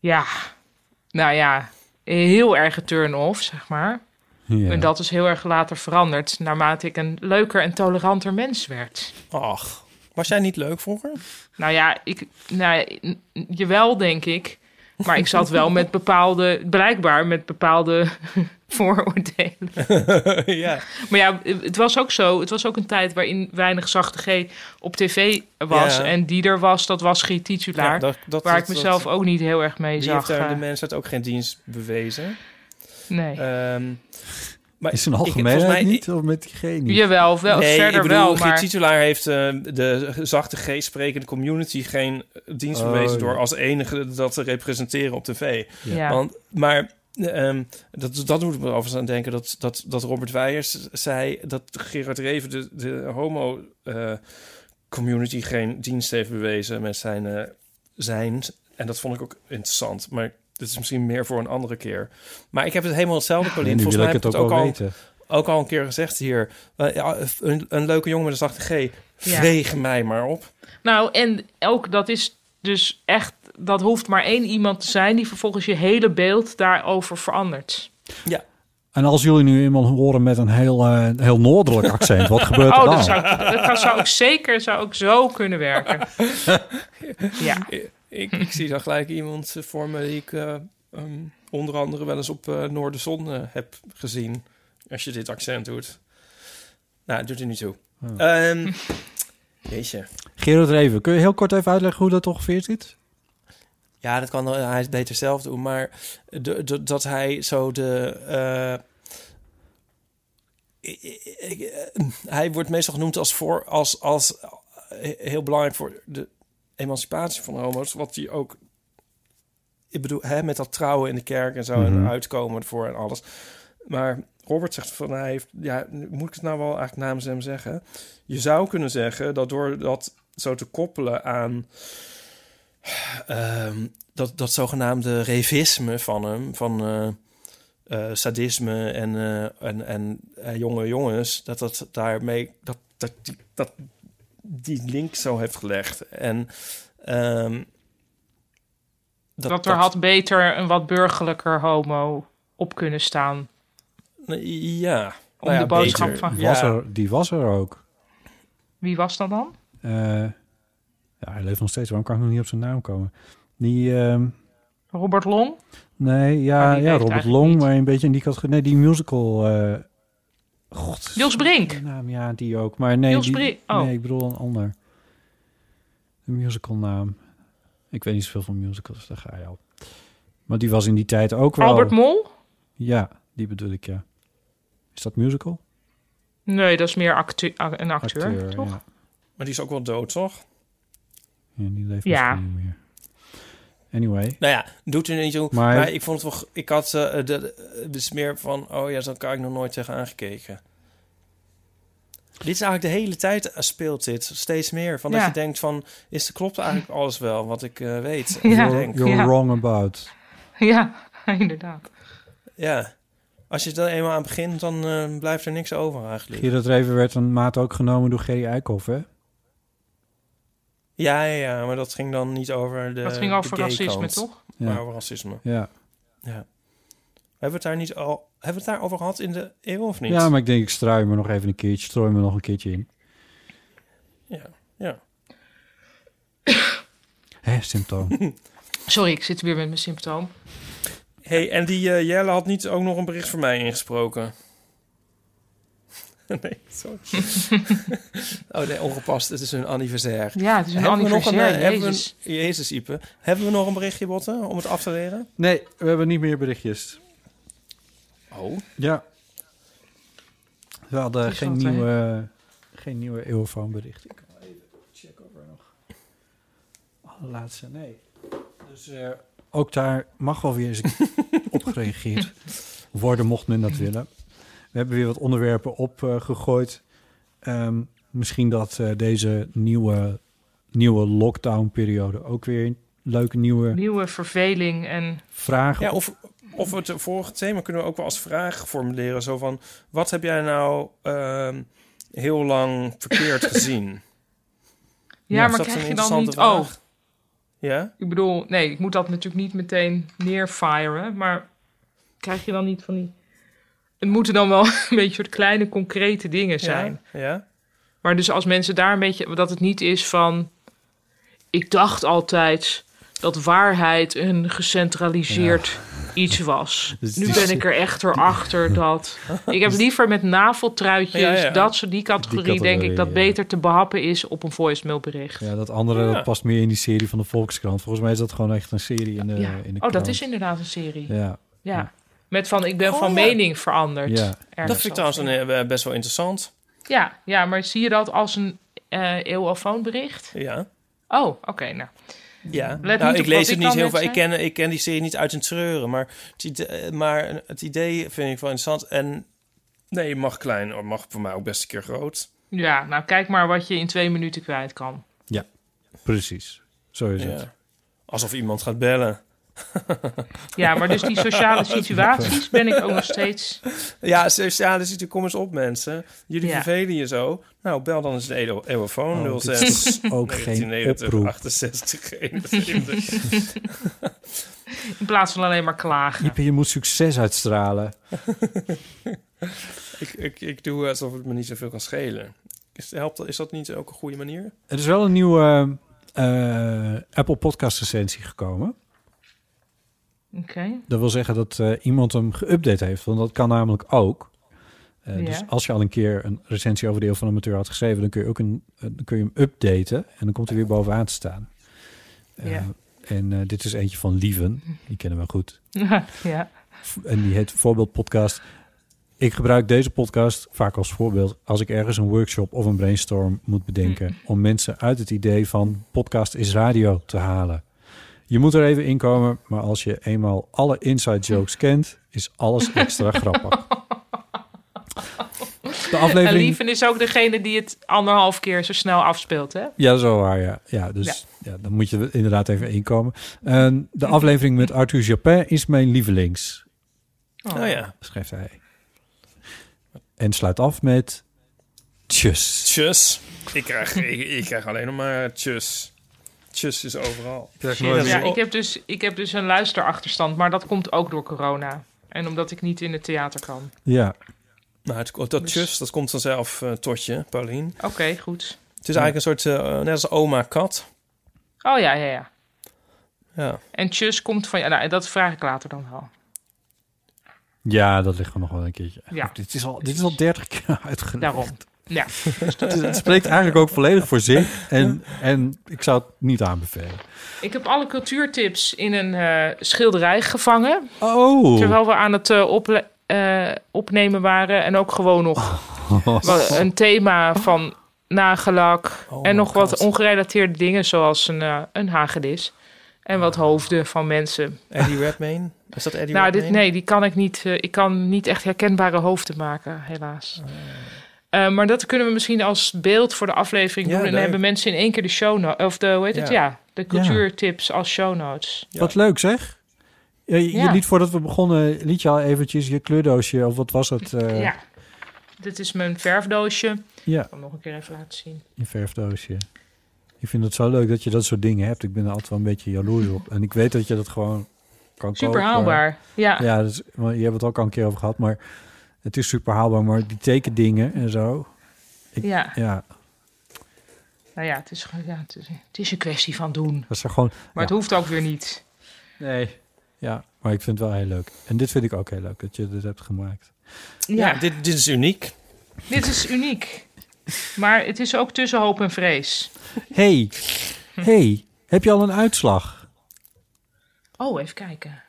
S6: ja, nou ja, heel erg een turn-off, zeg maar.
S2: Ja.
S6: En dat is heel erg later veranderd, naarmate ik een leuker en toleranter mens werd.
S3: Ach, was jij niet leuk vroeger?
S6: Nou ja, ik, nou, ja, n- n- jawel denk ik, maar ik zat wel met bepaalde, blijkbaar met bepaalde vooroordelen.
S3: ja.
S6: Maar ja, het was ook zo. Het was ook een tijd waarin weinig zachte G op tv was.
S3: Ja.
S6: En die er was, dat was G. Titulaar.
S3: Ja, dat- dat-
S6: waar
S3: dat-
S6: ik mezelf
S3: dat-
S6: ook niet heel erg mee
S3: Die heeft
S6: zag.
S3: daar
S6: eh.
S3: de mensheid ook geen dienst bewezen.
S6: Nee.
S3: Ehm, maar
S2: Is een
S3: ik-
S2: algemeenheid
S3: volgens mij-
S2: niet? Of met G niet?
S6: Jawel, wel,
S3: nee,
S6: verder
S3: ik bedoel,
S6: wel,
S3: Geert
S6: maar-
S3: Titulaar heeft eh, de zachte G sprekende community geen dienst
S2: Oh,
S3: bewezen
S2: ja.
S3: door als enige dat te representeren op tv.
S2: Ja. Ja.
S3: Want, maar ehm, dat, dat moet ik me overigens aan denken dat, dat, dat Robert Weijers zei dat Gerard Reven de, de homo eh, community geen dienst heeft bewezen met zijn, eh, zijn. En dat vond ik ook interessant, maar dit is misschien meer voor een andere keer. Maar ik heb het helemaal hetzelfde, Paulien.
S2: nu
S3: Volgens
S2: wil
S3: mij
S2: ik
S3: heb
S2: het
S3: ik
S2: ook wel
S3: al
S2: weten.
S3: ook al een keer gezegd hier. eh, ja, een, een leuke jongen met een zachte G.
S6: Ja.
S3: Vreeg mij maar op.
S6: Nou, en ook dat is dus echt... Dat hoeft maar één iemand te zijn die vervolgens je hele beeld daarover verandert.
S2: En als jullie nu iemand horen met een heel, eh, heel noordelijk accent, wat gebeurt er
S6: oh,
S2: dan?
S6: dat zou, dat kan- zou ook zeker zou ook zo kunnen werken. ja.
S3: Ik, ik zie dan gelijk iemand eh, voor me die ik eh, ehm, onder andere wel eens op eh Noorderzon eh, heb gezien. Als je dit accent doet. Nou, het doet er niet toe. Ehm jeetje.
S2: Gerard Reven, kun je heel kort even uitleggen hoe dat ongeveer zit?
S3: Ja, dat kan eh, hij het beter zelf doen. Maar de, de- dat hij zo de. eh, ik- ik- ik- eh, hij wordt meestal genoemd als, voor, als, als eh, heel belangrijk voor de emancipatie van homo's. Wat hij ook. Ik bedoel, hè, met dat trouwen in de kerk en zo. En
S2: Mhm.
S3: uitkomen ervoor en alles. Maar Robert zegt van hij heeft. Ja, moet ik het nou wel eigenlijk namens hem zeggen? Je zou kunnen zeggen dat door dat zo te koppelen aan ehm, dat, dat zogenaamde revisme van hem, van eh, eh, sadisme en, eh, en, en eh, jonge jongens, dat dat daarmee dat, dat, die, dat die link zo heeft gelegd. En ehm,
S6: Dat, er had beter een wat burgerlijker homo op kunnen staan.
S3: ja.
S6: Om de boodschap van...
S2: was er, die was er ook.
S6: Wie was dat dan?
S2: Eh, ja, hij leeft nog steeds. Waarom kan ik nog niet op zijn naam komen? Die, ehm,
S6: Robert Long?
S2: nee,
S6: Maar
S2: ja,
S6: die
S2: ja
S6: leeft
S2: Robert
S6: eigenlijk
S2: Long, maar een beetje in die categorie. Nee, die musical. eh, God.
S6: Jos Brink?
S2: Naam, ja, die ook. Maar nee,
S6: Niels
S2: die,
S6: Brink, oh.
S2: nee, ik bedoel een ander. Een musical naam. Ik weet niet zoveel van musicals, daar ga je al. Maar die was in die tijd ook wel...
S6: Albert Mol?
S2: Ja, die bedoel ik, ja. Is dat musical?
S6: Nee, dat is meer actu- a- een acteur,
S2: Acteur,
S6: toch?
S2: ja.
S3: Maar die is ook wel dood, toch?
S2: Ja, die leeft
S6: Ja.
S2: misschien niet meer. Anyway.
S3: Nou ja, doet er niet toe.
S2: Maar-
S3: Maar, ik vond het wel... Ik had eh, de, de, de smeer van... Oh ja, zo kan ik nog nooit tegen aangekeken. Dit is eigenlijk de hele tijd eh, speelt dit. Steeds meer. Van
S6: Ja.
S3: dat je denkt van... Is, klopt eigenlijk alles wel wat ik eh, weet? en
S6: Ja.
S3: denk?
S2: You're wrong about.
S6: Ja, inderdaad.
S3: Ja. Als je er eenmaal aan begint, dan eh, blijft er niks over eigenlijk.
S2: Gerard Reven werd een maat ook genomen door Gerry Eikhoff, hè?
S3: Ja, ja, ja, maar dat ging dan niet over de
S6: Dat ging
S3: Eh, de
S6: over
S3: gay
S6: racisme,
S3: kant,
S6: toch?
S2: Ja.
S3: Maar over racisme.
S2: Ja.
S3: ja. Hebben we het daar niet al... Hebben we het daarover gehad in de eeuw of niet?
S2: Ja, maar ik denk, ik strui me nog even een keertje. Strooi me nog een keertje in.
S3: Ja, ja.
S2: Hé, symptoom.
S6: Sorry, ik zit weer met mijn symptoom.
S3: hey, en die eh, Jelle had niet ook nog een bericht voor mij ingesproken. nee, sorry. oh nee, ongepast. Het is een anniversaire.
S6: Ja, het is een
S3: we nog
S6: anniversaire,
S3: eh, hebben we
S6: Jezus.
S3: een- Jezus, Ipe. Hebben we nog een berichtje, Botten, om het af te leren?
S2: Nee, we hebben niet meer berichtjes.
S3: Oh.
S2: Ja. We hadden
S3: is
S2: geen
S3: wat, hè?
S2: nieuwe, geen nieuwe eeuwfoonbericht. Ik kan even checken of er nog... Allerlaatste, nee. Dus eh, ook daar mag wel weer eens op gereageerd worden, mocht men dat willen. We hebben weer wat onderwerpen opgegooid. Ehm, misschien dat eh, deze nieuwe, nieuwe lockdown-periode ook weer leuke nieuwe
S6: Nieuwe verveling en...
S2: vragen
S3: Ja, of, of het vorige thema kunnen we ook wel als vraag formuleren. Zo van, wat heb jij nou ehm, heel lang verkeerd gezien?
S6: Ja,
S3: Is
S6: maar
S3: dat
S6: krijg
S3: een
S6: je dan niet...
S3: interessante
S6: Oh,
S3: vraag? Ja?
S6: ik bedoel, nee, ik moet dat natuurlijk niet meteen neerfiren. Maar krijg je dan niet van die... Het moeten dan wel een beetje soort kleine, concrete dingen zijn.
S3: Ja? ja?
S6: Maar dus als mensen daar een beetje... Dat het niet is van... Ik dacht altijd dat waarheid een gecentraliseerd iets was.
S12: Dus
S6: nu
S12: die-
S6: ben ik er echter achter dat... Ik heb liever met naveltruitjes,
S12: Ja, ja.
S6: dat soort die categorie,
S2: Die categorie,
S6: denk ik, dat
S2: ja.
S6: beter te behappen is op een voicemailbericht.
S2: Ja, dat andere
S6: Ja.
S2: dat past meer in die serie van de Volkskrant. Volgens mij is dat gewoon echt een serie in de,
S6: Ja.
S2: eh, in de
S6: oh, dat
S2: krant.
S6: is inderdaad een serie.
S2: Ja.
S6: Ja. Met van ik ben
S3: Oh,
S6: van
S3: ja.
S6: mening veranderd.
S2: Ja.
S6: Ergens
S3: Dat vind ik trouwens
S6: over.
S3: een, eh, best wel interessant.
S6: Ja, ja, maar zie je dat als een eh eeuwofoonbericht?
S3: Ja.
S6: Oh, oké. nou.
S3: Ja,
S6: Let
S3: nou,
S6: niet
S3: ik
S6: op wat
S3: lees het
S6: dan
S3: niet heel
S6: net
S3: veel. Ik
S6: zei.
S3: ken, ik ken die serie niet uit een treuren. Maar het, idee, maar het idee vind ik wel interessant. En nee, het mag klein. Of mag voor mij ook best een keer groot.
S6: Ja, nou kijk maar wat je in twee minuten kwijt kan.
S2: Ja, precies. Zo is
S3: Ja.
S2: het.
S3: Alsof iemand gaat bellen.
S6: Ja, maar dus die sociale situaties ben ik ook nog steeds...
S3: Ja, sociale situatie. Kom eens op, mensen. Jullie
S6: Ja.
S3: vervelen je zo. Nou, bel dan eens de elo-
S2: Oh,
S3: Eeuwofoon
S2: dit
S3: 06.
S2: is dus ook geen
S3: 1990,
S2: oproep.
S3: 68, 71.
S6: In plaats van alleen maar klagen.
S2: Ipe, je moet succes uitstralen.
S3: ik, ik, ik doe alsof het me niet zoveel kan schelen. Is, helpt, dat- is dat niet ook een goede manier?
S2: Er is wel een nieuwe eh, Apple Podcast recensie gekomen.
S6: Oké.
S2: Dat wil zeggen dat eh, iemand hem geüpdate heeft. Want dat kan namelijk ook. Eh,
S6: Ja.
S2: Dus als je al een keer een recensie over de Eeuw van de Amateur had geschreven... dan kun je, ook een, eh, dan kun je hem updaten en dan komt hij weer bovenaan te staan. Eh,
S6: Ja.
S2: En eh, dit is eentje van Lieven. Die kennen we goed.
S6: ja.
S2: En die heet Voorbeeld Podcast. Ik gebruik deze podcast vaak als voorbeeld als ik ergens een workshop of een brainstorm moet bedenken.
S6: Mm-hmm.
S2: Om mensen uit het idee van podcast is radio te halen. Je moet er even inkomen, maar als je eenmaal alle inside jokes kent, is alles extra grappig. De
S6: En
S2: aflevering.
S6: Lieven is ook degene die het anderhalf keer zo snel afspeelt, hè?
S2: Ja, dat is wel waar, ja. ja dus ja. dan moet je er inderdaad even inkomen. En de aflevering met Arthur Japin is mijn lievelings.
S3: Oh, ja.
S2: schrijft hij. En sluit af met... Tjus.
S3: Tjus. Ik krijg, ik, ik krijg alleen nog maar tjus. Tjus is overal.
S6: Ja, ik heb, dus, ik heb dus een luisterachterstand, maar dat komt ook door corona. En omdat ik niet in het theater kan.
S2: Ja.
S3: Nou, het, dat
S6: Dus-
S3: tjus, dat komt vanzelf eh, tot je, Paulien.
S6: Oké, goed.
S3: Het is eigenlijk een soort, eh, net als oma kat.
S6: Oh ja, ja, ja.
S3: Ja.
S6: En tjus komt van... Ja, nou, dat vraag ik later dan wel.
S2: Ja, dat ligt er nog wel een keertje.
S6: Ja.
S2: Dit is al, dit is al 30 keer uitgelegd.
S6: Daarom. Ja.
S2: Het, het spreekt eigenlijk ook volledig voor zich. En, en ik zou het niet aanbevelen.
S6: Ik heb alle cultuurtips in een eh, schilderij gevangen.
S2: Oh.
S6: Terwijl we aan het eh, ople- eh, opnemen waren. En ook gewoon
S2: Oh.
S6: nog wa- een thema van nagelak.
S2: Oh
S6: en nog wat ongerelateerde dingen, zoals een, eh, een hagedis. En wat hoofden van mensen.
S3: Eddie Redmayne. Is dat Eddie
S6: nou, dit,
S3: Redmayne?
S6: nee, die kan ik niet. eh, ik kan niet echt herkenbare hoofden maken, helaas. Eh, maar dat kunnen we misschien als beeld voor de aflevering
S3: Ja,
S6: doen. En dan
S3: leuk.
S6: hebben mensen in één keer de show notes. Of de, hoe heet het?
S2: Ja.
S6: Ja, de cultuurtips als show notes.
S2: Wat leuk zeg. Je, je
S6: Ja.
S2: liet voordat we begonnen, liet je al eventjes je kleurdoosje, of wat was het? eh,
S6: Ja, dit is mijn verfdoosje.
S2: Ja.
S6: Ik kan hem nog een keer even laten zien.
S2: Je verfdoosje. Ik vind het zo leuk dat je dat soort dingen hebt. Ik ben er altijd wel een beetje jaloers op. En ik weet dat je dat gewoon kan
S6: Super
S2: kopen.
S6: haalbaar, ja.
S2: eh, Ja, dat is- want je hebt het ook al een keer over gehad. Maar het is super haalbaar. Maar die tekendingen en zo. Ik-
S6: Ja.
S2: ja.
S6: Nou ja, het is, gewoon- ja het, is, het is een kwestie van doen.
S2: Dat is er gewoon...
S6: Maar het hoeft ook weer niet.
S2: Nee. Ja, maar ik vind het wel heel leuk. En dit vind ik ook heel leuk, dat je dit hebt gemaakt.
S6: Ja.
S3: dit, dit is uniek.
S6: Dit is uniek. Maar het is ook tussen hoop en vrees.
S2: hey, hey, heb je al een uitslag?
S6: Oh, even kijken.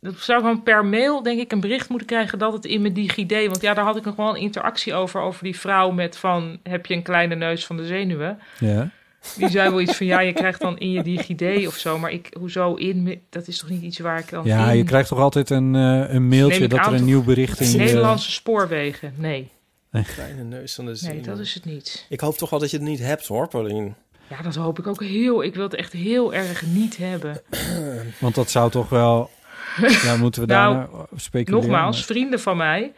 S6: Dat zou ik dan per mail, denk ik, een bericht moeten krijgen dat het in mijn DigiD... Want ja, daar had ik nog wel een interactie over, over die vrouw met van... Heb je een kleine neus van de zenuwen?
S2: Ja.
S6: Die zei wel iets van, ja, je krijgt dan in je DigiD of zo. Maar ik, hoezo in? me- Dat is toch niet iets waar ik dan
S2: Ja,
S6: in-
S2: je krijgt toch altijd een, eh, een mailtje
S6: Neem ik
S2: dat
S6: aan
S2: er een
S6: toch-
S2: nieuw bericht in... eh,
S6: Nederlandse spoorwegen, nee.
S3: Kleine neus van de zin.
S6: dat is het niet.
S3: Ik hoop toch wel dat je het niet hebt hoor, Paulien.
S6: Ja, dat hoop ik ook heel. Ik wil het echt heel erg niet hebben.
S2: Want dat zou toch wel... Ja, moeten we daar
S6: nou,
S2: nou, speculeren?
S6: nogmaals,
S2: maar-
S6: vrienden van mij,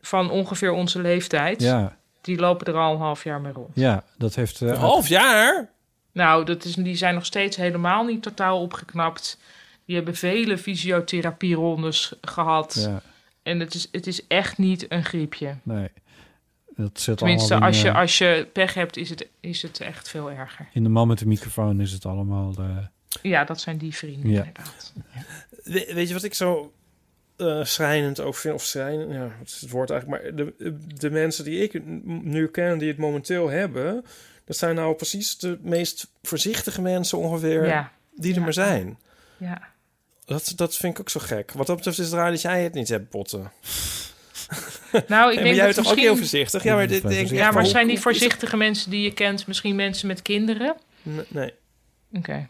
S6: van ongeveer onze leeftijd,
S2: Ja.
S6: die lopen er al een half jaar mee rond.
S2: Ja, dat heeft... eh,
S3: jaar?
S6: Nou, dat is, die zijn nog steeds helemaal niet totaal opgeknapt. Die hebben vele fysiotherapie-rondes gehad.
S2: Ja.
S6: En het is, het is echt niet een griepje.
S2: Nee, dat zit
S6: Tenminste,
S2: allemaal in,
S6: als je,
S2: eh,
S6: als je pech hebt, is het, is het echt veel erger.
S2: in de man met de microfoon is het allemaal... eh,
S6: Ja, dat zijn die vrienden.
S2: ja.
S3: We- weet je wat ik zo eh, schrijnend ook vind? Of schrijnend, ja, wat is het woord eigenlijk? Maar de, de mensen die ik n- nu ken, die het momenteel hebben... dat zijn nou precies de meest voorzichtige mensen ongeveer
S6: Ja.
S3: die er maar zijn.
S6: Ja.
S3: Dat, dat vind ik ook zo gek. Wat dat betreft is het raar dat jij het niet hebt, Botten.
S6: Nou, ik
S3: Ja, maar
S6: denk
S3: jij bent
S6: dat
S3: toch ook
S6: misschien...
S3: heel voorzichtig? Ja, maar dit- denk ik
S6: Ja,
S3: echt,
S6: maar
S3: hoe-
S6: zijn die
S3: hoe is dat-
S6: voorzichtige mensen die je kent misschien mensen met kinderen?
S3: Nee. nee.
S6: Oké.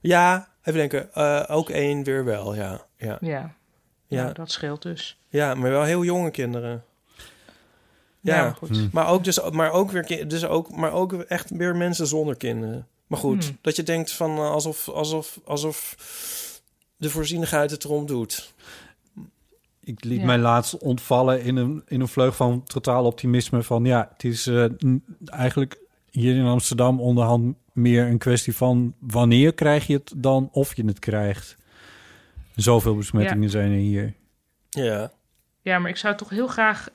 S3: Ja, even denken. Eh, ook één weer wel, ja. Ja,
S6: Ja.
S3: Ja.
S6: Nou, dat scheelt dus.
S3: Ja, maar wel heel jonge kinderen. Ja,
S6: Nou, goed. Hmm.
S3: Maar, ook dus, maar, ook weer, ki- dus ook, maar ook echt weer mensen zonder kinderen. Maar goed,
S6: Hmm.
S3: dat je denkt van eh, alsof, alsof, alsof de voorzienigheid het erom doet.
S2: Ik liet
S3: Ja.
S2: mij laatst ontvallen in een, in een vleug van totaal optimisme. Van ja, het is eh, n- eigenlijk hier in Amsterdam onderhand meer een kwestie van wanneer krijg je het dan of je het krijgt. Zoveel besmettingen
S6: Ja.
S2: zijn er hier.
S3: Ja.
S6: Ja, maar ik zou toch heel graag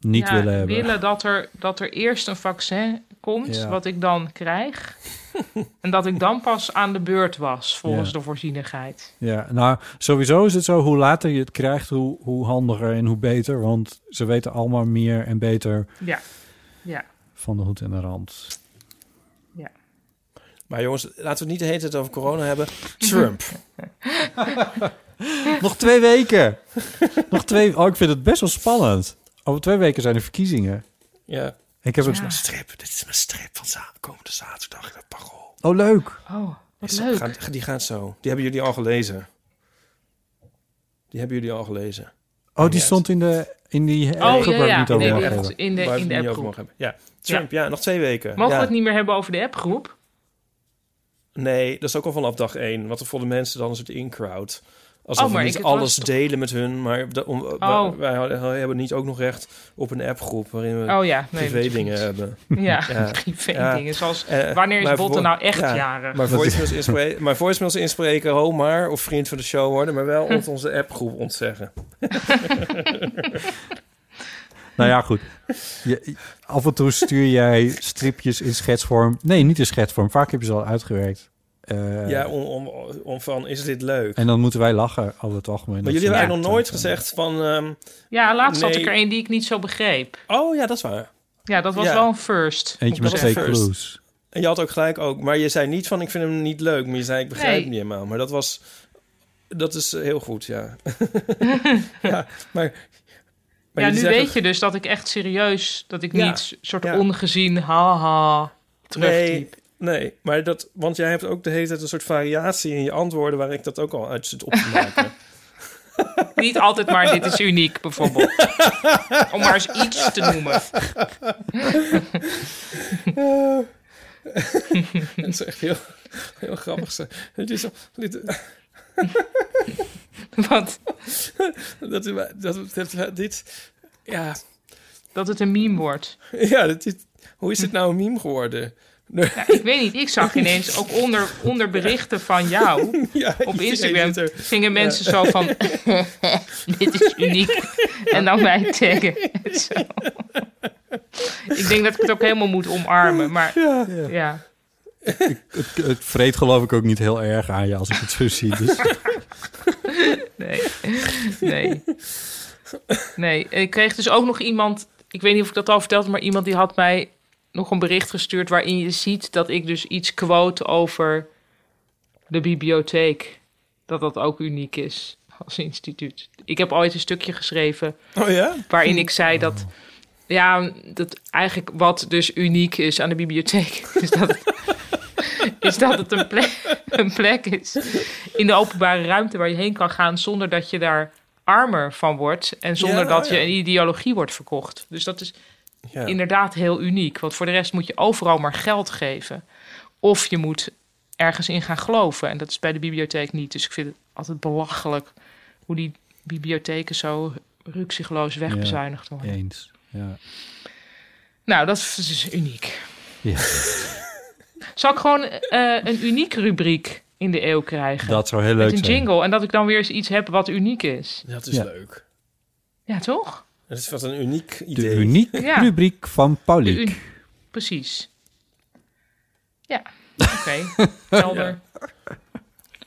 S2: Niet
S6: ja,
S2: willen hebben.
S6: willen dat er, dat er eerst een vaccin komt,
S2: Ja.
S6: wat ik dan krijg. en dat ik dan pas aan de beurt was, volgens
S2: Ja.
S6: de voorzienigheid.
S2: Ja, nou sowieso is het zo, hoe later je het krijgt, hoe, hoe handiger en hoe beter. Want ze weten allemaal meer en beter
S6: Ja. Ja.
S2: van de hoed en de rand.
S3: Maar jongens, laten we het niet de hele tijd over corona hebben. Trump.
S2: Nog twee weken. Nog twee. Oh, ik vind het best wel spannend. Over twee weken zijn de verkiezingen.
S3: ja.
S2: Ik heb
S3: dit
S2: het-
S3: is mijn strip. Dit is mijn strip van za- komende zaterdag. in het Parool.
S2: Oh, leuk.
S6: Oh, wat
S3: Is-
S6: leuk.
S3: gaat- die gaat zo. Die hebben jullie al gelezen. Die hebben jullie al gelezen.
S2: Oh, die stond in, de, in die eh,
S6: Oh,
S2: groep
S6: ja,
S2: waar
S6: ja,
S2: we het niet over
S6: in de-
S2: mogen
S6: echt,
S2: hebben.
S6: in
S3: Waar
S6: de-
S3: we
S6: in
S3: het
S6: de
S3: niet over
S6: appgroep.
S3: mogen hebben. Ja, Trump, ja. nog twee weken.
S6: Mogen
S3: ja.
S6: we het niet meer hebben over de appgroep?
S3: Nee, dat is ook al vanaf dag één. Want er vonden mensen dan een soort in-crowd. Alsof
S6: Oh,
S3: we
S6: maar
S3: niet
S6: ik- het was
S3: alles
S6: toch-
S3: delen met hun. Maar da- om-
S6: Oh.
S3: wij, wij hebben niet ook nog recht op een appgroep... waarin we
S6: Oh ja, nee,
S3: privé dingen eh.
S6: natuurlijk
S3: hebben.
S6: Ja, privé dingen, zoals wanneer is
S3: maar
S6: Botte
S3: voor-
S6: nou echt jarig?
S3: Maar
S6: Dat-
S3: voicemails, inspreken, maar voicemails inspreken, ho maar, of vriend van de show worden... maar wel ons onze appgroep ontzeggen.
S2: Nou ja, goed. Je, af en toe stuur jij stripjes in schetsvorm. Nee, niet in schetsvorm. Vaak heb je ze al uitgewerkt. Eh,
S3: ja, om, om, om van, is dit leuk?
S2: En dan moeten wij lachen over het algemeen.
S3: Maar
S2: Dat
S3: jullie
S2: ze-
S3: hebben eigenlijk nog nooit gezegd van... ehm,
S6: Ja, laatst had
S3: Nee.
S6: ik er een die ik niet zo begreep.
S3: Oh ja, dat is waar.
S6: Ja, dat was
S3: Ja.
S6: wel een first.
S2: Eentje met
S3: Dat
S2: twee
S3: was first.
S2: clues.
S3: En je had ook gelijk ook... Maar je zei niet van, ik vind hem niet leuk. Maar je zei, ik begrijp
S6: Nee.
S3: hem niet helemaal. Maar dat was... Dat is eh, heel goed, ja. ja, maar...
S6: ja, nu
S3: jullie zeggen-
S6: weet je dus dat ik echt serieus, dat ik
S3: Ja.
S6: niet s- soort
S3: Ja.
S6: ongezien, haha,
S3: Nee,
S6: terugtyp.
S3: nee, maar dat... Want jij hebt ook de hele tijd een soort variatie in je antwoorden... waar ik dat ook al uit zit op te maken.
S6: Niet altijd maar dit is uniek, bijvoorbeeld. Om maar eens iets te noemen.
S3: dat is echt heel, heel grappig. zo. Het is... Dit,
S6: Wat?
S3: dat, dat, dat, dit... Ja...
S6: Dat het een meme wordt.
S3: Ja, dat is, hoe is het nou een meme geworden?
S6: Ja, ik weet niet, ik zag ineens ook onder, onder berichten van jou op Instagram gingen mensen zo van, dit is uniek. En dan mij taggen. Zo. Ik denk dat ik het ook helemaal moet omarmen, maar ja.
S2: Het, het vreet geloof ik ook niet heel erg aan je als ik het zo zie. Dus.
S6: Nee. Nee. Nee, ik kreeg dus ook nog iemand, ik weet niet of ik dat al verteld heb, maar iemand die had mij nog een bericht gestuurd waarin je ziet dat ik dus iets quote over de bibliotheek. Dat dat ook uniek is als instituut. Ik heb ooit een stukje geschreven
S3: Oh ja?
S6: waarin ik zei dat, ja, dat eigenlijk wat dus uniek is aan de bibliotheek, is dat het, is dat het een, plek, een plek is in de openbare ruimte waar je heen kan gaan zonder dat je daar armer van wordt en zonder
S3: Ja, oh
S6: dat
S3: ja.
S6: je een ideologie wordt verkocht. Dus dat is
S3: Ja.
S6: inderdaad heel uniek, want voor de rest moet je overal maar geld geven of je moet ergens in gaan geloven en dat is bij de bibliotheek niet. Dus ik vind het altijd belachelijk hoe die bibliotheken zo rukzichtloos wegbezuinigd worden.
S2: Eens. Ja.
S6: Nou, dat is dus uniek.
S2: Ja.
S6: Zal ik gewoon eh, een uniek rubriek in de eeuw krijgen?
S2: Dat zou heel leuk
S6: Met een
S2: zijn.
S6: jingle en dat ik dan weer eens iets heb wat uniek is.
S3: Dat is
S2: Ja.
S3: leuk.
S6: Ja, toch?
S3: Dat is wat een uniek idee.
S2: De uniek
S6: Ja.
S2: rubriek van
S6: De
S2: Paulie.
S6: uni- Precies. Ja, oké. Helder.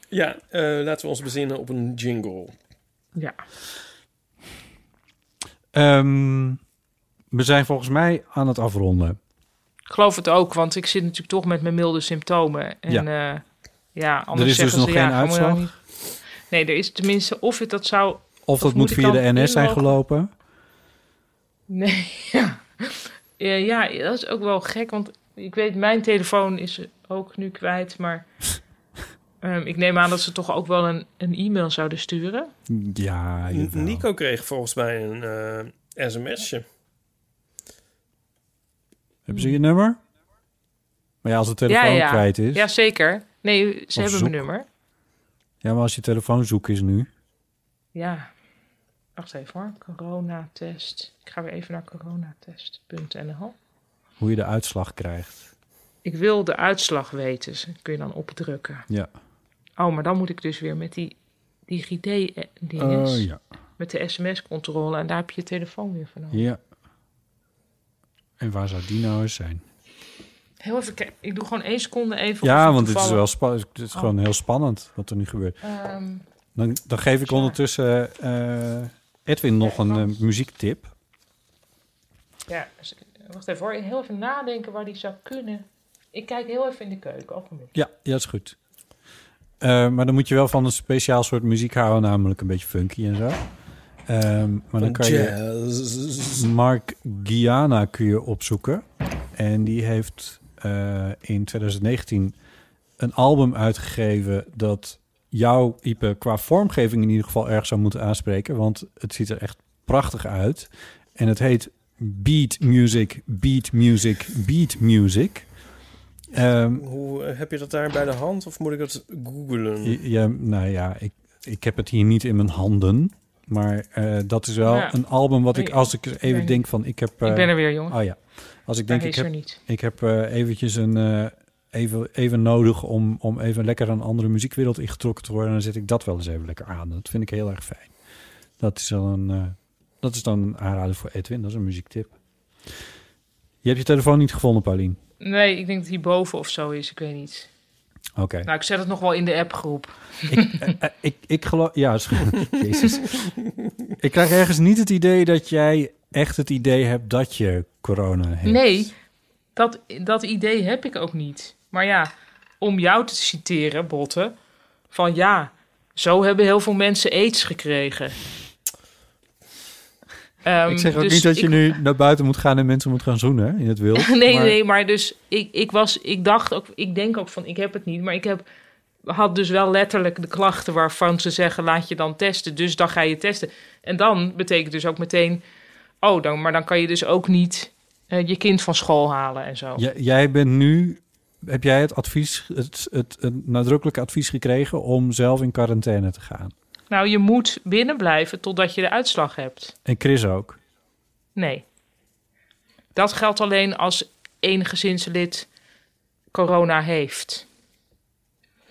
S3: Ja, eh, laten we ons bezinnen op een jingle.
S6: Ja.
S2: Ehm, we zijn volgens mij aan het afronden.
S6: Ik geloof het ook, want ik zit natuurlijk toch met mijn milde symptomen. En, ja. ja, anders
S2: Er is
S6: zeggen
S2: dus
S6: ze,
S2: nog
S6: ja,
S2: geen
S6: gaan we nou
S2: uitslag?
S6: niet- Nee, er is tenminste of het dat zou...
S2: Of dat
S6: moet
S2: moet
S6: ik
S2: via
S6: dan
S2: de NS zijn
S6: inloggen?
S2: gelopen.
S6: Nee, ja. Eh, ja, dat is ook wel gek, want ik weet, mijn telefoon is ook nu kwijt, maar ehm, ik neem aan dat ze toch ook wel een, een e-mail zouden sturen.
S2: Ja,
S3: N- Nico kreeg volgens mij een eh, sms'je.
S2: Hebben ze je nummer? Maar ja, als de telefoon
S6: ja, ja.
S2: kwijt is.
S6: Ja, zeker. Nee, ze hebben
S2: zoek.
S6: mijn nummer.
S2: Ja, maar als je telefoon zoek is nu.
S6: Ja. Wacht even hoor, coronatest. Ik ga weer even naar coronatest.nl.
S2: Hoe je de uitslag krijgt.
S6: Ik wil de uitslag weten, dus kun je dan opdrukken.
S2: Ja.
S6: Oh, maar dan moet ik dus weer met die DigiD-dinges.
S2: Oh, ja.
S6: Met de sms-controle en daar heb je je telefoon weer van nodig.
S2: Ja. En waar zou die nou eens zijn?
S6: Heel even kijken. Ik doe gewoon één seconde even. of
S2: Ja,
S6: ik
S2: want het is wel
S6: toevallig-
S2: spannend. Het is
S6: Oh.
S2: gewoon heel spannend wat er nu gebeurt.
S6: Ehm,
S2: Dan, dan geef ik ondertussen eh, Edwin nog een eh, muziektip.
S6: ja, dus- wacht even hoor. Heel even nadenken waar die zou kunnen. Ik kijk heel even in de keuken. Ogenblik.
S2: Ja, ja, dat is goed. Eh, maar dan moet je wel van een speciaal soort muziek houden, namelijk een beetje funky en zo. Ehm, maar dan
S3: Van
S2: kan
S3: jazz.
S2: je Mark Giana kun je opzoeken. En die heeft eh, in 2019 een album uitgegeven dat jou, Ipe, qua vormgeving in ieder geval erg zou moeten aanspreken. Want het ziet er echt prachtig uit. En het heet Beat Music, Beat Music, Beat Music. Ehm,
S3: Hoe eh, heb je dat daar bij de hand of moet ik dat googlen?
S2: ja, ja, nou ja, ik, ik heb het hier niet in mijn handen. Maar eh, dat is wel
S6: Ja.
S2: een album wat ik,
S6: Nee,
S2: als ik
S6: ik
S2: er even
S6: ben-
S2: denk van, ik heb...
S6: ik
S2: eh,
S6: ben er weer, jongen.
S2: Oh ja. Als ik
S6: Maar
S2: denk, ik
S6: hij is
S2: heb,
S6: er niet.
S2: ik heb eh, eventjes een... eh, even, even nodig om, om even lekker een andere muziekwereld ingetrokken te worden. Dan zet ik dat wel eens even lekker aan. Dat vind ik heel erg fijn. Dat is dan een, eh, dat is dan een aanrader voor Edwin. Dat is een muziektip. Je hebt je telefoon niet gevonden, Paulien.
S6: Nee, ik denk dat hij boven of zo is. Ik weet niet.
S2: Oké.
S6: Nou, ik zet het nog wel in de appgroep.
S2: Ik, eh, eh, ik, ik geloof... Ja, is goed. Jezus. Ik krijg ergens niet het idee dat jij echt het idee hebt dat je corona hebt.
S6: Nee, dat, dat idee heb ik ook niet. Maar ja, om jou te citeren, Botte, van ja, zo hebben heel veel mensen aids gekregen. Ehm,
S2: ik zeg ook
S6: dus
S2: niet dat je
S6: ik-
S2: nu naar buiten moet gaan en mensen moet gaan zoenen hè, in het wild.
S6: nee,
S2: maar-
S6: nee, maar dus ik, ik was, ik dacht ook, ik denk ook van, ik heb het niet, maar ik heb, had dus wel letterlijk de klachten waarvan ze zeggen, laat je dan testen, dus dan ga je testen. En dan betekent dus ook meteen, oh, dan, maar dan kan je dus ook niet eh, je kind van school halen en zo.
S2: J- jij bent nu... Heb jij het advies, het, het, het nadrukkelijke advies gekregen om zelf in quarantaine te gaan?
S6: Nou, je moet binnen blijven totdat je de uitslag hebt.
S2: En Chris ook.
S6: Nee. Dat geldt alleen als één gezinslid corona heeft.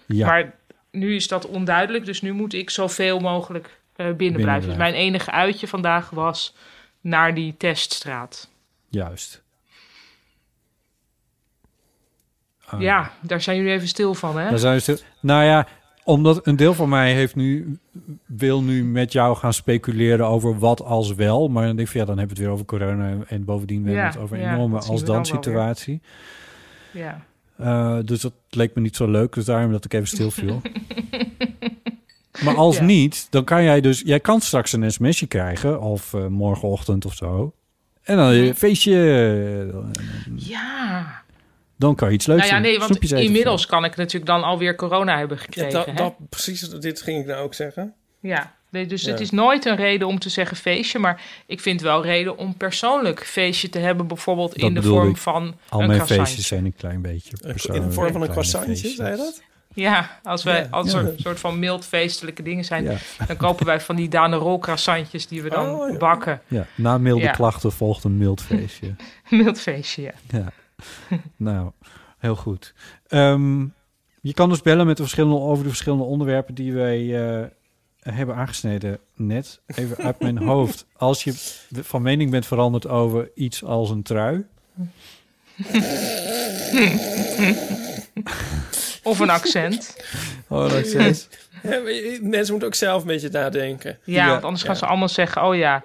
S2: Ja.
S6: Maar nu is dat onduidelijk, dus nu moet ik zoveel mogelijk eh, binnen, blijven. Dus
S2: blijven.
S6: mijn enige uitje vandaag was naar die teststraat.
S2: Juist. Ah.
S6: Ja, daar zijn jullie even stil van, hè?
S2: Daar zijn we stil- dus Nou ja,
S1: Omdat een deel van mij heeft nu, wil nu met jou gaan speculeren over wat als wel. Maar dan denk ik van ja, dan hebben we het weer over corona. en- En bovendien weer
S6: Ja,
S1: het over
S6: ja,
S1: enorme
S6: dat zien we
S1: als
S6: dan
S1: dan
S6: wel weer.
S1: situatie.
S6: Ja.
S1: Eh, dus dat leek me niet zo leuk. Dus daarom dat ik even stil viel. maar als niet, dan kan jij dus... Jij kan straks een sms'je krijgen. Of eh, morgenochtend of zo. En dan eh, feestje.
S6: Ja.
S1: Dan kan je iets leuks
S6: Nou ja,
S1: doen.
S6: nee, want
S1: Snoepjes eten of zo.
S6: inmiddels kan ik natuurlijk dan alweer corona hebben
S3: Ja,
S6: gekregen.
S3: dat,
S6: Ja,
S3: dat, precies, dit ging ik nou ook zeggen.
S6: ja. Nee, dus het
S3: Ja.
S6: is nooit een reden om te zeggen feestje, maar ik vind wel reden om persoonlijk feestje te hebben, bijvoorbeeld
S1: Dat
S6: in de
S1: bedoelde
S6: vorm
S1: ik.
S6: van
S1: Al
S6: een
S1: mijn
S6: croissantje.
S1: feestjes zijn een klein beetje
S3: In de
S1: persoonlijk,
S3: vorm van een
S1: kleine
S3: croissantje,
S1: feestjes.
S3: zei je dat?
S6: Ja, als wij
S3: Ja.
S6: als
S3: Ja.
S6: er een soort van mild feestelijke dingen zijn,
S1: Ja.
S6: dan kopen wij van die Danerol croissantjes die we dan
S3: Oh,
S6: bakken.
S1: Ja, na milde
S6: Ja.
S1: klachten volgt een mild feestje.
S6: Mild feestje, ja.
S1: ja. Nou, heel goed. Ehm, je kan dus bellen met de verschillende, over de verschillende onderwerpen die wij eh, hebben aangesneden net. Even uit mijn hoofd. Als je van mening bent veranderd over iets als een trui.
S6: Of een accent.
S1: Oh, dat is
S3: Ja, maar je- mensen moeten ook zelf een beetje nadenken.
S6: Ja, want anders gaan ze allemaal zeggen, oh ja,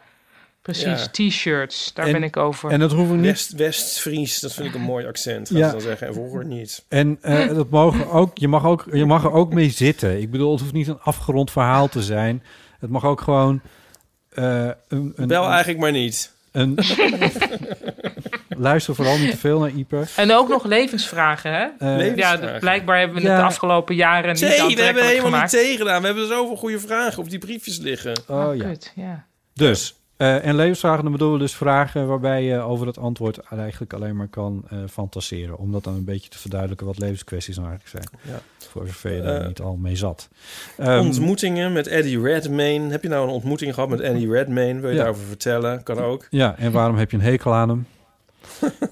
S6: precies, t-shirts, daar
S3: En-
S6: ben ik over.
S1: en dat hoeven we niet-
S3: West, West-Fries, dat vind ik een mooi accent, gaan
S1: Ja.
S3: ze dan zeggen. En vroeger niet.
S1: En eh, dat mogen ook, je, mag ook, je mag er ook mee zitten. Ik bedoel, het hoeft niet een afgerond verhaal te zijn. Het mag ook gewoon. eh, een, een,
S3: Bel
S1: een-
S3: eigenlijk maar niet.
S1: Een, luister vooral niet te veel naar Ieper.
S6: En ook nog levensvragen, hè?
S1: Levensvragen.
S6: Ja, dat- blijkbaar hebben we
S1: Eh, Ja.
S6: het de afgelopen jaren niet
S3: Nee, we hebben
S6: aantrekkelijk
S3: helemaal
S6: gemaakt.
S3: niet tegengedaan. We hebben zoveel goede vragen op die briefjes liggen.
S1: Oh, ja.
S6: Kut, ja.
S1: Dus, eh, en levensvragen, dan bedoelen we dus vragen waarbij je over het antwoord eigenlijk alleen maar kan eh, fantaseren. Om dat dan een beetje te verduidelijken wat levenskwesties nou eigenlijk zijn.
S3: Ja.
S1: Voor zover je daar
S3: Eh,
S1: niet al mee zat. Ehm,
S3: Ontmoetingen met Eddie Redmayne. Heb je nou een ontmoeting gehad met Eddie Redmayne? Wil je
S1: Ja.
S3: daarover vertellen? Kan ook.
S1: Ja, en waarom heb je een hekel aan hem?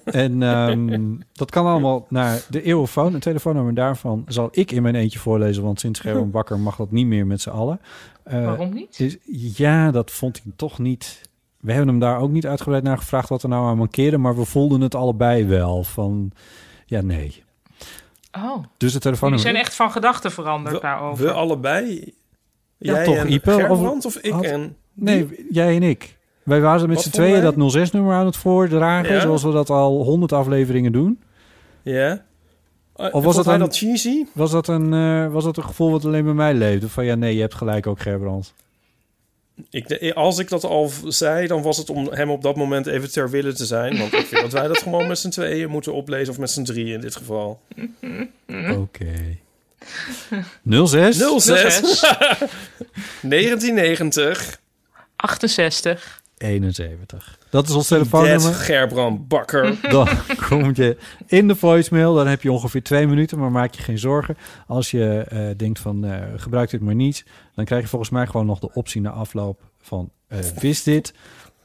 S1: en ehm, dat kan allemaal naar de eeuwfoon. Een telefoonnummer daarvan zal ik in mijn eentje voorlezen, want sinds Gerben Bakker mag dat niet meer met z'n allen. Eh,
S6: Waarom niet?
S1: is- ja, dat vond hij toch niet. We hebben hem daar ook niet uitgebreid naar gevraagd wat er nou aan mankeerde, maar we voelden het allebei wel van ja, nee.
S6: Oh,
S1: Dus het
S6: jullie
S1: telefoonnummer.
S6: zijn echt van gedachten veranderd daarover.
S3: We allebei.
S1: Ja,
S3: jij
S1: toch,
S3: en
S1: Ipe?
S3: Gerbrand
S1: Of-
S3: of ik
S1: had-
S3: en...
S1: Nee, jij en ik. Wij waren met
S3: Wat
S1: z'n
S3: vonden
S1: tweeën dat 06-nummer aan het voordragen,
S3: Ja?
S1: zoals we dat al 100 afleveringen doen.
S3: Ja?
S1: Of was dat,
S3: hij
S1: een,
S3: dat cheesy?
S1: Was dat, een, eh, was dat een gevoel wat alleen bij mij leefde? Van ja, nee, je hebt gelijk ook Gerbrand.
S3: Ik, als ik dat al v- zei, dan was het om hem op dat moment even ter wille te zijn. Want ik vind dat wij dat gewoon met z'n tweeën moeten oplezen. Of met z'n drieën in dit geval.
S1: Oké. 06?
S3: 06. 1990.
S6: 68.
S1: 71. Dat is ons telefoonnummer.
S3: Dead Gerbrand Bakker.
S1: Dan kom je in de voicemail. Dan heb je ongeveer twee minuten, maar maak je geen zorgen. Als je eh, denkt van eh, gebruik dit maar niet, dan krijg je volgens mij gewoon nog de optie na afloop van eh, wist dit?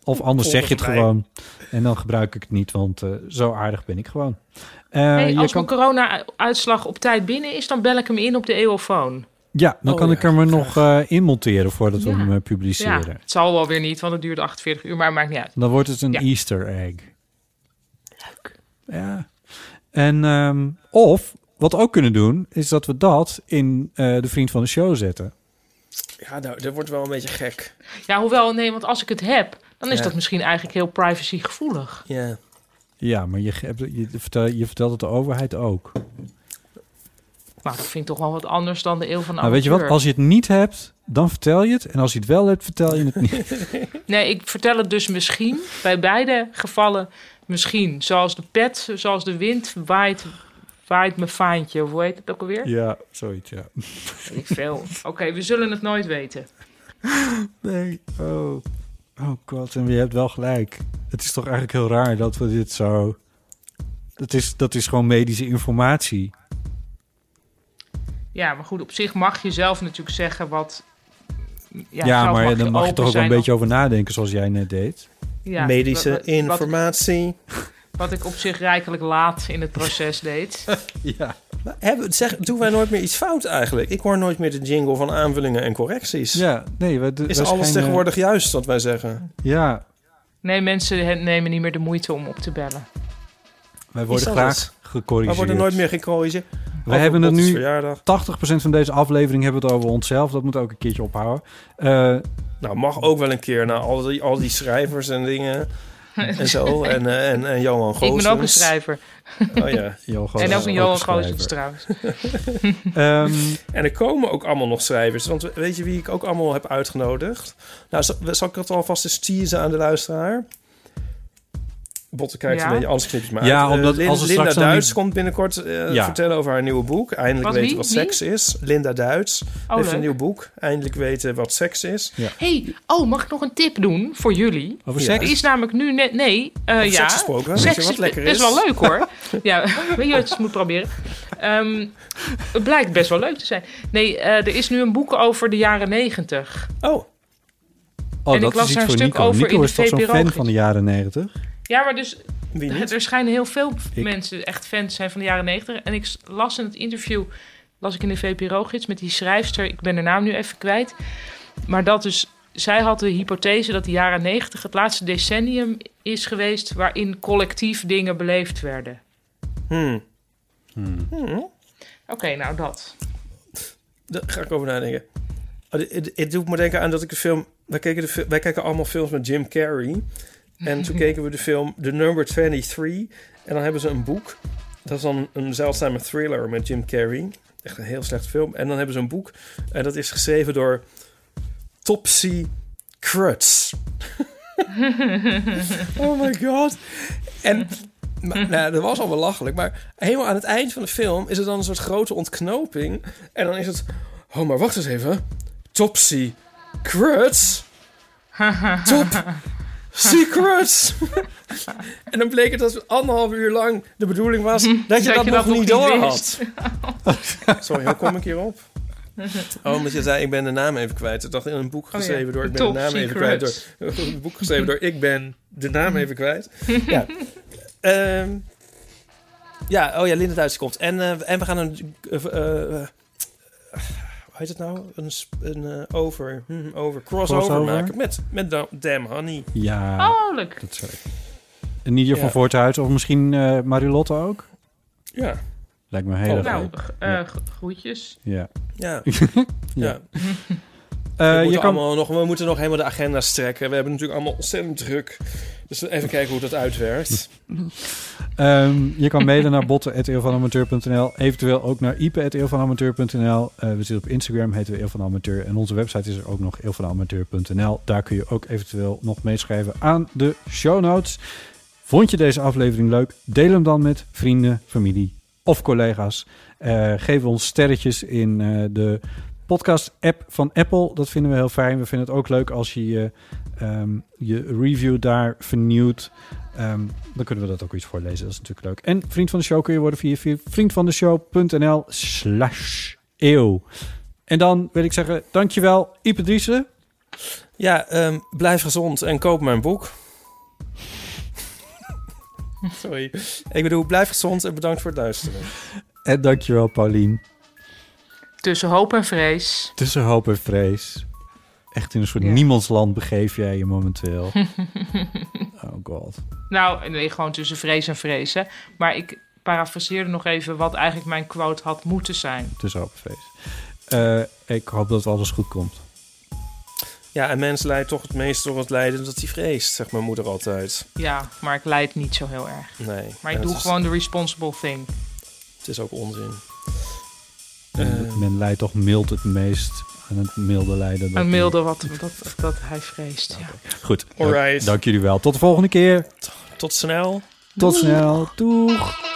S1: Of anders zeg je het
S3: Volgens mij.
S1: gewoon. En dan gebruik ik het niet, want eh, zo aardig ben ik gewoon. Eh,
S6: Hey,
S1: je
S6: als
S1: kan-
S6: mijn corona-uitslag op tijd binnen is, dan bel ik hem in op de EOFoon.
S1: Ja, dan
S6: Oh
S1: kan
S6: ja,
S1: ik hem er nog eh in monteren voordat we
S6: Ja.
S1: hem eh,
S6: Ja,
S1: publiceren.
S6: het zal wel weer niet, want het duurt 48 uur, maar maakt niet uit.
S1: Dan wordt het een
S6: Ja.
S1: Easter egg. Leuk. Ja. En, ehm, of, wat we ook kunnen doen, is dat we dat in eh, de Vriend van de Show zetten.
S3: Ja, nou, dat wordt wel een beetje gek.
S6: Ja, hoewel, nee, want als ik het heb, dan is
S3: Ja.
S6: dat misschien eigenlijk heel privacygevoelig.
S3: Ja.
S1: Ja, maar je, ge- je, vertelt, je vertelt het de overheid ook.
S6: Maar dat vind ik toch wel wat anders dan de eeuw van de
S1: nou, weet je wat?
S6: amateur.
S1: Als je het niet hebt, dan vertel je het. En als je het wel hebt, vertel je het niet.
S6: Nee, ik vertel het dus misschien. Bij beide gevallen misschien. Zoals de pet, zoals de wind waait, waait mijn faantje. Of hoe heet het ook alweer?
S1: ja, zoiets, ja.
S6: Weet Ik veel. Oké, we zullen het nooit weten.
S1: Nee. Oh. Oh god, en je hebt wel gelijk. Het is toch eigenlijk heel raar dat we dit zo... Dat is, dat is gewoon medische informatie.
S6: Ja, maar goed, op zich mag je zelf natuurlijk zeggen wat...
S1: Ja,
S6: zelf
S1: maar
S6: je
S1: dan mag je
S6: open
S1: toch ook wel een
S6: zijn
S1: beetje over nadenken zoals jij net deed.
S6: Ja,
S3: Medische
S6: wat- wat- wat-
S3: informatie.
S6: Wat ik op zich rijkelijk laat in het proces deed.
S1: ja.
S3: Maar hebben, zeg, doen wij nooit meer iets fout eigenlijk? Ik hoor nooit meer de jingle van aanvullingen en correcties.
S1: Ja, nee. We,
S3: Is alles tegenwoordig juist wat wij zeggen?
S1: Ja,
S6: Nee, mensen he- nemen niet meer de moeite om op te bellen.
S1: wij
S3: Is
S1: worden
S3: dat
S1: graag
S3: het?
S1: gecorrigeerd.
S3: We worden nooit meer gecorrigeerd.
S2: We hebben het
S3: Otto's
S2: nu... 80%
S3: verjaardag.
S2: van deze aflevering hebben we het over onszelf. Dat moet ook een keertje ophouden. Eh,
S3: Nou, mag ook wel een keer na al die, al die schrijvers en dingen en zo. En, eh, en, en Johan Goossens.
S6: Ik ben ook een schrijver.
S3: Oh ja.
S2: Johan
S3: Goossens
S6: En ook
S3: is
S6: een
S3: ook
S6: Johan
S3: een schrijver.
S6: Goossens trouwens.
S1: ehm,
S3: En er komen ook allemaal nog schrijvers. Want weet je wie ik ook allemaal heb uitgenodigd? Nou, zal, zal ik het alvast eens teasen aan de luisteraar? Botte kijkt
S6: Ja.
S3: een beetje, anders knip je het maar
S2: Ja,
S3: uit. Eh,
S2: omdat
S3: Lin-
S2: als er
S3: Linda
S2: straks dan
S3: Duits
S2: die-
S3: komt binnenkort eh,
S2: Ja.
S3: vertellen over haar nieuwe boek. Eindelijk
S6: Wat,
S3: weten
S6: wie?
S3: wat
S6: Wie?
S3: seks is. Linda Duits
S6: Oh,
S3: heeft
S6: leuk.
S3: een nieuw boek. Eindelijk weten wat seks is.
S6: hey, oh, mag ik nog een tip doen voor jullie?
S3: Over
S6: Ja.
S3: seks?
S6: Er is namelijk nu net... Nee, eh,
S3: Over
S6: ja.
S3: seks gesproken, weet je wat lekker
S6: Dat is
S3: is?
S6: wel leuk hoor. ja, weet je wat je moet proberen? Ehm, het blijkt best wel leuk te zijn. Nee, eh, er is nu een boek over de jaren negentig.
S3: Oh.
S2: oh,
S6: En
S2: dat
S6: ik las
S2: is
S6: daar
S2: iets
S6: een
S2: voor
S6: stuk
S2: Nico.
S6: over
S2: Nico
S6: in de
S2: is toch zo'n
S6: VPRO
S2: fan
S6: gids.
S2: van de jaren 90?
S6: Ja, maar dus
S3: Wie niet?
S6: er schijnen heel veel
S2: Ik.
S6: mensen echt fans zijn van de jaren negentig. En ik las in het interview, las ik in de VPRO-gids met die schrijfster, ik ben de naam nu even kwijt. Maar dat dus, zij had de hypothese dat de jaren negentig het laatste decennium is geweest waarin collectief dingen beleefd werden.
S3: Hmm.
S2: Hmm.
S6: Oké, nou dat.
S3: Daar ga ik over nadenken. Oh, dit- Het het doet me denken aan dat ik de film... Wij, keken de, fi- wij kijken allemaal films met Jim Carrey. En toen keken we de film The Number 23. En dan hebben ze een boek. Dat is dan een zeldzame thriller met Jim Carrey. Echt een heel slecht film. En dan hebben ze een boek. En dat is geschreven door Topsy Crutz. oh my god. En maar, nou, dat was al belachelijk. Maar helemaal aan het eind van de film is er dan een soort grote ontknoping. En dan is het... Oh, maar wacht eens even. Topsy Crutz? Top Secrets! en dan bleek het dat het anderhalf uur lang de bedoeling was... dat je dat, nog niet door had. Sorry, hoe kom ik hierop? Oh, omdat je zei, ik ben de naam even kwijt. Ik dacht in een boek
S13: Oh ja.
S3: geschreven door... Ik ben
S13: Top
S3: de naam even kwijt door...
S13: secrets.
S3: Een boek geschreven door... Ik ben de naam even kwijt. ja. Ehm, ja, oh ja, Linda Duits komt. En, eh, en we gaan een... eh, eh, eh, hoe heet het nou? Een, sp- een eh, over, hm, over crossover,
S2: Crossover?
S3: maken met, met Da- Damn Honey.
S2: Ja.
S6: Oh, leuk.
S2: Dat zou ik. En Nidia van
S3: Ja.
S2: Voorthuis of misschien eh Marilotte ook?
S3: Ja.
S2: Lijkt me heel erg
S6: nou,
S2: leuk.
S6: g- eh, g- groetjes.
S2: Ja.
S3: Ja.
S2: ja.
S3: Ja.
S2: Eh,
S3: we,
S2: je
S3: moeten
S2: kan...
S3: allemaal nog, we moeten nog helemaal de agenda strekken. We hebben natuurlijk allemaal ontzettend druk. Dus even kijken hoe dat uitwerkt.
S2: Ehm, je kan mailen naar botten.eeuwvanamateur.nl. Eventueel ook naar ipe.eeuwvanamateur.nl. Eh, we zitten op Instagram, heten we Eeuw van Amateur. En onze website is er ook nog eeuwvanamateur.nl. Daar kun je ook eventueel nog meeschrijven aan de show notes. Vond je deze aflevering leuk? Deel hem dan met vrienden, familie of collega's. Eh, geef ons sterretjes in eh, de podcast-app van Apple. Dat vinden we heel fijn. We vinden het ook leuk als je je, ehm, je review daar vernieuwt. Ehm, dan kunnen we dat ook iets voorlezen. Dat is natuurlijk leuk. En vriend van de show kun je worden via via vriendvandeshow.nl slash eeuw. En dan wil ik zeggen, dankjewel Ipe Driessen.
S3: Ja, ehm, blijf gezond en koop mijn boek. Sorry. Ik bedoel, blijf gezond en bedankt voor het luisteren.
S2: En dankjewel Paulien.
S6: Tussen hoop en vrees.
S2: Tussen hoop en vrees. Echt in een soort
S6: Ja.
S2: niemandsland begeef jij je momenteel. oh god.
S6: Nou, nee, gewoon tussen vrees en vrees, hè. Maar ik parafraseerde nog even wat eigenlijk mijn quote had moeten zijn.
S2: Tussen hoop en vrees. Eh, ik hoop dat alles goed komt.
S3: Ja, en mens leidt toch het meest door het lijden dat hij vreest, zegt mijn moeder altijd.
S6: Ja, maar ik leid niet zo heel erg.
S3: Nee.
S6: Maar
S3: en het
S6: ik doe
S3: is-
S6: gewoon de responsible thing.
S3: Het is ook onzin. Eh,
S2: Men- Men leidt toch mild het meest aan het milde lijden. dat
S6: Een milde wat dat, dat hij vreest, ja.
S2: Goed.
S3: Alright.
S2: Dank jullie wel. Tot de volgende keer.
S3: Tot snel.
S2: Tot snel. Doeg.